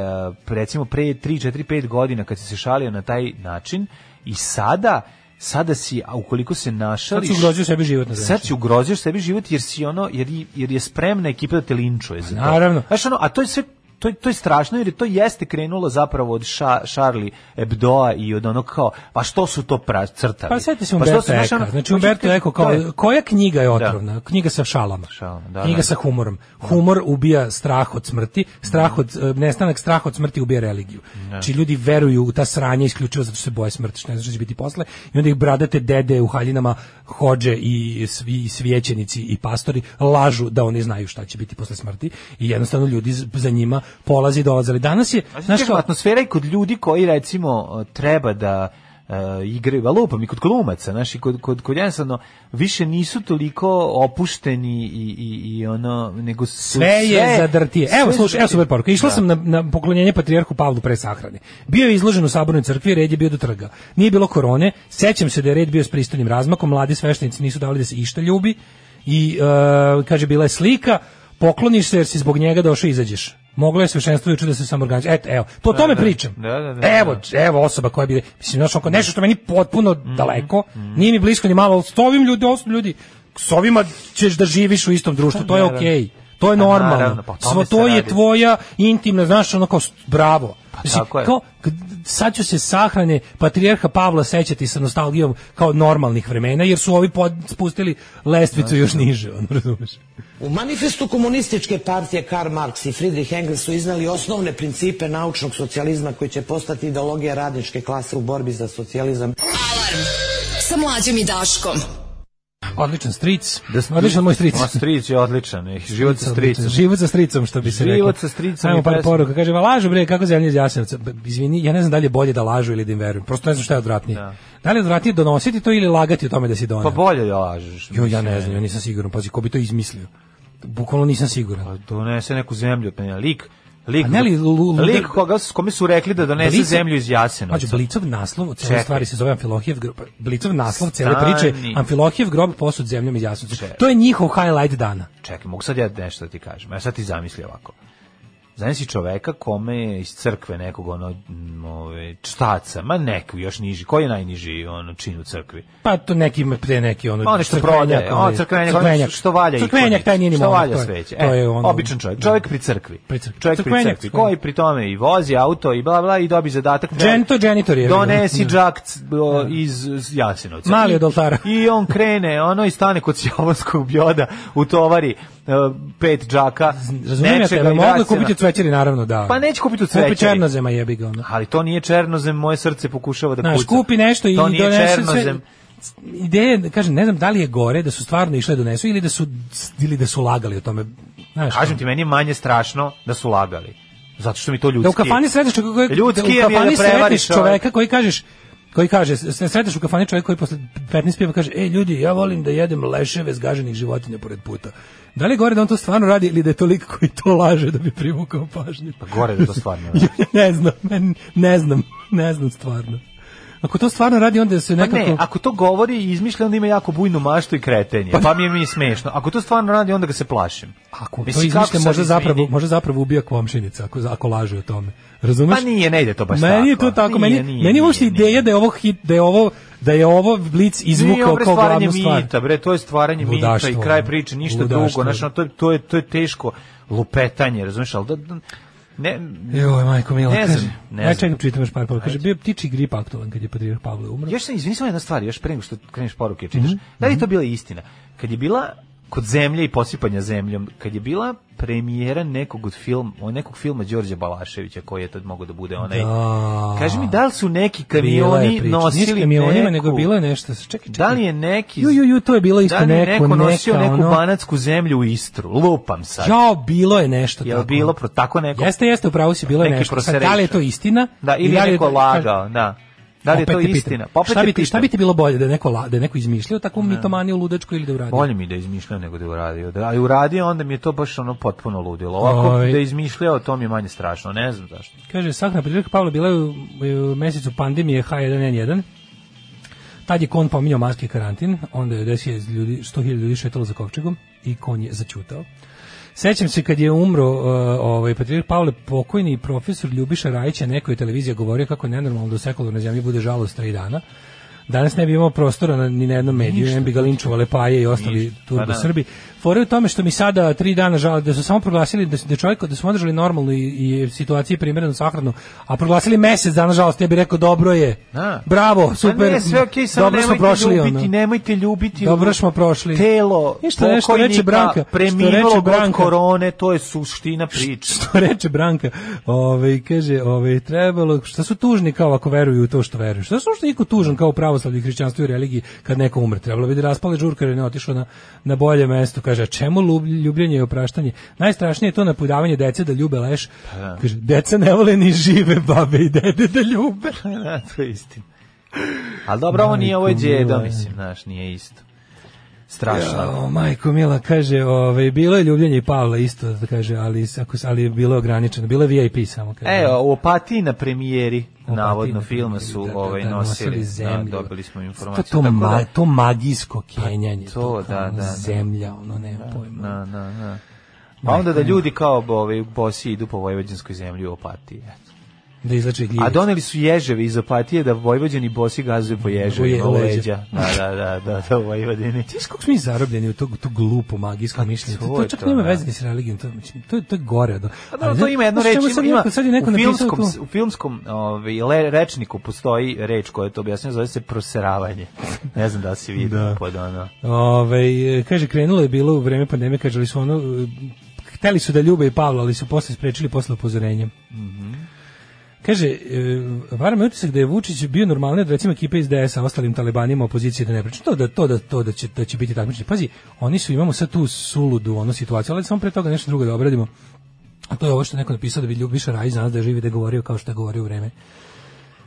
e, recimo pre 3 4 5 godina kad si se šalio na taj način i sada sada si a ukoliko se Sad našališ su ugrozio sebi život na sad zemlji. si ugrozio sebi život jer si ono jer, i- jer je spremna ekipa da te linčuje za to. Naravno. Znaš, ono, a to je sve to, je- to je strašno jer to jeste krenulo zapravo od ša, Charlie Hebdoa i od onog kao, pa što su to pra, crtali? Pa sjetite se što Umberto su, znaš, Eka. ono, Znači hoću ti Umberto kažem, Eko to je- kao koja knjiga je otrovna? Knjiga sa šalama. Šalama, da, knjiga da. sa humorom. Humor ubija strah od smrti, strah od e, nestanak straha od smrti ubija religiju. Znači ljudi veruju u ta sranja isključivo zato što se boje smrti, što ne znači će biti posle. I onda ih bradate dede u haljinama hođe i svi i svijećenici i pastori lažu da oni znaju šta će biti posle smrti i jednostavno ljudi z- za njima polazi i dolaze. Ali danas je A znaš znaš kažem, kao atmosfera i kod ljudi koji recimo treba da e, igraju, a lupam i kod glumaca, znaš, i kod, kod, kod jednostavno više nisu toliko opušteni i, i, i ono, nego su sve je zadrtije. Evo, sve slušaj, evo zadrtije. super poruka. Išla sam na, na poklonjenje patrijarhu Pavlu pre sahrane. Bio je izložen u sabornoj crkvi, red je bio do trga. Nije bilo korone, sećam se da je red bio s pristojnim razmakom, mladi sveštenici nisu davali da se išta ljubi i e, kaže bila je slika, pokloniš se jer si zbog njega došao i izađeš. Moglo je sveštenstvo juče da se samo organizuje. Eto, evo, to o tome da. pričam. Da, da, da, Mm, evo, evo osoba koja bi, mislim, znaš, oko nešto što meni potpuno daleko, nije mi blisko ni malo, ali s ovim ljudi, osam ljudi, s ovima ćeš da živiš u istom društvu, to je naravno. okej. To je Pa normalno. naravno, pa o tome Svo se to je radi. Pa tvoja intimna, znaš, ono kao s- bravo. tako je. kao, k- sad ću se sahrane patrijarha Pavla sećati sa nostalgijom kao normalnih vremena, jer su ovi pod, spustili lestvicu još niže, ono, razumeš? U manifestu komunističke partije Karl Marx i Friedrich Engels su iznali osnovne principe naučnog socijalizma koji će postati ideologija radničke klase u borbi za socijalizam. Alarm sa mlađom i Daškom. Odličan stric. Da sam- Odličan moj stric. Ma, stric je odličan. eh, Život sa stricom. Život sa stricom, što bi se reklo. Život sa stricom Ajmo i par pesma. poruka. Kaže, va lažu bre, kako zemlje iz Jasenovca. B- Izvini, ja ne znam da li je bolje da lažu ili da im verujem. Prosto ne znam šta je odvratnije. Da, li je odvratnije donositi to ili lagati o tome da si donao? Pa bolje da lažeš. Jo, ja ne znam, ja nisam siguran, pazi, ko bi to izmislio? Bukvalno nisam siguran. Pa Donese neku zemlju od mene. Lik, lik, A ne li lu- lu- lik koga, s kome su rekli da donese Blica- zemlju iz Mađo, Jasenovca. Blicov naslov od cele Čekaj. stvari se zove Amfilohijev grob. Blicov naslov cele Stani. priče, Amfilohijev grob posud zemljom i jasnicom. Čekaj. To je njihov highlight dana. Čekaj, mogu sad ja nešto da ti kažem. Ja sad ti zamisli ovako. Zamisli čoveka kome je iz crkve nekog ono, m, ove, čtaca, ma neku još niži. Koji je najniži ono, čin u crkvi? Pa to neki pre neki ono Ma onaj što crkvenjak, prodaje, onaj on crkvenjak, crkvenjak. crkvenjak, što valja Crkvenjak, taj nije ni što momak, valja to je- sveće. E, to je ono- običan čovjek, čovjek pri crkvi. Pri crkvi. Čovjek Crkvenjak, pri crkvi, crkvenjak. koji pri tome i vozi auto i bla bla i dobi zadatak. treba- Džento, dženitor je. Donesi Da. džak c- o, iz iz Jasenovca. Mali I- od oltara. I on krene, ono i stane kod Sjovanskog bioda, utovari e, pet džaka. Razumijem ja nečega tebe, i mogu vrati se kupiti na- u cvećeri, naravno, da. Pa neće kupiti u Kupi cvećeri. černozema jebi ga, ono. Ali to nije černozem, moje srce pokušava da kuca. Znaš, kupi nešto i to nije donese sve. černozem. Ideje, kažem, ne znam da li je gore da su stvarno išle donesu ili da su ili da su lagali o tome. Znaš, Kažem ti, meni je manje strašno da su lagali. Zato što mi to ljudski. Da u kafani sretneš čoveka koji Ljudski je da u mi je kafani da prevari sretneš čovek. čoveka koji kažeš koji kaže, se sretneš u kafani čovjek koji posle 15 piva kaže, ej ljudi, ja volim da jedem leševe zgaženih životinja pored puta. Da li je gore da on to stvarno radi ili da je toliko koji to laže da bi privukao pažnju? Pa gore da to stvarno radi. Ja ne znam, men- ne znam, ne znam stvarno. Ako to stvarno radi, onda se Pa nekako... ne, ako to govori i izmišlja, onda ima jako bujnu maštu i kretenje. Pa, mi je mi smešno. Ako to stvarno radi, onda ga se plašim. Ako to Mislim, kako izmišlja, sad, možda izvini? zapravo, možda zapravo ubija komšinica, ako, ako laže o tome. Razumeš? Pa nije, ne ide to baš tako. meni je to tako, meni, Nije, nije, meni je uopšte nije, nije. ideja da je ovo hit, da je ovo da je ovo Blitz Nije, izvukao bre, kao stvaranje glavnu stvar. mita, bre, to je stvaranje mita i Ludaštvo, kraj ono. priče, ništa Ludaštvo. drugo. Znaš, ono, to, je, to, je, to je teško lupetanje, razumiješ, ali da, da- ne, Joj, majko mila, Ne kaže. znam, ne Aj, znam. čekam, čitam još par poruka. Kaže, bio je ptiči grip aktualan kad je Patrijarh Pavle umro. Još sam, izvini, samo jedna stvar, još pre nego što kreneš poruke, čitaš. Mhm, Da li je to bila istina? Kad je bila kod zemlje i posipanja zemljom, kad je bila premijera nekog od film, o nekog filma Đorđa Balaševića, koji je tad mogao da bude onaj... Da. Kaži mi, da li su neki Bila je kamioni priča. Ništa nosili kamionima, neku... nego bilo je nešto. Čekaj, čekaj. Da li je neki... Ju, ju, ju, to je bilo isto da li je neko, neko nosio neka, neku ono- banacku zemlju u Istru? Lupam sad. Jao, bilo je nešto je tako. li bilo pro, tako neko? Jeste, jeste, upravo si bilo je Neki nešto. Sad, da li je to prosereća. istina? Da, ili I da je li neko to- lagao, da. Da li je Opet to te pitam. istina? Pa opet šta, te bi ti, šta pitam. bi ti bilo bolje da je neko, la- da je neko izmišljao takvu mitomaniju ludačku ili da uradi? Bolje mi da je izmišljao nego da je uradio. Da je uradio, onda mi je to baš ono potpuno ludilo. Ovako Oj. da je izmišljao, to mi je manje strašno. Ne znam zašto. Kaže, sahna Petrika Pavla bila je u, u mesecu pandemije H1N1. Tad je kon pominjao maske i karantin, onda je 10.000 ljudi, 100.000 ljudi šetalo za kovčegom i kon je začutao. Sećam se kad je umro uh, ovaj Patrijarh Pavle pokojni profesor Ljubiša Rajić je nekoj televiziji govorio kako je nenormalno da u sekularnoj zemlji bude žalost tri dana. Danas ne bi imao prostora na, ni na jednom mediju, ne bi ga linčovale paje i ostali Ništa, turbo pa da. Srbi. Fore u tome što mi sada tri dana žale da su samo proglasili da, su- da čovjek da su održali normalnu i, i situaciji primerenu sahranu, a proglasili mjesec dana žalost, ja bih rekao dobro je. Da. Bravo, super. Pa ne, sve okej, samo dobro smo nemojte prošli ljubiti, ono. nemojte ljubiti. Dobro smo prošli. Telo Ništa, nešto pokojnika reče Branka, što reče preminulo od Branka. korone, to je suština priče. što reče Branka, ovaj kaže, ovaj trebalo, šta su tužni kao ako veruju u to što veruju? Šta su što niko tužan kao u pravoslavlju, hrišćanstvu i religiji kad neko umre? Trebalo bi da raspale žurka jer je ne otišao na, na bolje mesto. Kaže, a čemu lub- ljubljenje i opraštanje? Najstrašnije je to napudavanje dece da ljube leš. Pa Kaže, deca ne vole ni žive babe i dede da ljube. Pa da, to je istina. Ali dobro, ovo nije, ovo je Majko mila. djedo, mislim, znaš, nije isto. Strašno. O, majko Mila kaže, ovaj bilo je ljubljenje i Pavla isto, da kaže, ali ako ali je bilo je ograničeno, bilo je VIP samo kaže. E, u Opatiji na premijeri, Opatiji navodno na filma premijeri, su da, da, ovaj da, nosili, da, zemlju. dobili smo To, informaciju. to, tako da- Pa ma, to magijsko kenjanje, to, to, to da, da, da. zemlja, ono, nema pojma. Na, na, na. Mm. Pa onda da ljudi kao bo- ovaj, bosi idu po vojvođanskoj zemlji u Opatiji. eto. Da izlače gljivice. A doneli su ježeve iz Opatije da vojvođani bosi gazuju po ježevima Po u je- leđa. Da, da, da, da, da, u Vojvodini. Znaš kako smo mi zarobljeni u to, to glupo magijsko mišljenje? To, Pa to to je čak to, nema da. veze ni s religijom, to, mislim, to, je- to je gore. Do, Pa dobro, to ima jednu reč, ima, ima, sad je neko u napisao filmskom, tu- u filmskom ovaj, le- rečniku postoji reč koja to objašnjava, zove se proseravanje. Ne znam da li si vidio Da. pod ono. Ove, kaže, krenulo je bilo u vreme pandemije, kaže, ali su ono, e, hteli su da ljube i Pavla, ali su posle sprečili posle upozorenja. Mhm. Kaže, e, vara me utisak da je Vučić bio normalni od recimo ekipe iz DS-a, ostalim talibanima opozicije da ne priča. To da, to da, to da, će, da će biti takmičenje. Pazi, oni su, imamo sad tu suludu ono situaciju, ali samo pre toga nešto drugo da obradimo. A to je ovo što je neko napisao da bi Ljubiša Rajić za nas da je živi da je govorio kao što je govorio u vreme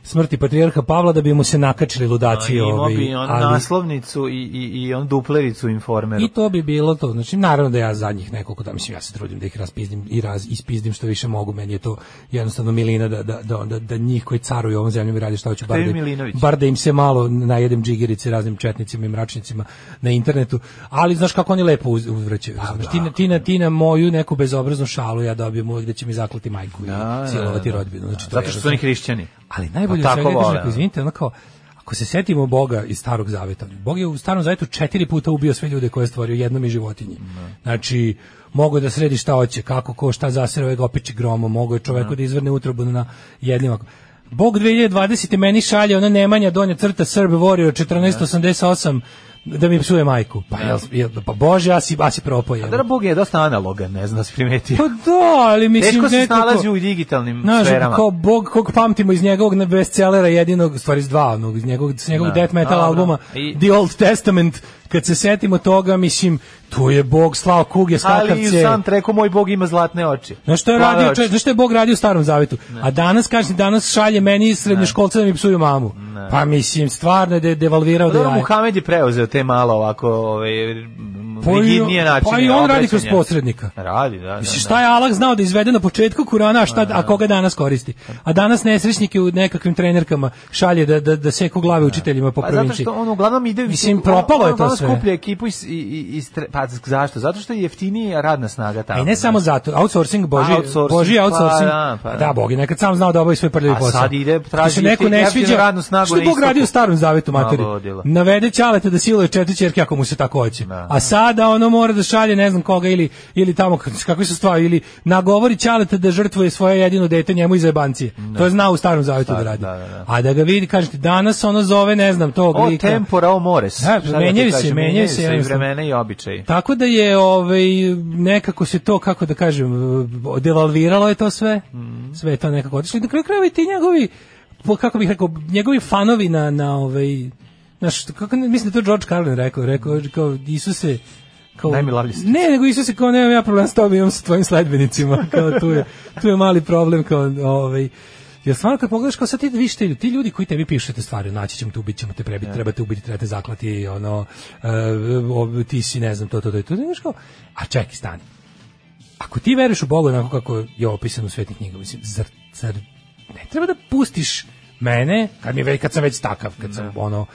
smrti patrijarha Pavla da bi mu se nakačili ludaci Imao ovi, bi on ovaj, ali- naslovnicu i, i, i on duplericu u informeru. I to bi bilo to. Znači, naravno da ja zadnjih nekoliko da mislim ja se trudim da ih raspizdim i raz ispizdim što više mogu. Meni je to jednostavno milina da da da da, da njih koji caruju ovom zemljom i radi šta hoće bar je da, im- Milinović? bar da im se malo najedem džigerice raznim četnicima i mračnicima na internetu. Ali znaš kako oni lepo uz, uzvraćaju. Pa Znaš, ti, na, ti, na, ti na moju neku bezobraznu šalu ja dobijem uvek da će mi zaklati majku i silovati rodbinu. Znači, to je Zato što su oni jednostavno- hrišćani. ali najbolje Pa pa, tako svega je, vole, kaže, ono. ako, izvinite, ono kao, ako se setimo Boga iz starog zaveta, Bog je u starom zavetu četiri puta ubio sve ljude koje je stvorio, jednom i životinje. Znači, mogo da sredi šta hoće, kako, ko, šta zasere ovaj opiči gromo, mogo je čoveku da izvrne utrobu na jednima. Bog 2020. meni šalje ona Nemanja donja crta Srb Warrior 1488 da mi psuje majku. Pa, jel, jel, pa bože, a si, a si propao, jebote. Da, Bog je dosta analogan, ne znam da si primetio. Pa da, ali mislim Teško se nekako- snalazi u digitalnim Znaš, sferama. kao bog kog pamtimo iz njegovog ne- bestselera jedinog, u stvari iz dva, onog, iz njegovog, s njegovog Da, death metal dobro. albuma, I- The Old Testament, kad se setimo toga, mislim, Tu je Bog slao kuge skakavce. Ali i u sam treku moj bog ima zlatne oči. Znaš što je Plave radio oči. čovjek, znaš što je Bog radio u starom zavetu? A danas, kaže, danas šalje meni iz srednjoškolca da mi psuju mamu. Pa mislim, stvarno je de- devalvirao Pa da Dobro, je. Muhamed je preuzeo te malo ovako ovaj, m, Pa i- rigidnije načine. pa i on radi kroz obraćanja. posrednika. Radi, da. da, Mislim, da. šta je Alah znao da izvede na početku Kurana, a, šta, a koga danas koristi? A danas nesrećnike u nekakvim trenerkama šalje da, da, da seku glave učiteljima po Pa zato provinciji. što on uglavnom ide... Mislim, on- propalo on je to uglavnom sve. skuplja ekipu iz, i- i- iz, tre- pa zašto? Zato što je jeftinija radna snaga tamo. A i E, ne samo zato, outsourcing, boži, Outsourcing, boži pa outsourcing. da, pa da. da, Bog je nekad sam znao da obavi sve prljavi A posao. sad ide, Što traži se neko ne jeftinu- sviđa. jeftinu radnu snagu što na je Bog istoku. radi u starom zavetu materi? Malo odjela. Navede ćalete da siluje četiri ćerke ako mu se tako hoće. A sada ono mora da šalje ne znam koga ili, ili tamo k- kakve su stvari ili nagovori ćalete da žrtvuje svoje jedino dete njemu iz jebancije. To je znao u starom zavetu da radi. da, da, da. A da ga vidi, kažete, danas ono zove, ne znam, tog O lika. tempora, o mores. Da, Šta ti menjaju se, kažem, menjaju se i jednostavno. vremena i običaji. Tako da je ovaj nekako se to kako da kažem devalviralo je to sve. Sve je to nekako otišlo. I Na kraju krajeva i ti njegovi po- kako bih rekao njegovi fanovi na na ovaj naš kako ne- mislim da je to George Carlin rekao, rekao kao Isuse kao Najmilavlji ste. Ne, nego Isuse kao nemam ja problem s tobom, imam sa tvojim sledbenicima, kao tu je tu je mali problem kao ovaj Jer stvarno kad pogledaš kao sad ti vidiš te ljudi, ti ljudi koji tebi pišu te stvari, naći ćemo te, ubit ćemo te, prebiti, treba te ubiti, treba te zaklati, ono, e, o, ti si, ne znam, to, to, to, to, znaš kao, a čekaj, stani. Ako ti veruješ u Boga onako kako je opisano u svetim knjigama, mislim, zar, zar ne treba da pustiš mene, kad, mi, je već- kad sam već takav, kad sam, ono,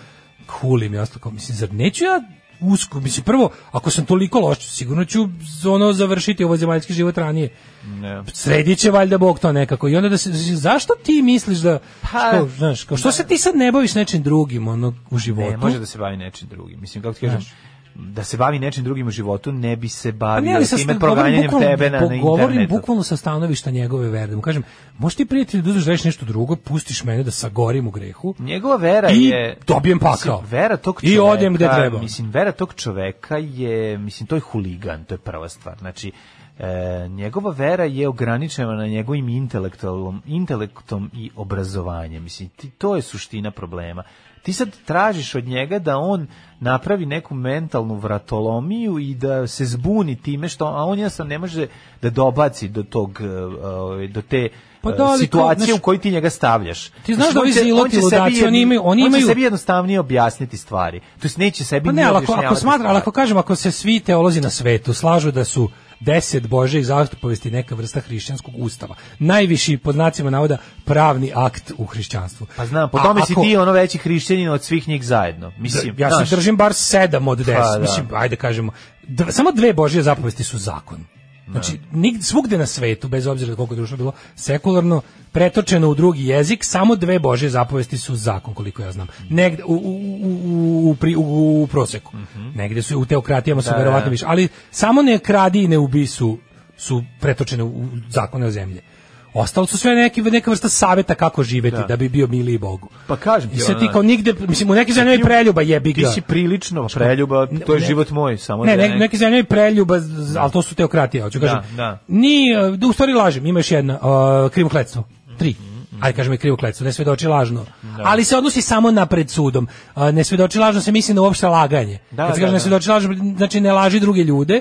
hulim i ostalo, kao, mislim, zar neću ja usko, mislim, prvo, ako sam toliko loš, sigurno ću, ono, završiti ovo zemaljski život ranije Ne. sredit će valjda Bog to nekako. I onda da se, zašto ti misliš da, Pa- što, znaš, kao, što se ti sad ne baviš nečim drugim ono, u životu? Ne, može da se bavi nečim drugim. Mislim, kako ti kažem, da se bavi nečim drugim u životu, ne bi se Pa bavio ne, ali sa time govorim proganjanjem bukvalno, tebe na, na internetu. govorim bukvalno sa stanovišta njegove verde. Mu kažem, možeš ti prijatelju da uzmeš da radiš nešto drugo, pustiš mene da sagorim u grehu, Njegova vera I je dobijem pakao. Mislim, vera tog I čoveka, odem gde treba. Mislim vera tog čoveka je mislim to je huligan, to je prva stvar. Znači e, njegova vera je ograničena na njegovim intelektualnom intelektom i obrazovanjem. Mislim ti, to je suština problema. Ti sad tražiš od njega da on napravi neku mentalnu vratolomiju i da se zbuni time što a on jednostavno ne može da dobaci do tog e, e, do te Pa e, da, ali to, situacije znaš, u kojoj ti njega stavljaš. Ti znaš Znači, da on ovi će- on ziloti će sebi ludaci, jedni- oni imaju- oni On će imaju- sebi jednostavnije objasniti stvari. To jest neće sebi Pa ne, ni ali ako, ako objašnjavati smatra, ali stvari. ako kažem, ako se svi teolozi na svetu slažu da su deset Božjih zapovesti neka vrsta hrišćanskog ustava, najviši pod znacima navoda pravni akt u hrišćanstvu. Pa znam, po A tome si ako- ti ono veći hrišćanin od svih njih zajedno. Mislim, ja znaš, Pa, se držim bar sedam od deset. da. Mislim, ajde kažemo, dv- samo dve Božje zapovesti su zakon. Znači, nigd, svugde na svetu, bez obzira koliko je društvo bilo sekularno, pretočeno u drugi jezik, samo dve Božje zapovesti su zakon, koliko ja znam. Mhm. Negde, u, u, u, u, pri- u, u proseku. Mhm. Negde su, u teokratijama su verovatno više. Ali samo ne kradi i ne ubi su, su pretočene u- u zakone o zemlje. Ostalo su sve neki, neka vrsta saveta kako živeti da, bi bio miliji Bogu. Pa kažem ti, I sad ono, ti kao nigde, mislim, u nekim zemljama je preljuba jebi ti ga. si prilično preljuba, to je Znači, ne- život moj, samo Ne, da ne, neki zemlje je preljuba, z- ali to su teokratije, hoću kažem. da. Ni, e, da, u stvari lažem, ima još jedna, uh, krivokletstvo, tri. Mhm, Ajde kažemo i krivokletstvo, ne svedoči lažno. Ali se odnosi samo na pred sudom. A, ne svedoči lažno se misli na uopšte laganje. Da, Kad se da, kaže da. ne svedoči lažno, znači ne laži druge ljude,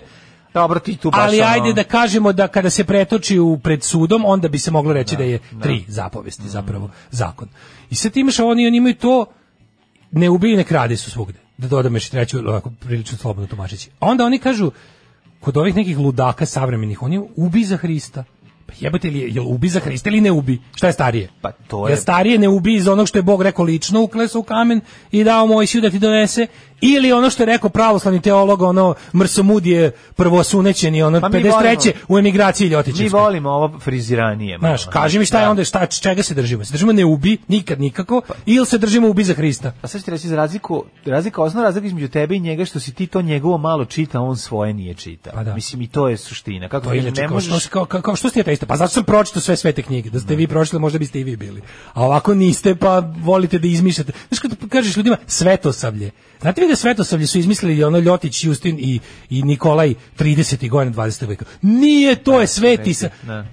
Dobro, ti tu baš ali ono- ajde da kažemo da kada se pretoči u pred sudom, onda bi se moglo reći da, je tri zapovesti zapravo zakon. I sad imaš oni, oni imaju to ne ubij, ne krade su svugde. Da dodam još i treću, ovako, prilično slobodno tumačeći. A onda oni kažu, kod ovih nekih ludaka savremenih, oni ubi za Hrista. Pa jebate li je, jel ubi za Hrista ili ne ubi? Šta je starije? Pa to je- Jel starije ne ubi iz onog što je Bog rekao lično, uklesao u kamen i dao Mojsiju da ti donese, ili ono što je rekao pravoslavni teolog, ono mrsomud je prvosunećeni, ono Pa mi 53. volimo- u emigraciji Mi Ljotićevskoj. volimo ovo friziranije. malo, Znaš, kaži mi šta je da. onda, šta, čega se držimo? Se držimo ne ubi, nikad nikako, ili se držimo ubi za Hrista? Pa sad ću ti reći za razliku, razlika, osnovna razlika između tebe i njega što si ti to njegovo malo čita, a on svoje nije čita. Pa da. Mislim i to je suština. Kako To je ti inače, Pa ne kao, što, možeš si- kao, kao, kao što ste ateista? Pa zato sam pročitao sve svete knjige. Da ste vi pročitali, možda biste i vi bili. A ovako niste, pa volite da izmišljate. Znaš, kad kažeš ljudima svetosavlje. Znate vi da svetosavlje su izmislili ono Ljotić, Justin i, i Nikolaj 30. godina 20. veka. Nije, to je sveti... sa- da.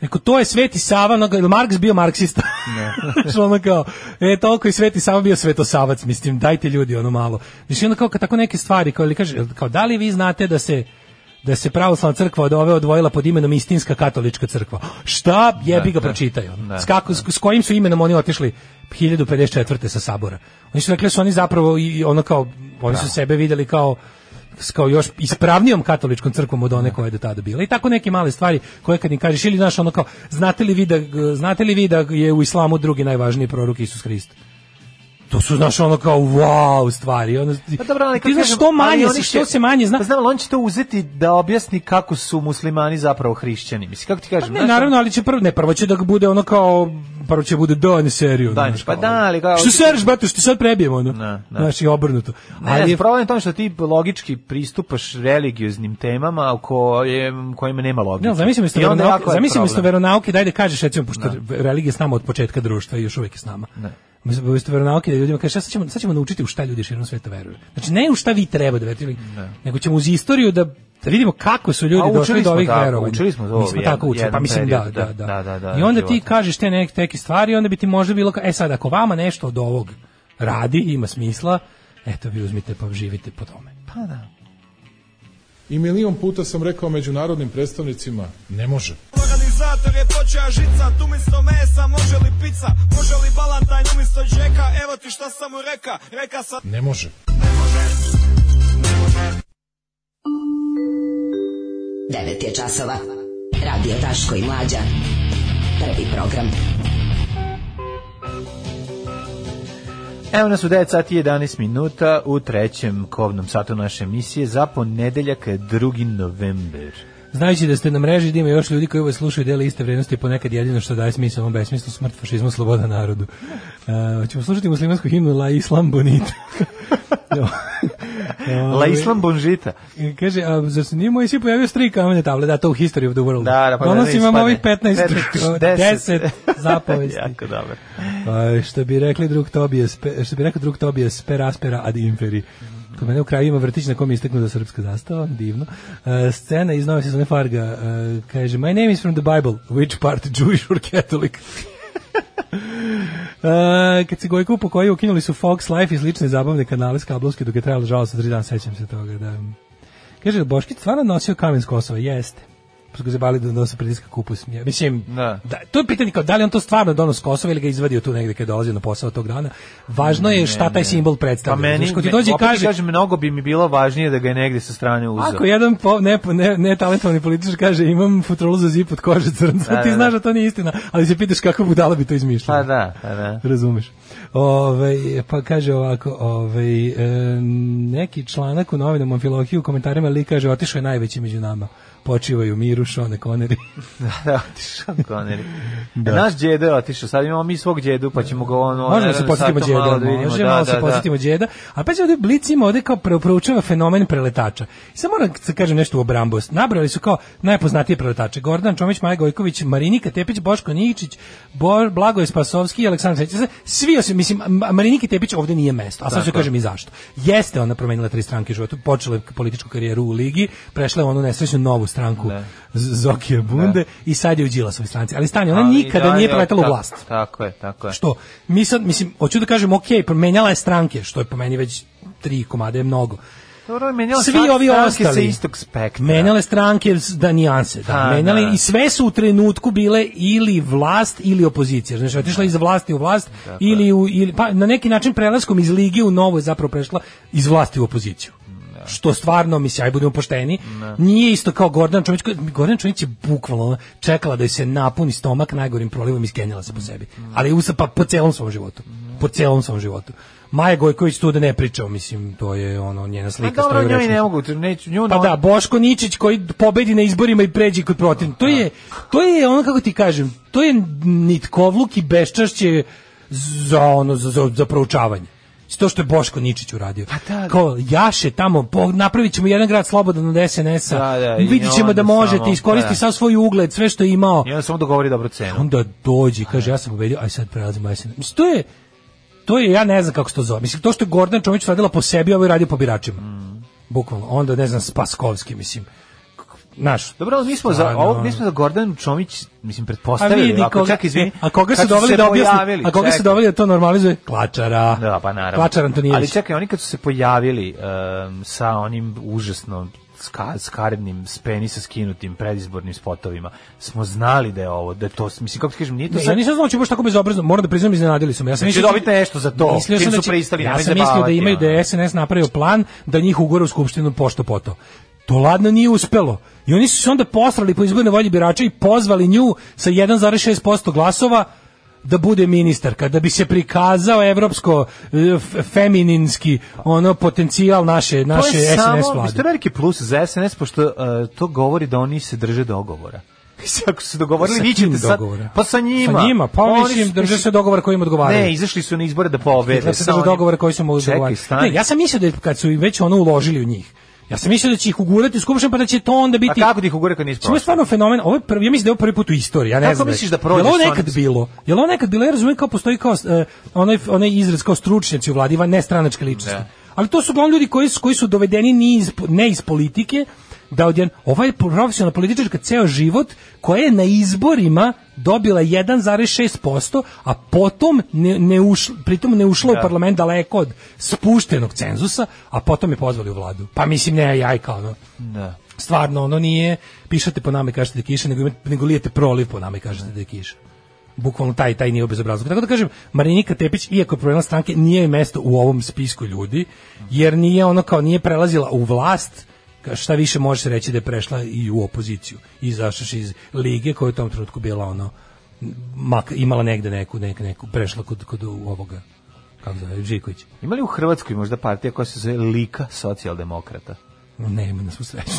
Rekao, to je Sveti Sava, ono, kao, jel Marks bio marksista. Ne. Što ono kao, e, toliko i Sveti Sava bio svetosavac, mislim, dajte ljudi ono malo. Mislim, onda kao, kad tako neke stvari, kao, ili kaže, kao, da li vi znate da se da se pravoslavna crkva od ove odvojila pod imenom istinska katolička crkva. Šta jebi ga pročitaju? da, S, kako, s- s kojim su imenom oni otišli 1054. sa sabora? Oni su rekli da su oni zapravo i ono kao oni su sebe videli kao s kao još ispravnijom katoličkom crkvom od one koja je do tada bila. I tako neke male stvari koje kad im kažeš ili znaš ono kao znate li vi da, znate li vi da je u islamu drugi najvažniji prorok Isus Hrist? To su, znaš, ono kao, wow, stvari. Ono, Pa dobro, ali kako ti znaš kažem, što ali manje, oni se- će- što se manje zna. Pa znam, ali on će to uzeti da objasni kako su muslimani zapravo hrišćani. Mislim, kako ti kažem? Pa Ne, znaš, ono- naravno, ali će prvo, ne, prvo će da bude ono kao, prvo će bude da, ne seriju. Da, znaš, pa kao, ono. da, ali kao- Što sereš, brate, što sad prebijemo, ono? Da, da. Znaš, i obrnuto. Ne, ali, ne, problem je to što ti logički pristupaš religioznim temama o koje, kojima nema logike. ne, zamislim isto I onda veronauke, jako je zamislim isto problem. veronauke, daj da kažeš, recimo, pošto religija je s nama od početka društva i još uvijek je s nama. Ne. Mislim, isto veronauke da ljudima kaže, sad ćemo, sad ćemo naučiti u šta ljudi širom sveta veruju. Znači, ne u šta vi treba da verujete, nego ćemo uz istoriju da da vidimo kako su ljudi A došli Pa učili do smo ovih tako, verovanja. učili smo to Mi smo jedan- tako učili, pa jedan mislim da, period, da, da, da, da, da, I onda ti života. kažeš te neke teke stvari, onda bi ti možda bilo, ka- e sad, ako vama nešto od ovog radi, ima smisla, eto vi uzmite pa živite po tome. Pa da. I milion puta sam rekao međunarodnim predstavnicima, ne može. Organizator je počeo žica, tu misto mesa, može li pizza, može li balantajn umjesto džeka, evo ti šta sam mu reka, reka sam... Ne može. Devet je časova. Radio Daško i Mlađa. Prvi program. Evo nas u 9 sati i 11 minuta u trećem kovnom satu naše emisije za ponedeljak 2. november. Znajući da ste na mreži da ima još ljudi koji vas slušaju dele iste vrednosti, ponekad jedino što daje smisla ovom besmislu smrt fašizmu sloboda narodu. Uh, ćemo slušati muslimansku himnu La Islam Bonita. La Islam Bonžita. Kaže, a zar se nije moj svi pojavio s tri kamene table? Da, to u History of the World. Da, da, pa da ne Donosim vam ispadne. ovih 15, Pet- 10, deset. zapovesti. jako dobro. A, Pa, što bi rekli drug Tobijas, pe- što bi rekao drug Tobijas, pera aspera ad inferi. Kod mene u kraju ima vrtić na kom je isteknuta srpska zastava, divno. E, scena iz nove sezone Farga e, kaže My name is from the Bible, which part Jewish or Catholic? E, kad se Gojko upokojio, ukinuli su Fox Life i slične zabavne kanale s kablovske dok je trajalo žalost za tri dana, sećam se toga. Da. Kaže, Boškić stvarno nosio kamen s Kosova? Jeste. Pa su ga zabali da nosi pritiska kupus. Ja, Mislim, Da. da, to je pitanje kao da li on to stvarno donos Kosova ili ga izvadio tu negde kad je dolazio na posao tog dana. Važno je šta taj simbol Pa predstavlja. meni, Znaš, ko ti dođe i opet ti kaže, kažem, mnogo bi mi bilo važnije da ga je negde sa strane uzeo. Ako jedan po, ne, ne, ne talentovani političar kaže imam futrolu za zip od kože crnca, Da, ti da, znaš da. da to nije istina, ali se pitaš kako budala bi to izmišljala. Pa da, pa da. Razumeš. Ove, pa kaže ovako, ove, e, neki članak u novinom Filohiju u komentarima li kaže otišao je najveći među nama. Počivaju u miru, Šone Koneri. da, otišao Connery. Naš djedo je otišao, sad imamo mi svog djedu, pa ćemo ga ono... Možemo da se naravno, posjetimo sad to malo djeda, da vidimo, možemo da, da, da, se da. posjetimo djeda. A pa će ovdje Blic ima ovdje kao pre- proučava fenomen preletača. I sad moram da kažem nešto u obrambost. Nabrali su kao najpoznatije preletače. Gordan Čomić, Maja Gojković, Marinika Tepić, Boško Ničić, Bo, Blagoje Spasovski i Aleksandar Srećić. Svi osim, mislim, Ma- Mariniki Tepić ovdje nije mesto. A sad ću kažem i zašto. Jeste ona promenila tri stranke u životu, počela je političku karijeru u ligi, prešla je u onu nesrećnu novu stranku Z- Zokije Bunde i sad je u Đilasovoj stranci. Ali stani, ona Ali nikada da, nije ja, preletala u tako- vlast Tako je, tako je. što mi sad mislim hoću da kažem ok, promenjala je stranke što je po meni već tri komade je mnogo Dobro, menjala Svi stranke ovi sa ostali. istog spektra. menjale stranke s- da nijanse da, Ha, menjale da. i sve su u trenutku bile ili vlast ili opozicija znači otišla iz vlasti u vlast ili, u, ili pa na neki način prelaskom iz lige u novo je zapravo prešla iz vlasti u opoziciju što stvarno mislim aj budemo pošteni nije isto kao Gordan Čović koji- Gordan Čović je bukvalno ono, čekala da joj se napuni stomak najgorim prolivom i skenjala se po sebi ali usa pa po celom svom životu po celom svom životu Maja Gojković tu da ne pričamo mislim to je ono njena Pa slika dobro, stoji u njoj rečniku. ne mogu, neću, nju Pa no- da, Boško Ničić koji pobedi na izborima i pređi kod protiv. To je, to je ono kako ti kažem, to je nitkovluk i beščašće za ono za, za, za proučavanje. Mislim, To što je Boško Ničić uradio. Pa da, da. Kao, jaše tamo, po, napravit ćemo jedan grad slobodan od SNS-a, Da, da, i vidit ćemo onda da možete, samo, iskoristi da. sav svoj ugled, sve što je imao. I onda samo dogovori dobro cenu. Onda dođe i kaže, ja sam pobedio, aj sad prelazimo aj sad. Mislim, to je, to je, ja ne znam kako se to zove. Mislim, to što je Gordana ovaj Mm. Čomić radila po sebi, ovo je radio po biračima. Bukvalno. Onda, ne znam, Spaskovski, mislim. naš. Dobro, ali mi smo za Stvarno. ono- ovo, mi smo za Gordanu Čomić, mislim A pretpostavili, vidi ako koga, e, čak izvini. a koga su kad doveli se da objasni, pojavili, a koga su čekaj. doveli da to normalizuje? Klačara. Da, pa naravno. Klačar Antonijević. Ali čekaj, oni kad su se pojavili em, sa onim užasno ska, skarednim s penisa skinutim predizbornim spotovima, smo znali da je ovo, da je to, mislim, kako ti kažem, nije to Ne, sad... ja nisam znao da će baš tako bezobrazno, moram da priznam, iznenadili su me. Ja sam Da će mislio- dobiti Znači, nešto za to, Mislio čim sam da su će- pristali, Ja nemoj sam mislio da zajebavati, imaju da ono. je SNS napravio plan da njih ugore u skupštinu pošto poto. To ladno nije uspelo. I oni su se onda posrali po izbornoj volji birača i pozvali nju sa 1,6% glasova da bude ministar, kada bi se prikazao evropsko eh, f- femininski ono potencijal naše naše to je SNS samo, vlade. mislim, to je veliki plus za SNS, pošto e, to govori da oni se drže dogovora. Mislim, ako su se dogovorili, Sa vi kim ćete sad... dogovora? Pa sa njima. Sa njima, pa Oni mislim, su- drže mislim, se dogovora kojim odgovaraju. Ne, izašli su na izbore da pobede. Dakle, se sa drže onim- dogovora koji su mu Čekaj, dogovarali. stani. Ne, ja sam mislio da je kad su im već ono uložili u njih. Ja sam mislio da će ih ugurati u skupštinu pa da će to onda biti. A kako ti ih ugure kad nisi Ovo je stvarno fenomen. Ovo je prvi, ja mislim da je ovo prvi put u istoriji. Ja ne Kako znam. misliš da prođe? prođe Jel ovo s onim- nekad bilo? Jel ovo nekad bilo? Ja razumijem kao postoji kao eh, onaj onaj izraz kao stručnjaci u vladi, van- ne stranačke ličnosti. Da. Ali to su uglavnom ljudi koji su, koji su dovedeni ni iz, ne iz politike, da odjen, ovaj profesionalna političarka ceo život koja je na izborima dobila 1,6%, a potom ne, ne ušla, pritom ne ušla u parlament daleko od spuštenog cenzusa, a potom je pozvali u vladu. Pa mislim, ne, jajka, ono Da. stvarno ono nije pišete po nama i kažete da je kiša, nego, imate- nego lijete proliv po nama i kažete da je kiša. Bukvalno taj taj nije bezobrazluk. Tako da kažem, Marinika Tepić, iako je problema stranke, nije joj mesto u ovom spisku ljudi, jer nije ono kao nije prelazila u vlast, ka- šta više može se reći da je prešla i u opoziciju. I zašaš iz lige koja je u tom trenutku bila ono, mak, imala negde neku, neku, neku prešla kod, kod ovoga, kako zove, Žiković. Ima li u Hrvatskoj možda partija koja se zove Lika socijaldemokrata? Ne, ima na svu sreću.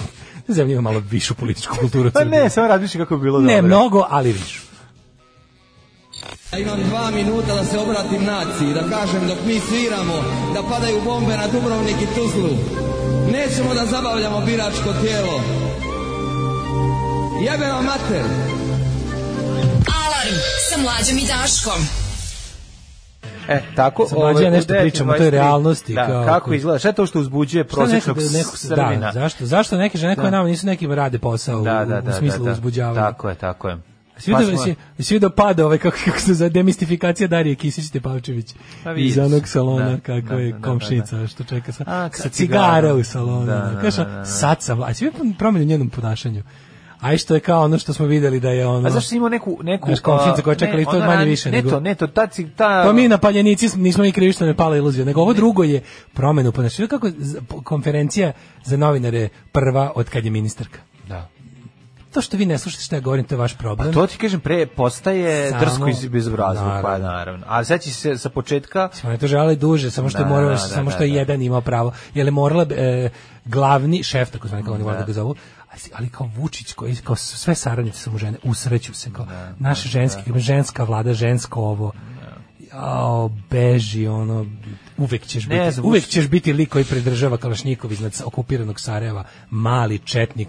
Zemlja ima malo višu političku kulturu. od Pa Srbije. ne, samo razmišljam kako bi bilo Ne dobro. mnogo, ali više. Ja imam dva minuta da se obratim naciji, da kažem dok mi sviramo, da padaju bombe na Dubrovnik i Tuzlu. Nećemo da zabavljamo biračko tijelo. Jebe vam mater! Alarm sa mlađom i Daškom. E, tako, Sa mlađe ja nešto u 9 pričamo, to 23. je realnosti, Da, kao- kako izgleda? Šta je to što uzbuđuje prosječnog Šta nekog- nekog- srbina? Da, zašto, zašto neke žene koje Da. nama nisu nekim rade posao da, u, da, da, u smislu da, da. uzbuđavanja? Tako je, tako je. Pa Svi da, smo- si, si video pada ovaj, kako, kako se zove, demistifikacija Darije Kisić Tepavčević Pa vidiš. iz onog salona, Da, da, kako je da, da, komšinica, da. što čeka sa, A, sa sa cigara u cigarom. salonu. Da, Da, da, Kaže, da, da, da. sad sam, a svi promenu njenom ponašanju. A i što je kao ono što smo videli da je ono... A zašto si imao neku... neku Znaš, komšinica koja a, čeka ne, lift, to je ona manje radi- više Ne nego- to, ne to, ta... ci- ta Pa mi napaljenici nismo mi krivi što nam je pala iluzija, nego ovo drugo je promenu ponašanja. Kako je z- po- konferencija za novinare prva od kad je ministarka. Da. To što vi ne slušate što ja govorim, to je vaš problem. Pa to ti kažem, pre postaje Samo- drsko iz bezobrazluk, pa Naravno. naravno. A sad će se sa početka... Ona je Pa to žala duže, samo što je Da, morala, da, da, samo što da, je da. jedan imao pravo. Jer je morala e, glavni šef, tako zvani kao oni vole da ga zovu, ali si- ali kao Vučić koji kao sve saradnice su mu žene, usreću se kao naš ženski, ženska vlada, žensko ovo. Jao, beži ono uvek ćeš Ne biti znam, uvek Vučić- ćeš biti lik koji pridržava Kalašnjikov iznad okupiranog Sarajeva, mali četnik,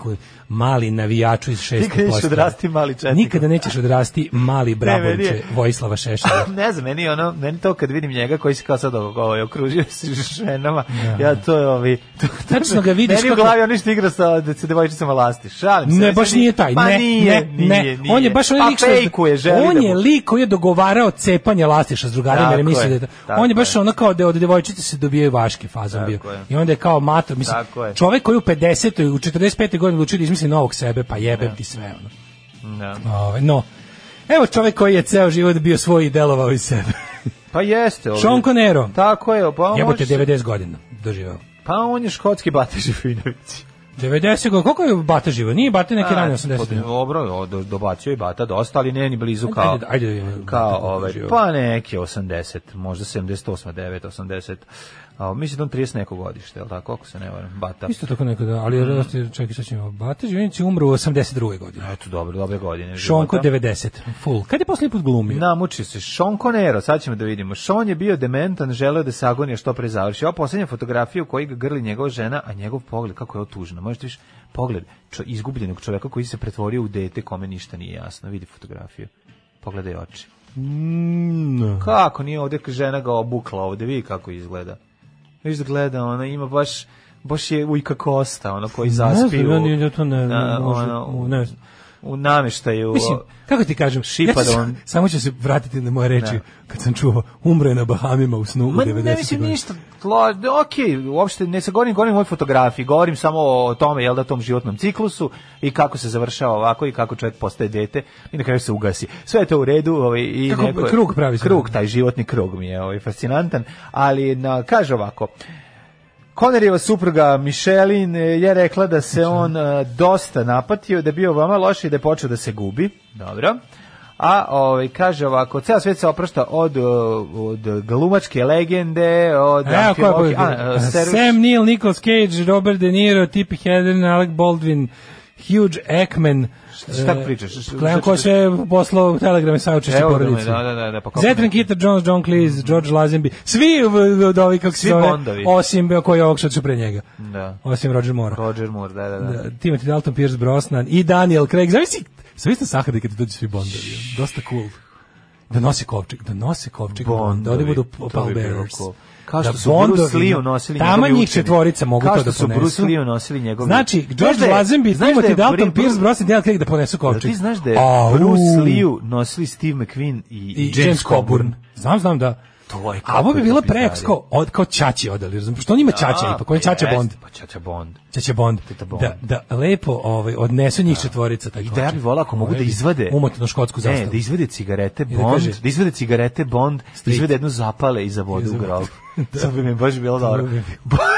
mali navijaču iz šestog Nikada nećeš postava. odrasti mali četnik. Nikada nećeš odrasti mali meni brabonče je- Vojislava Šešelja. ne znam, meni je ono, meni to kad vidim njega koji se kao sad ovo, ovaj, okružio se ženama, ja to je ovi... To, to, Tačno ga vidiš Meni u kako- glavi on što igra sa da se devojčicama lasti. Šalim se. Ne, mislim, baš nije taj. Pa ne, nije, ne, nije, ne. nije. On je baš onaj pa lik što je- fejkuje, želi on da je bude. lik koji je dogovarao cepanje lastiša s drugarima, jer Tako misli da je je, to- tako on je baš je. ono kao da od devojčice se dobijaju vaške fazom bio. Tako je. I onda je kao mator, mislim, Tako je. čovek koji u 50. u 45. godini odlučio da izmisli novog sebe, pa jebem ti sve ono. Da. Ovaj, no. Evo čovek koji je ceo život bio svoj i delovao iz sebe. Pa jeste. Ovi. Sean Conero. Tako je, pa on, Jebote može, se- 90 godina doživeo. pa on je škotski Bata Živinović. 90 godina, koliko je Bata živo? Nije Bata neke rane A, 80. pa Dobro, o, do- dobacio je Bata dosta, ali ne ni blizu Ajde, kao... ajde, ajde da vidimo kao Bata koliko je ovaj, živeo. pa neki 80, možda 78, 9, 80. A, mislim da on 30 neko godište, je li tako, ako se ne varam, Bata. Isto tako neko da, ali Mhm. mm. čekaj sad ćemo. Bata Živinić je umro u 82. godine. Eto, dobro, dobre godine. Šonko života. 90. Full. Kad je posljednji put glumio? Namučio se. Sean Conero, sad ćemo da vidimo. Sean je bio dementan, želeo da se agonija što pre završi. Ova posljednja fotografija u kojoj ga grli njegova žena, a njegov pogled, kako je ovo tužno. Možete viš pogled čo, izgubljenog čoveka koji se pretvorio u dete kome ništa nije jasno. Vidi fotografiju. Pogledaj oči. Mm. Kako nije ovdje žena ga obukla ovdje, vidi kako izgleda. Viš da gleda, ona ono, ima baš baš je ujka Kosta, ono koji Ne zaspi znam, u, ja ni- ja to ne- na, možda, ono, ne u nameštaju. Mislim, kako ti kažem, šipa ja ću da sa- on- samo ću se vratiti na moje reči Da. kad sam čuo umre na Bahamima u snu u Ma 90. ne mislim godini. ništa, tla, ok, uopšte ne se govorim, govorim o ovoj fotografiji, govorim samo o tome, jel da, tom životnom ciklusu i kako se završava ovako i kako čovjek postaje dete i na kraju se ugasi. Sve je to u redu. Ovaj, i Kako neko, krug pravi se. Krug, taj životni krug mi je ovaj, fascinantan, ali na, kaže ovako, Konerjeva supruga Mišelin e, je rekla da se on e, dosta napatio, da je bio vama loš i da je počeo da se gubi. Dobro. A ovaj, kaže ovako, ceo svet se oprašta od, e, od glumačke legende, od Evo ko je Amfilohije- pobedila? a, e, Seruš- Sam Neill, Nicolas Cage, Robert De Niro, Tippi Hedren, Alec Baldwin, Hugh Ekman. šta e, pričaš? Šta- šta Gledam ko čitaš? sve poslao telegrame sa učešće Evo ga me, porodice. da, da, da, da, pa kako Zetran ne. Mhm. Kitter, Jones, John Cleese, George Lazenby. Svi v- od ovih, kako se Svi zove, Bondovi. osim e, koji je ovog što su pre njega. Da. Osim Roger Moore. Roger Moore, da, da, da. Da, Timothy Dalton, Pierce Brosnan i Daniel Craig. Zavisi, zavisi na Sahari kad dođu svi Bondovi. Dosta cool. Da nose kovčeg, da nose kovčeg Bondovi. Da oni budu to bi Paul bilo Bearers. cool. Kao Da što su Bondovi- Bruce Lee nosili Tama njegovi njih učeni. četvorica mogu Kao to što da su ponesu. Bruce Lee nosili njegovi- Znači, Znaš George da je- Lazenby, znaš da je Timothy Dalton, Bri- Pierce Brosnan, Daniel Craig da ponesu Jel kovčeg. Pa ti znaš da je Au. Bruce Lee nosili Steve McQueen i, i James Coburn. Znam, znam da. To je A ovo bi kako to bilo bizarije. preeks kao, od, kao Čači odali, razumiješ? Što on ima Čača A, ipak, on je Čača jeste, Bond. Pa Čača Bond. Čača Bond. Bond. Da, da lepo ovaj, odnesu njih četvorica taj I da kovčeg. ja bih volao ako mogu da Ovaj, izvade... Umotno škotsku zastavu. Ne, da izvede cigarete da Bond, da, kaže- izvade cigarete Bond, da Street. izvede jednu zapale i zavode u grob. da. To bi mi baš bilo dobro.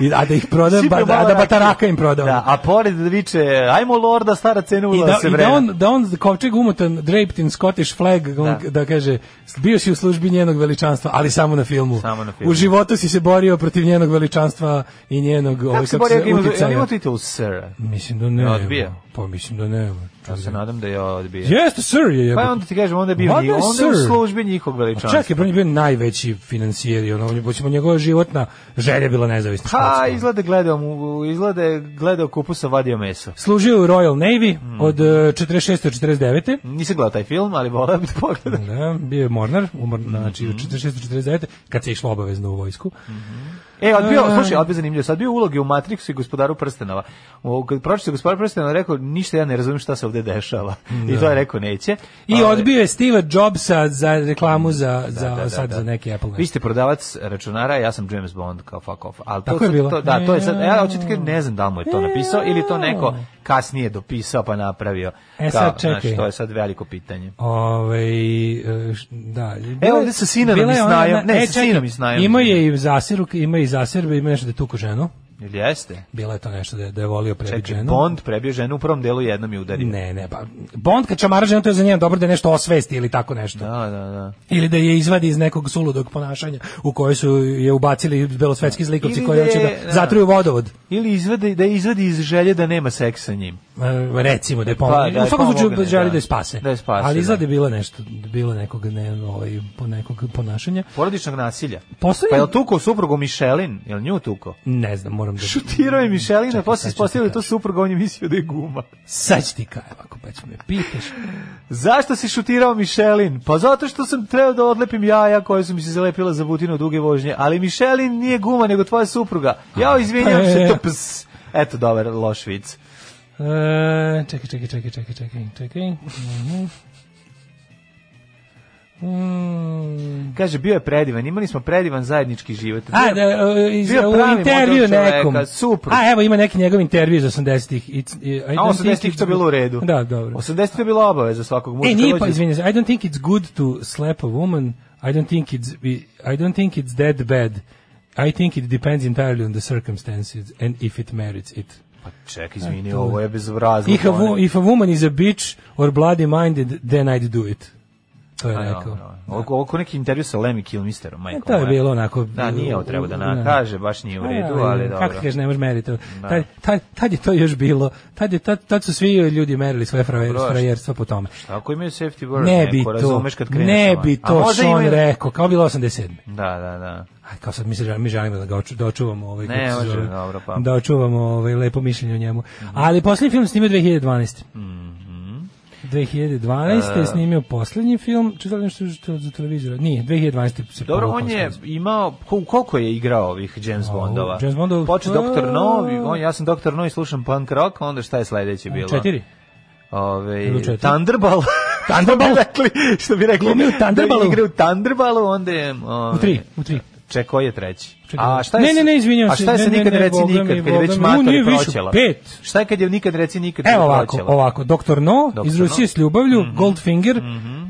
I, a da ih proda, Sipaju ba, da, malo da rakije. bataraka im proda. ono. Da, a pored da viče, ajmo lorda, stara cena I ulaza da, se i da vrena. on, da on kovčeg umotan draped in Scottish flag, on, da. Da. kaže, bio si u službi njenog veličanstva, ali samo na filmu. Samo na filmu. U životu si se borio protiv njenog veličanstva i njenog ovaj, Kako se kako bori, se, ako ima- uticaja. ima titul Sir? Mislim da ne. Odbija. Pa mislim da ne. Ja se nadam da je odbija. Jeste, sir je jebote. Pa onda ti kažem, onda je bio Mada njih, onda je u sir. službi njihog A veličanstva. čak je on je bio najveći financijer, i ono, on je, počemo njegova životna želja bila nezavisna. Pa, škotska. izgleda gledao mu, izgleda je gledao kupusa, vadio meso. Služio u Royal Navy Mm. od e, 46. do 49. Nisam gledao taj film, ali volao bih da pogledam. Da, bio je mornar, umor, Mm-hmm. znači od 46. do 49. kad se išlo obavezno u vojsku. E, odbio, E. slušaj, odbio zanimljivo, sad bio uloge u Matrixu i gospodaru prstenova. O, kad pročite gospodaru prstenova, rekao, ništa ja ne razumijem šta se ovde dešava. I to je rekao, neće. I Pa, Ali- Mm. odbio je Steve Jobsa za reklamu za, za, da, da, sad da. za neki Apple Vi nešto. ste prodavac računara, ja sam James Bond, kao fuck off. Ali to, Tako je to- bilo. To, da, to je sad, ja Jao. hoću ti kažem, ne znam da li mu je to napisao ili to neko kasnije dopisao pa napravio. E, sad Kao, znaš, čekaj. to je sad veliko pitanje. Ovaj e, š- da. Evo, ovde sa Sinanom bila je i ona Snajom. jedna- Ne, e, sa čekaj, Sinom i Snajom. Imao je i zasiruk, ima i zasirbe, ima nešto da je tuku ženu. Jel jeste? Bila je to nešto da je, da je volio prebiti Čekaj, ženu. Bond prebio ženu u prvom delu jednom i udario. Ne, ne, pa Bond kad čamara ženu, to je za njega dobro da je nešto osvesti ili tako nešto. Da, da, da. Ili da je izvadi iz nekog suludog ponašanja u koje su je ubacili belosvetski zlikovci Ili koji da je- hoće da da. zatruju vodovod. Ili izvede, da izvadi iz želje da nema seksa sa njim. E, recimo da je Pa, pomogne. da je u svakom slučaju pomogne, želi da. da je spase. Da je spase, Ali izgleda da. je bilo nešto, bilo nekog ne, ovaj, po nekog ponašanja. Porodičnog nasilja. Postoji- Pa je li tukao suprugu Mišelin? Je li nju tukao? Ne znam, moram da... Šutirao je Mišelina, sad ću posle ti ispostavili to kažem. supruga, on je mislio da je guma. Sad ću ti kajem, ako već me pitaš. Zašto si šutirao Mišelin? Pa zato što sam trebao da odlepim jaja koje su mi se zalepila za butinu duge vožnje, ali Mišelin nije guma, nego tvoja supruga. Ja izvinjam E, se, e. to ps. Eto, dobar, loš vic. E, čekaj, čekaj, čekaj, čekaj, čekaj, čekaj. Mhm. Mm. Kaže, bio je predivan, imali smo predivan zajednički život. A, Bio- da, e, iz, bio pravi u intervju model čoveka, nekom. Super. A, evo, ima neki njegov intervju iz 80-ih. It's- e, I A don't think 80-ih to it's- bilo u redu. Da, dobro. 80-ih je bila obaveza svakog muža. E, kad nije dođe- pa, izvinjam se, I don't think it's good to slap a woman, I don't think it's, I don't think it's that bad. I think it depends entirely on the circumstances and if it merits it. Pa ček, E, izvini, ovo je bezobrazno. If a, wo- if a woman is a bitch or bloody-minded, then I'd do it. To je Pa rekao. ono, Ovo ko neki intervju sa Lemmy Kilmisterom, majko. E, to je moja. bilo onako- Da, nije ovo treba da Da. na kaže, baš nije u redu, A, ali dobro. Kako ti kažeš, ne možeš meriti. Tad, tad, tad je to još bilo. Tad, je, tad, tad su svi ljudi merili svoje frajer, Dobro, šta- frajerstva po tome. Ako imaju safety word, ne neko, bi to, razumeš kad kreneš ne ovaj. bi A to možda što on imaju- rekao, kao bilo 87. Da, da, da. Aj, kao sad mi, se, žel- mi želimo da ga oču, da očuvamo ovaj, Ne, kako se može, zove, dobro, pa. Mhm. da očuvamo ovaj, lepo mišljenje o njemu. Ali posljednji film snimio 2012. Mm E. 2012. je snimio posljednji film, čitali nešto što za televizora? Nije, 2012. se Dobro, prvo on je posljednji. imao, ko- koliko je igrao ovih James Bondova? James Bondova- Počeo Pa- Dr. Novi, on, ja sam Dr. Novi, slušam punk rock, onda šta je sledeće bilo? Četiri. Ove, Bilo četiri. Thunderball. Thunderball? rekli, što bi rekli. Glumi u Thunderballu. Da igra u Thunderballu, onda je... Ove, U tri, u tri. Ček, koji je treći? Čekaj, A šta je, ne, ne, ne, izvinjavam a se, šta je se ne, ne, nikad ne, reci Boga mi, nikad, kad je Boga već mi, on nije matori više, proćela? pet. Šta je kad je nikad reci nikad Evo ovako, proćela? ovako, Dr. No, Dr. iz No. Mhm. Rusije s ljubavlju, Goldfinger,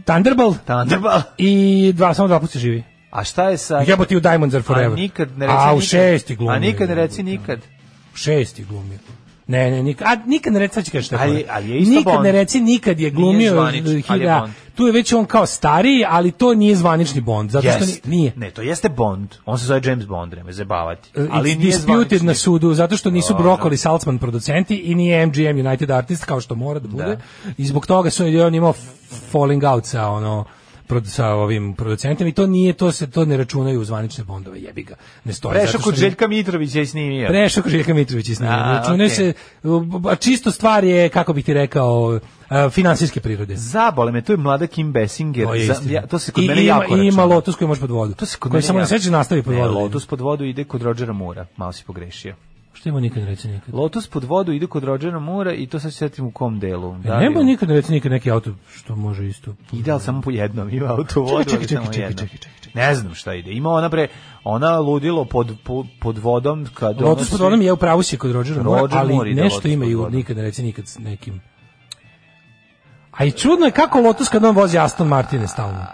Thunderball, Thunderball. I dva, samo dva puta se živi. A šta je sa... Jebote u Diamonds are forever. A nikad ne reci A u nikad. šesti glumi. A nikad ne reci nikad. U šesti glumi. Ne, ne, nikad, a nikad ne reci, sad ću kaži šta je Ali- fora. ali je isto Nikad Bond. ne reci, nikad Nije je glumio. zvanični, eh, ali je da, Bond. tu je već on kao stariji, ali to nije zvanični Bond, zato što Jest. Pa ni- nije. Ne, to jeste Bond. On se zove James Bond, ne me zabavati. Eh, Ali it's nije disputed na sudu zato što nisu Dobro. Brokoli Salzman producenti i nije MGM United Artist kao što mora da bude. I zbog toga su je on imao falling out sa ono produ- sa ovim producentima i to nije to se to ne računaju u zvanične bondove jebi ga ne stoji Prešao zato što kod ni- Željka Mitrovića i snimio. Prešao kod Željka Mitrovića s njim. A, Računaju okej. se, a čisto stvar je, kako bih ti rekao, a, finansijske prirode. Zabole me, to je mlada Kim Basinger. To je Za- istina. ja, to se kod I mene ima, jako i ima računa. Lotus koji može pod vodu. To se kod koji mene samo na jako- sveće nastavi pod Ne, vodu. Lotus pod vodu ide kod Rodgera Mura. Malo si pogrešio. Što ima nikad ne reći nikad? Lotus pod vodu ide kod Rodgera Mura i to sad se sjetim u kom delu. E, Da, nema li- nikad ne reći nikad neki auto što može isto. Ide, ali samo po jednom. Ima auto vodu, Čekaj, ali čekaj, samo čekaj, jednom. čekaj, Ne znam šta ide. Ima ona pre, ona ludilo pod, pod, pod vodom. Kad ono Lotus pod svi- vodom je u pravu si kod Rodgera Moore, Roger ali Moore ide Lotus nešto ima pod i u vodom. nikad ne reći nikad s nekim. A i čudno je kako Lotus kad on vozi Aston Martine stalno.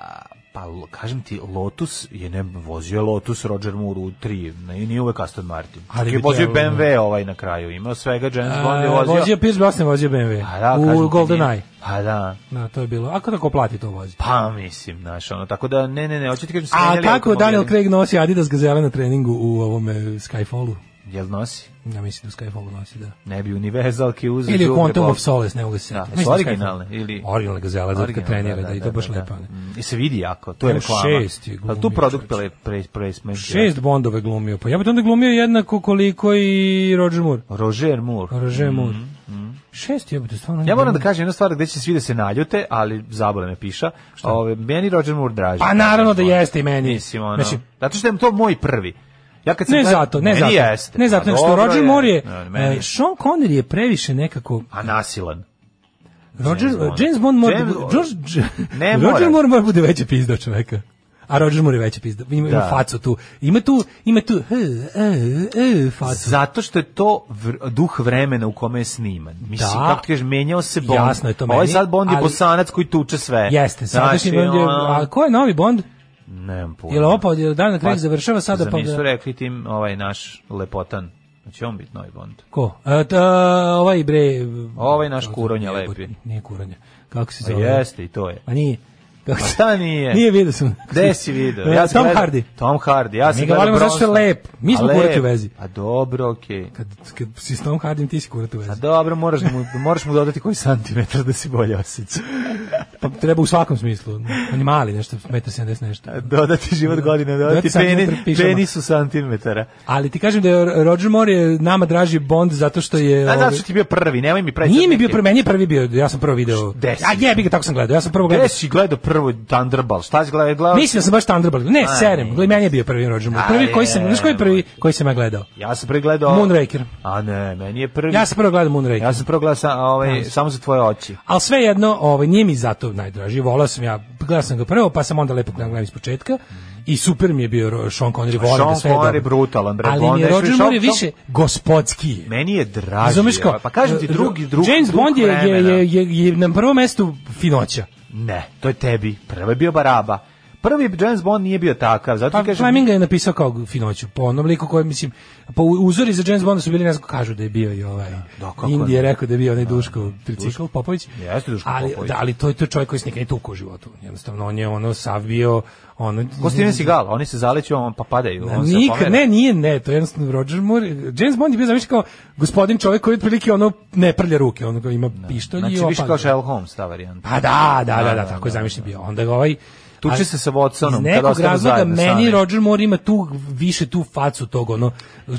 Pa, lo- kažem ti, Lotus je ne vozio je Lotus Roger Moore u 3, ne, nije uvek Aston Martin. Ali Ali bi je vozio trebalo, BMW ovaj na kraju, imao svega James Bond je A, vozio. E, Vozio Pierce Brosnan, vozio BMW. Pa da, kažem u ti, GoldenEye. nije. Pa da. Da, to je bilo. Ako tako plati to vozi. Pa mislim, znaš, ono, tako da, ne, ne, ne, hoću ti kažem, A smenjali kako automobile. Daniel Craig nosi Adidas gazele na treningu u ovome Skyfallu? Jel nosi? Ja mislim da u Skyfallu nosi, da. Ne bi univerzalke uzeo. Ili u đubre, Quantum bo- of Solace, ne mogu se Da, sjetiti. su Mislim da je originalne, Skyfall. ili... Originalne gazele, Pa zato kad Originalne, trenira, da, i to baš lepo. ne. Mm, I se vidi jako, to je Evo, reklama. šest je Pa tu glumio, produkt čoveče. pre, pre, pre, pre, Šest Bondove glumio, pa ja bih onda glumio jednako koliko i Roger Moore. Roger Moore. Roger Moore. Mhm, mhm. Šest je, to stvarno... Ja moram da kažem jednu stvar gde će svi da se naljute, ali zabole me piša. Ove, meni Roger Moore draži. Pa naravno da jeste i meni. Mislim, ono, Mislim, zato što je to moj prvi. Ja kad sam ne gledao- zato, ne meni zato. Jeste. Ne A zato, nego što dobro Roger Moore je... Ne, meni e, Sean Connery je previše nekako... A nasilan. Roger, James Bond. James Bond mora da James- bude- George- Ne Roger mora. Moore mora bude veća pizda od čoveka. A Roger Moore je veća pizda. Ima, ima Da. facu tu. Ima tu, ima tu, e, e, e, facu. Zato što je to vr- duh vremena u kome je sniman. Mislim, Da. kako ti kažeš, menjao se Bond. Jasno je to Ovaj meni, sad Bond je ali- bosanac koji tuče sve. Jeste, sadašnji Znači, Bond je, ono, a ko je novi Bond? Nemam pojma. Je li opao, je li Dan Craig završava sada, Zar pa nisu ga- rekli tim ovaj naš lepotan. Znači on biti novi Bond. Ko? E, t- ovaj bre... Ovaj naš Kako- kuronja jebote, lepi. Nije kuronja. Kako se Pa zove? jeste i to je. A nije. Kako Pa se- šta nije? Nije vidio sam. Gde si video? E, sam Tom gledao- Hardy. Tom Hardy. Ja sam Mi ga gledao volimo zato što je Bronson. lep. Mi smo A lep. kurati u vezi. Pa dobro, okej. Kad, kad si s Tom Hardim, ti si kurat u vezi. A dobro, moraš da mu, moraš mu dodati koji santimetar da si bolje osjeća. Pa treba u svakom smislu. On je mali, nešto, 1,70 nešto. Dodati život godine, dodati santimetar peni, pižama. peni su santimetara. Ali ti kažem da je Roger Moore je nama draži Bond zato što je... A ovaj, znači ti bio prvi, nemoj mi preći. Nije mi bio prvi, meni je prvi bio, ja sam prvo video. Gde si? A jebi ga, tako sam gledao, ja sam prvo gledao. Gde si gledao prvo Thunderball? Šta si gledao? gledao? Mislim da sam baš Thunderball. Ne, A, serem, nije. gledaj, meni je bio prvi Roger Moore. A, Prvi koji sam, je. znaš koji je prvi koji sam ja gledao? Ja sam prvi gledao... Moonraker. A ne, meni je prvi... Ja sam prvo gledao Moonraker. Ja sam prvo gledao sa, ovaj, samo za tvoje oči. Ali svejedno, ovaj nije mi zato najdraži. Volao sam ja, gledao sam ga prvo, pa sam onda lepo gledao iz početka. I super mi je bio Ro- Sean Connery, volim Sean ga sve je Connery dobro. brutalan, bre, Ali mi Bond je je Roger više- Moore je Sean- više gospodski. Meni je draži. Razumeš kao? evo, Pa kažem ti, e, drugi, drugi, James drugi Bond je, je, vremena. je, je, je na prvom mestu finoća. Ne, to je tebi. Prvo je bio Baraba. Prvi James Bond nije bio takav, zato Pa ti kažem... Fleming ga je napisao kao finoću, po onom liku koji, mislim, po uzori za James Bonda su bili, ne znam, kažu da je bio i ovaj, da, kako Indije je ne. rekao da je bio onaj Duško Tricikl Popović, Jeste Duško ali, Popović. Da, ali to, je- to je čovjek koji se nikad nije tukao u životu, jednostavno, on je ono sav bio, Ono, Ko Steven Seagal, oni se zaleću, on pa padaju. On se Nikad, pomera. ne, nije, ne, to je jednostavno Roger Moore. James Bond je bio zamišljen kao gospodin čovjek koji otprilike ono ne prlja ruke, on ima pištolj i Znači, više opada. kao Sherlock Holmes, ta varijanta. Pa da, Znači, da, da, da, tako je zamišljen bio. Onda ga ovaj Tuče ali se sa Watsonom, Iz kad nekog ostanu razloga zajedno meni sami. Roger Moore ima tu više tu facu tog ono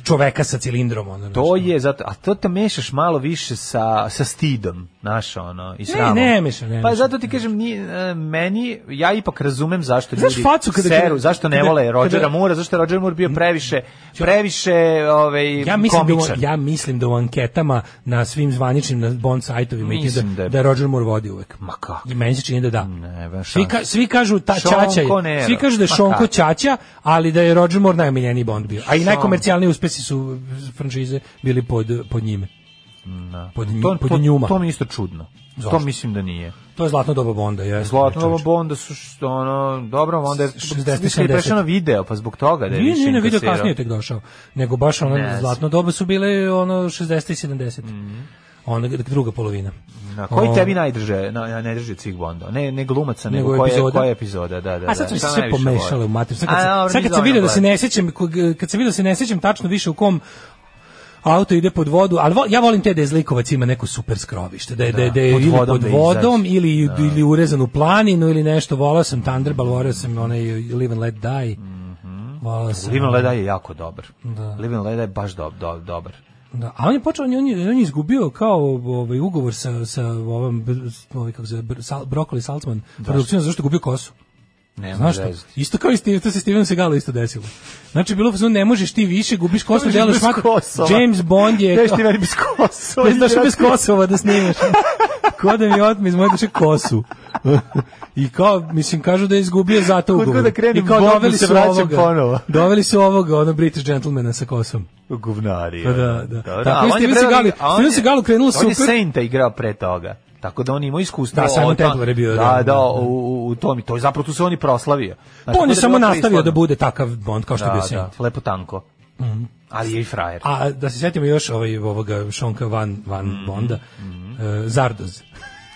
čoveka sa cilindrom ono. To je zato, a to te mešaš malo više sa, sa stidom, znaš, ono, i Ne, sramom. ne mešam, ne Pa mešam. zato ti kažem, ni, e, meni, ja ipak razumem zašto Znaš ljudi facu kada- seru, zašto ne kada- vole Rodgera kada- Moora, zašto je Roger Moore bio previše, previše ovaj, Ja mislim, da, u- komičan. ja mislim da u anketama na svim zvaničnim na Bond sajtovima i da, Mislim da je- da je Roger Moore vodi uvek. Ma kako? I meni se čini da da. Ne, ono, baš Svi, ka, svi kažu ta Šonko Čača je, Nero. svi kažu da je Ma Šonko kako? Čača, ali da je Roger Moore najmiljeniji Bond bio. A i Šonko. najkomercijalniji uspesi su franšize bili pod, pod njime. Da. pod nju- to, pod to- njuma. To mi je isto čudno. Zašto? To mislim da nije. To je zlatno doba Bonda. Je, Zlatno Bonda su što ono, dobro, onda je 60, mislim da je prešao na video, pa zbog toga da je Nije, više nije na video inkasirao. kasnije je tek došao. Nego baš ono Ne znam. Mhm. zlatno doba su bile ono 60 i 70. Onda druga polovina. Na koji O, tebi najdrže, na, na- najdrži od svih Bonda? Ne, ne glumaca, nego, Nego koja, je- epizoda. koja je epizoda, da, da. A sad da, su mi se to sve najviše pomešale volim. u materiju. Sad A, kad, dobro, se, sad nije kad sam dobro vidio da se gledati. ne sećam, kog- kad sam vidio da se ne sećam tačno više u kom auto ide pod vodu, ali vo- ja volim te da je zlikovac ima neko super skrovište, da je, da, je- da je pod ili vodom pod da vodom izađe. ili, ili urezan u planinu ili nešto, volao sam Thunderball, volao sam onaj Live and Let Die, Mhm. volao sam... Living Leda je jako dobar. Da. Living Leda je baš dob, do- dobar. Da, a on je počeo, on je, on je, on je izgubio kao ovaj, ugovor sa, sa ovom, br- s- ovaj, kako se, zove, br- sal, Brokoli Saltzman, produkcijom, zašto je gubio kosu. Nema Znaš što? veze. Isto kao i Steve, to se Steven Seagalu isto desilo. Znači, bilo fazon, ne možeš ti više, gubiš kosu, možeš delaš bez svako... Kosova. James Bond je... Znaš ti meni bez Kosova. E, Ne znaš bez Kosova da snimaš. Ko da mi otme iz moje duše kosu. I kao, mislim, kažu da je izgubio zato Kako ugovor. da krenem I kao Bondu, doveli se su vraćam ovoga. ponovo. Doveli su ovoga, ono British gentlemana sa kosom. Guvnari. Pa da, da. ono. Dobro, Tako a on i je Steven pre- Seagalu- a on je- Steven Seagalu krenulo On je super. Sainta igrao pre toga. Tako da on ima iskustvo. Da, Simon od- Templar je bio, da, Da, da, da. u, u- u tom i to je zapravo tu se on i proslavio. Znači, Pa on to je bilo samo pristojno. nastavio da bude takav Bond kao što je bio Da, Saint. Mhm. da, lepo tanko. Ali je i frajer. A da se sjetimo još ovaj, ovoga Šonka Van, Van Mm, Bonda, e, Zardoz.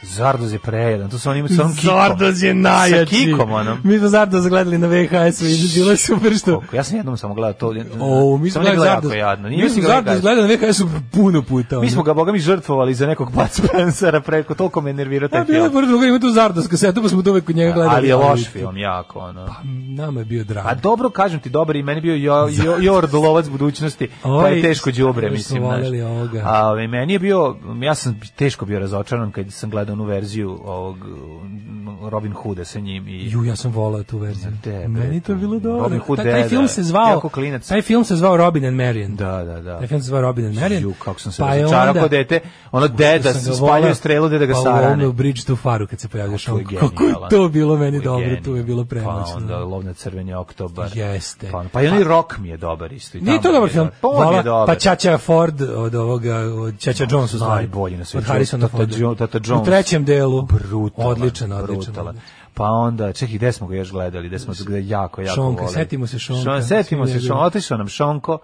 Zardoz je prejedan, tu se on ima sa onom kikom. Zardoz je najjači. Sa kikom ono. onom. Mi smo Zardoz gledali na VHS-u i bilo je super što... Ja sam jednom samo gledao to. O, mi smo samo ne gledali gledao Zardoz. jako jadno. Nije Mi ga smo gledao Zardoz jako. gledali na VHS-u puno puta. ono. Mi smo ga, boga mi, žrtvovali za nekog Bud Spencera preko, toliko me nervirao Da, taj Pa bilo je Pa film. pored druga, ima tu Zardoz kasetu, pa smo to uvek kod njega gledali. Ali je loš film, Pa jako, ono. Nama je bio drag. A dobro, kažem ti, dobar i meni bio jo, jo, Jord Lovac budućnosti, pa Oj, je teško đubre, mi smo mislim. znaš. voljeli ovoga. A ovaj, meni je bio, ja sam teško bio razočaran kad sam gledao onu verziju ovog mm, Robin Hooda sa njim i Ju, ja sam volao tu verziju. Tebe, Meni to bilo dobro. Robin Hood taj, taj deda, film se zvao, jako klinac. taj film se zvao Robin and Marian. Da, da, da. Taj film se zvao Robin and Marian. Ju, kako sam se Pa je razočarao onda- kod dete. Ono deda sam ga se voleo, spaljuje strelu, deda ga pa sarane. lomio u Bridge to Faru kad se pojavio To je Šonko. Kako je genijalan. to bilo To meni je dobro, genijalan. tu je bilo premoćno. Pa onda lov na crveni oktobar. Jeste. Pa, ono- pa i onaj rock mi je dobar isto. i Nije tamo to mi dobar je film. Pa on mi je Vola, dobar. pa Čača Ford od ovoga, od Čača Jones u stvari. Najbolji na Od svijetu. Harrisona Tata Forda. Jo- Tata Jones. U trećem delu. Brutalan, Odličan, odličan. brutalan. odličan. Pa onda, čekaj, gde smo ga još gledali, gde smo se gde jako, jako Šonka, voleli. setimo se Šonka. Šon- setimo Svi se Šonka, njegovi. otišao nam Šonko,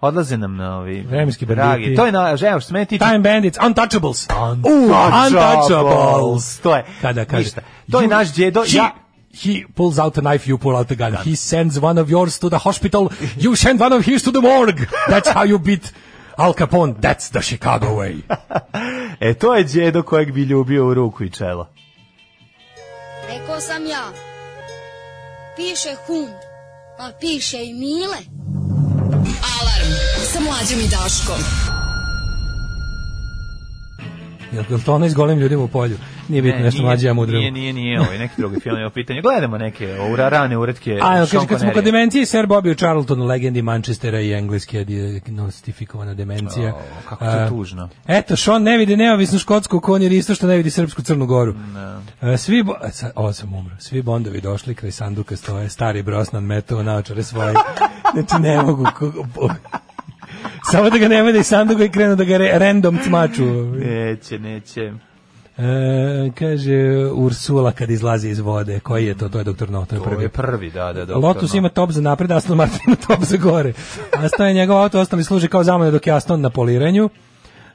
odlaze nam na ovi... Vremenski banditi. dragi. To je na, evo, što mene tiče, Time Bandits, Untouchables. Uh, Untouchables. To je, Kada kaže. ništa. To je "You- naš djedo, he, ja- He pulls out a knife, you pull out a gun. He sends one of yours to the hospital, you send one of his to the morgue. That's how you beat Al Capone. That's the Chicago way. E, to je djedo kojeg bi ljubio u ruku i čelo. Rekao sam ja. Piše hum, a piše i mile. Alarm sa mlađom i Daškom. Jel jel to ono iz golim ljudima u polju? Nije bitno, Ne, nešto E, nije, mlađe ja mudrimo. Nije, nije, nije, ovo je neki drugi film je u pitanju. Gledamo neke ura, rane uretke A, kaže, E, Sean kad smo Connery. kod demencije, Sir Bobby u Charltonu, legendi Manchestera i Engleske, diagnostifikovana demencija. O, kako to A, tužno. Eto, Sean ne vidi neovisnu škotsku konjer, isto što ne vidi srpsku crnu goru. E, Svi, bo, e, sad, ovo sam umro. Svi bondovi došli, kraj sanduka stoje, stari brosnan metao naočare svoje. znači, ne mogu. ko- bo- Samo da ga ne vede iz sanduka i krenu da ga re- random cmaču. Neće, neće. E, kaže Ursula kad izlazi iz vode. Koji je to? To je doktor No, to je Prvi, prvi. prvi, da, da, da. Lotus ima top za napred, Aston Martin ima top za gore. A staje njegov auto, ostali služi kao zamena dok je Aston na poliranju.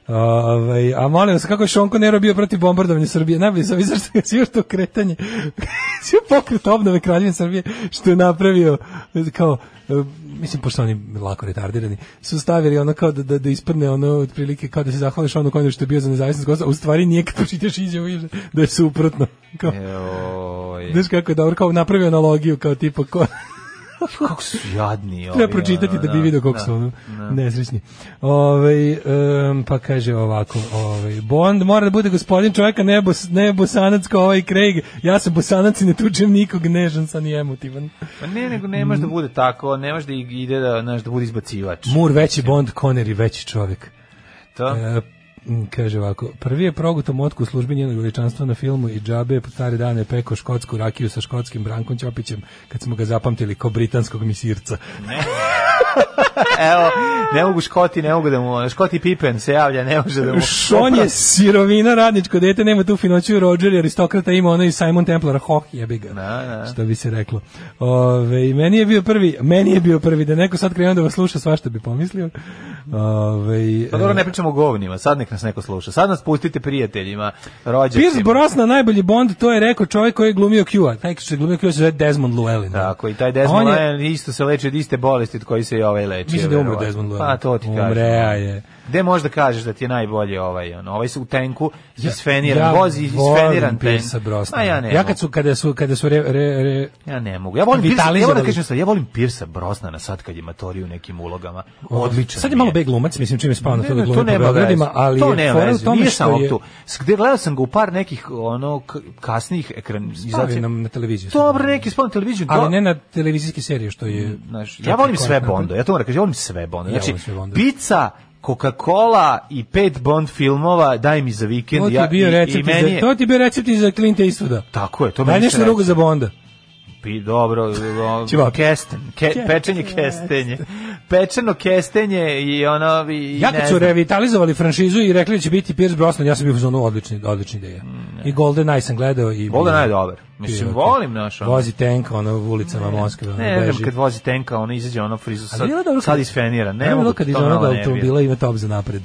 Ovaj, a molim vas, kako je Šonko Nero bio protiv bombardovanja Srbije? Najbolje sam vidio što je sve to kretanje, sve pokret obnove kraljevine Srbije, što je napravio, kao, e, mislim, pošto oni lako retardirani, su stavili ono kao da, da, da ispadne ono, otprilike, kao da se zahvališ ono koji što je bio za nezavisnost Kosova, u stvari nije kad pročitaš izjavu, vidiš da je suprotno. Kao, Znaš kako je dobro, kao napravio analogiju, kao tipa, ko, kako su jadni ovi. Treba pročitati da bi video kako su ono nesrećni. Ovaj em, pa kaže ovako, ovaj Bond mora da bude gospodin čovjeka, ne, bos, ne bosanac kao ovaj Craig. Ja sam bosanac i ne tučem nikog, nežan sam i emotivan. Pa ne, nego nemaš da bude tako, nemaš da ide da, znaš, da bude izbacivač. Mur veći Bond, Connery veći čovjek. To? E, m, kaže ovako, prvi je proguto motku u službi njenog veličanstva na filmu i džabe je po stare dane peko škotsku rakiju sa škotskim Brankom Ćopićem kad smo ga zapamtili kao britanskog misirca. Evo, ne mogu Škoti, ne mogu da mu, Škoti Pippen se javlja, ne može da mu. Šon je sirovina radničko dete, nema tu finoću Roger i aristokrata, ima ono i Simon Templara, hoh jebi ga, što bi se reklo. Ove, i meni je bio prvi, meni je bio prvi, da neko sad krenuo da vas sluša, svašta bi pomislio. Ove, e, Pa dobro, ne pričamo o govnima, sad nek nas neko sluša. Sad nas pustite prijateljima, rođacima. Pierce Brosnan najbolji Bond, to je rekao čovjek koji je glumio Q-a. Taj što je glumio Q-a se zove Desmond Llewellyn. Tako, i taj Desmond On je- Llewellyn isto se leči od iste bolesti od koji se i ovaj leči. Mislim da je umro verovatno. Desmond Llewellyn. Pa to ti kažem. Umrea je. Gde možda kažeš da ti je najbolji ovaj, on, ovaj se u tenku, Ja- isfeniran, ja vozi volim isfeniran ten. Piercea Brosnana. A ja ne Ja mogu. kad su, kada su, kada su re, re, re, Ja ne mogu. Ja volim Pirsa, ja Vitalizovali. volim da kažem sad, ja volim Pirsa Brosnana sad kad je matoriju u nekim ulogama. Odličan. Sad je malo beg glumac, mislim čim je spao na Ne, to da ne, glumi po nema Beogradima, veze. ali to je nema fora u veze, tome nije što samo je- tu. S- Gde gledao sam ga u par nekih ono k- kasnih Stavio ekranizacija. nam na televiziju. Dobro, neki spao na televiziju. Ali do- ne na televizijske serije, što je... Znaš, čak ja i volim sve korak nakon. Bonda, ja to moram kažem, ja volim sve Bonda. Ja Znači, volim sve Bonda. pizza, Coca-Cola i pet Bond filmova, daj mi za vikend. To ti ja, je bio i- recept, i, meni za, je, to ti je bio recept i za Clint Eastwooda. Tako je, to Daj meni nešto se drugo radi. za Bonda. Pi, dobro, o, Ćevapi. kesten, ke, Ke- pečenje kestenje. Pečeno kestenje i ono... I, Ja kad ne su znam. revitalizovali franšizu i rekli da će biti Pierce Brosnan, ja sam bio u zonu odlični, odlična ideja. Mm, I Golden Eye sam gledao i... Golden Eye je dobar. Mislim, Bio je volim okej. naš, ono. Vozi tank, ono, u ulicama Moskve, ono, Ne, znam, beži. kad vozi tenka, ono izađe ono frizu, Ali sad, bilo je dobro sad kad- isfenira. bilo je Ne dobro mogu, kad iz to me onog malo nervira. automobila ima top za napred.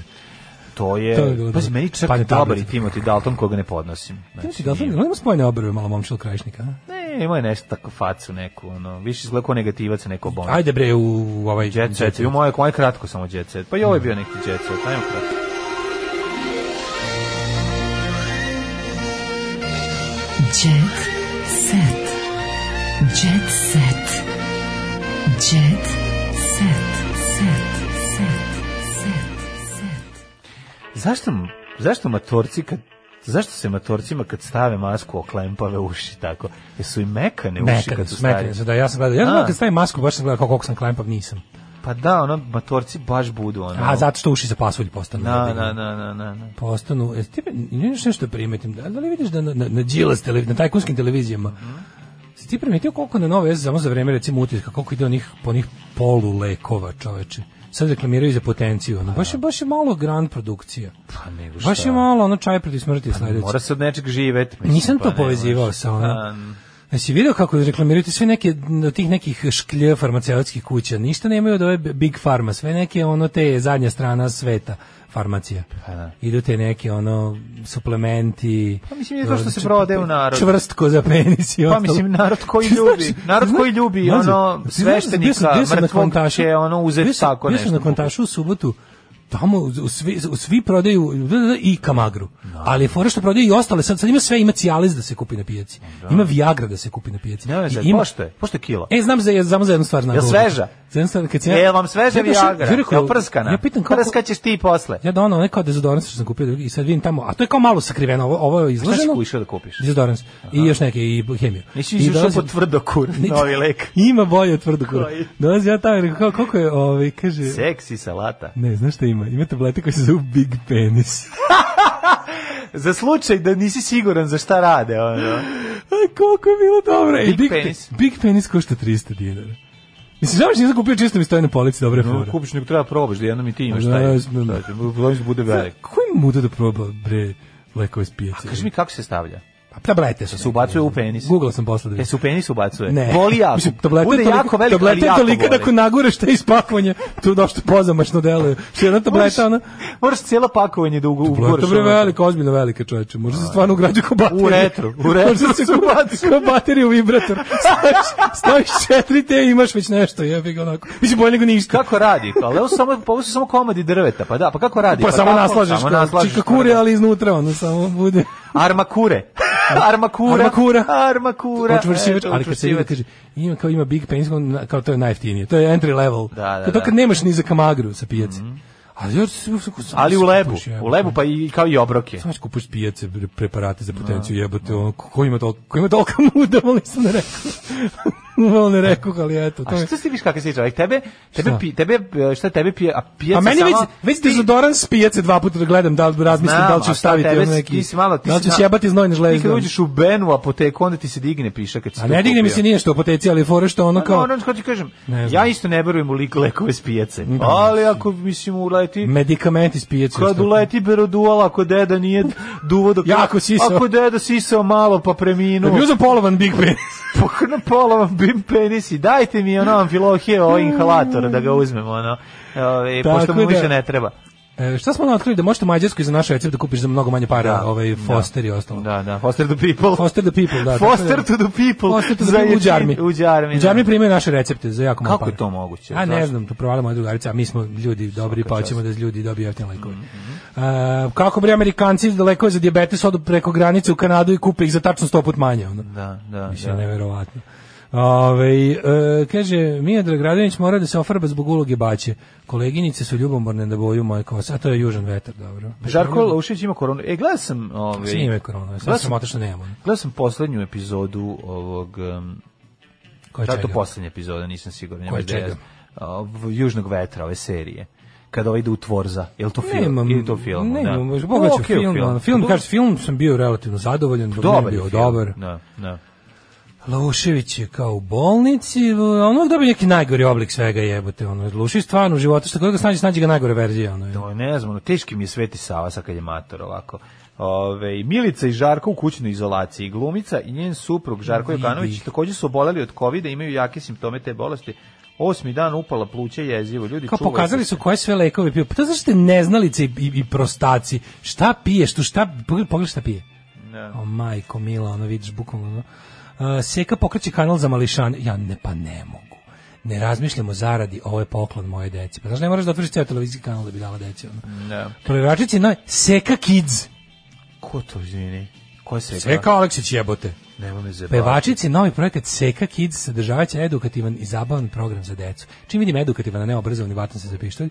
To je, To je bilo pazi, dobro. meni čak Padne dobar i tablica. Timothy Dalton koga ne podnosim. Znači, da li da li ima spojene obrve malo momčil krajišnika? a? Ne, ima je nešto tako facu neku, ono, više izgleda kao negativac, neko bomba. Pa, Ajde bre u, u ovaj... Jet set, i u moje, moje kratko samo jet set. Pa i ovo je bio neki jet set, ajmo kratko. Jet set. Jet set. Jet set. Set. Set. Set. Set. Zašto, zašto matorci kad Zašto se matorcima kad stave masku oklempave uši tako? Jesu i mekane uši Mekane kad su su, mekane stari? su, da, ja sam gledao. Ja A. sam gledao kad stavim masku, baš sam gledao koliko sam klempav, nisam. Pa da, ono, matorci baš budu ono. A zato što uši za pasulj postanu. Na, jebi ga. na, na, na, na, na. Postanu, jesi ti, nemaš nešto da primetim, da, da li vidiš da na, na, na Đilas televi- na tajkunskim televizijama, si ti primetio koliko na nove veze, samo za vreme recimo utiska, koliko ide onih, po onih polu lekova čoveče. Sad reklamiraju za potenciju, ono, baš je, baš je malo grand produkcija. Pa nego šta? Pa Baš je malo, ono, čaj protiv smrti sledeći. Mora se od nečeg živeti. mislim, Nisam pa to ne povezivao možeš. sa ono. Pa, Jesi video kako reklamiraju sve neke od tih nekih šklje farmaceutskih kuća? Ništa nemaju od ove Big Pharma, sve neke ono te zadnja strana sveta farmacija. Idu te neke ono suplementi. Pa mislim, je to što se čv- prode u narodu. Čvrstko za penis i Pa ostalo. mislim, narod koji Ti znaš- ljubi, narod koji ljubi, Mlađe, ono, ti znaš, sveštenika, bio sam- bio sam na mrtvog Kontašu. će, ono, uzeti Bio sam- tako bio sam nešto. na kontašu u subotu tamo u, u svi, u svi prodaju da, da, da, i kamagru. Ali je fora što prodaju i ostale. Sad, sad ima sve, ima Cialis da se kupi na pijaci. Ima Viagra da se kupi na pijaci. Ne, ne, I sad, ima- pošto je, pošto je kilo. E, znam za, znam za jednu stvar. Znam Jel dobro. sveža? Za jednu stvar, kad sam ja- Je vam sveža Ja došao- Viagra? ja rekao- Jel prskana? Ja pitam kako... Prskaćeš ti posle. Ja donao onaj kao dezodorans što sam kupio drugi i sad vidim tamo, a to je kao malo sakriveno, ovo, ovo je Šta si izlaženo. išao da kupiš? Dezodorans. I još neke, i hemiju. Nisi I išao dolazim- po tvrdokur, Ne, novi lek. Ima bolje od tvrdog kura. Koji? Dolazi ja tamo i rekao, kao, koliko je, ovaj, kaže... Seksi salata. Ne, znaš šta ima? Ima tablete koje se zovu Big Penis. Za slučaj da nisi siguran za šta rade, ono. Aj, koliko je bilo dobro. Ej, Big Big, Penis. Pe- Big Penis košta 300 dinara. Mislim, žao što nisam kupio, čisto mi stoji na polici, dobre No, fora. kupiš nego treba probaš, da jednom i ti imaš Da, taj. ja Da, znam. će, Vojnić bude velik. Ko je muda da proba, bre, lekove s pijace? Kaži mi kako se stavlja. tablete su. Se ubacuje u penis. Google sam posle da vidim. E, se u penis ubacuje. Ne. Boli jako. Mislim, tablete Bude toliko- jako veliko, tablete ali jako toliko da boli. ako nagureš te ispakovanje, tu došto pozamašno deluje. Što jedna tableta, ona... Moraš cijelo pakovanje da ugu- ono. Tableta uguraš. bre ono. velika, ozbiljno velika čoveče. Može se stvarno ugrađu kao baterija. U retro, u retro Može se se kao, kao baterija u vibrator. Staviš, staviš četiri te i imaš već nešto, jebi ga onako. Mislim, bolje nego ništa. Kako radi? Pa, ali ovo su samo, pa ovo su samo komadi drveta, pa da, pa kako radi? Pa, samo tako, naslažeš. Samo kao naslažeš. pa Čikakure, ali iznutra, ono samo bude. Armakure. Armakura. Armakura. Armakura. E, Učvršivač, Eto, ali kad se ide, učvršivač. kaže, ima, kao ima big penis, on na- kao to je najeftinije. To je entry level. Da, da, Kao to kad da. nemaš ni za kamagru sa pijace. Ali, još se uvijek tako sam- Ali u sam lebu, kupuš, jebote. u lebu pa i kao i obroke. Znaš, kupuš pijace, pre- preparate za potenciju, jebote, ono, ko ko ima toliko, ko ima toliko muda, volim sam ne rekao. Volim ne rekao, ali eto, to A je. što si viš kakav si čovjek? Tebe, tebe, Šta? pi, tebe, e, šta tebe pije, a pijaca A meni već, sama- već dezodoran s pijace dva puta da gledam, da li razmislim Znam, da a li ću šta staviti tebe, ono neki, Ti si malo, ti da li si ću na- sjebati znojne Ti kad žlezde. uđeš u Benu apoteku, onda ti se digne pišak kad si A to ne digne mi kupio. se nije što u apoteci, ali fore što ono Pa kao... kao... Ono, što ti kažem, Ne znam. ja isto ne verujem u lik lekove s pijace. Ali ako, mislim, uleti... Medikamenti s pijace. Kad što- uleti berodual, ako deda nije duvo dok... Jako sisao. Ako deda sisao malo, pa preminuo. Da bi uzeo polovan Big Ben. Pok- na pola vam bim penisi, dajte mi ono amfilohije, ovo inhalator da ga uzmem, ono, ove, Tako pošto mu da- više ne treba. E, šta smo otkrili da možete u Mađarskoj za naš recept da kupiš za mnogo manje para, Da, ovaj da. Foster i ostalo. Da, da, foster the people. Foster the people, da. tako Foster to the people. Foster to the Za people u ječin- Đarmi. U džarmi. U Đarmi primaju naše recepte za jako malo Kako para. je to moguće? A ne Zašto? znam, to provala moja drugarica, a mi smo ljudi dobri, pa čast. Mm, hoćemo da ljudi dobiju jeftine lekove. E, kako bre Amerikanci lekove za dijabetes odu preko granice u Kanadu i kupe ih za tačno 100 put manje. Ono. Da, da, Mislim, da. neverovatno. Ove, e, kaže, Mija Dragradović mora da se ofarba zbog uloge baće. Koleginice su ljubomorne da boju moje kose. A to je južan vetar, dobro. Žarko Laušić ima koronu. E, gledao sam... Ovaj, Svi imaju koronu, sad gledao sam otišao, ono, nemamo. Gledao sam poslednju epizodu ovog... Um, Koje šta je to čega? poslednja epizoda, nisam siguran. nema Koje ideje. čega? A, v- Južnog vetra, ove serije. Kada ovaj ide u Tvorza. Je li to film? Nemam- Ili to film? nemam, da. Pa pogledat ću Ok, film, ono, film, Pa kaže, film sam bio relativno zadovoljan, dok Dobar nije je bio film. dobar. Da, da. Laušević je kao u bolnici, on uvijek dobio neki najgori oblik svega jebote, ono, Laušević stvarno u životu, što god ga snađe, snađe ga najgore verzije, ono. No, ne znam, ono, teški mi je Sveti Sava sad kad je mator ovako. Ove, Milica i Žarko u kućnoj izolaciji. Glumica i njen suprug Žarko Vidi. Jokanović također su oboleli od covida, imaju jake simptome te bolesti. Osmi dan upala pluća jezivo. Ljudi Kao čuvaju pokazali se. su koje sve lekove pio. Pa to zašto ste neznalice i, i, i prostaci? Šta piješ tu? Šta, pogledaj, pogledaj šta pije. Da. O majko mila, ono vidiš bukvalno. Ono. Uh, seka pokreće kanal za mališan. Ja ne, pa ne mogu. Ne razmišljam o zaradi, ovo je poklon moje deci. Pa znaš, ne moraš da otvoriš ceo televizijski kanal da bi dala deci. Ono. Da. Proveračici, naj, Seka Kids. Ko to izvini? Ko je Seka? Seka Aleksić jebote. Nema me zebati. Pevačici, novi projekat Seka Kids sadržavaće edukativan i zabavan program za decu. Čim vidim edukativan, a ne obrazovni vatan se za pištolj,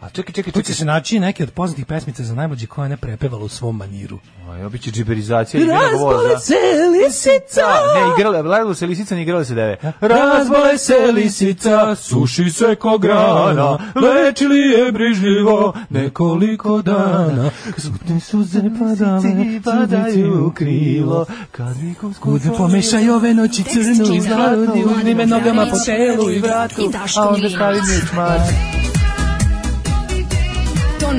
A čekaj, čekaj, Tu će čekaj. se naći neke od poznatih pesmica za najmlađe koja ne prepevala u svom maniru. Aj, ovo biće džiberizacija. ili ne Razbole govoza. se lisica, Ne, igrala, lagalo se lisica, ne igrala se deve. razbole se lisica, suši se ko grana, leči li je brižljivo nekoliko dana. Zutne suze padale, padaju u krilo, kad nikom skupo... Kud pomešaj ove noći crnu i zlatu, uzmi me nogama po telu i vratu, a onda stavi mi u čmar. Ton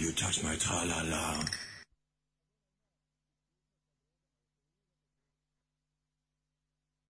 You touch my tra-la-la.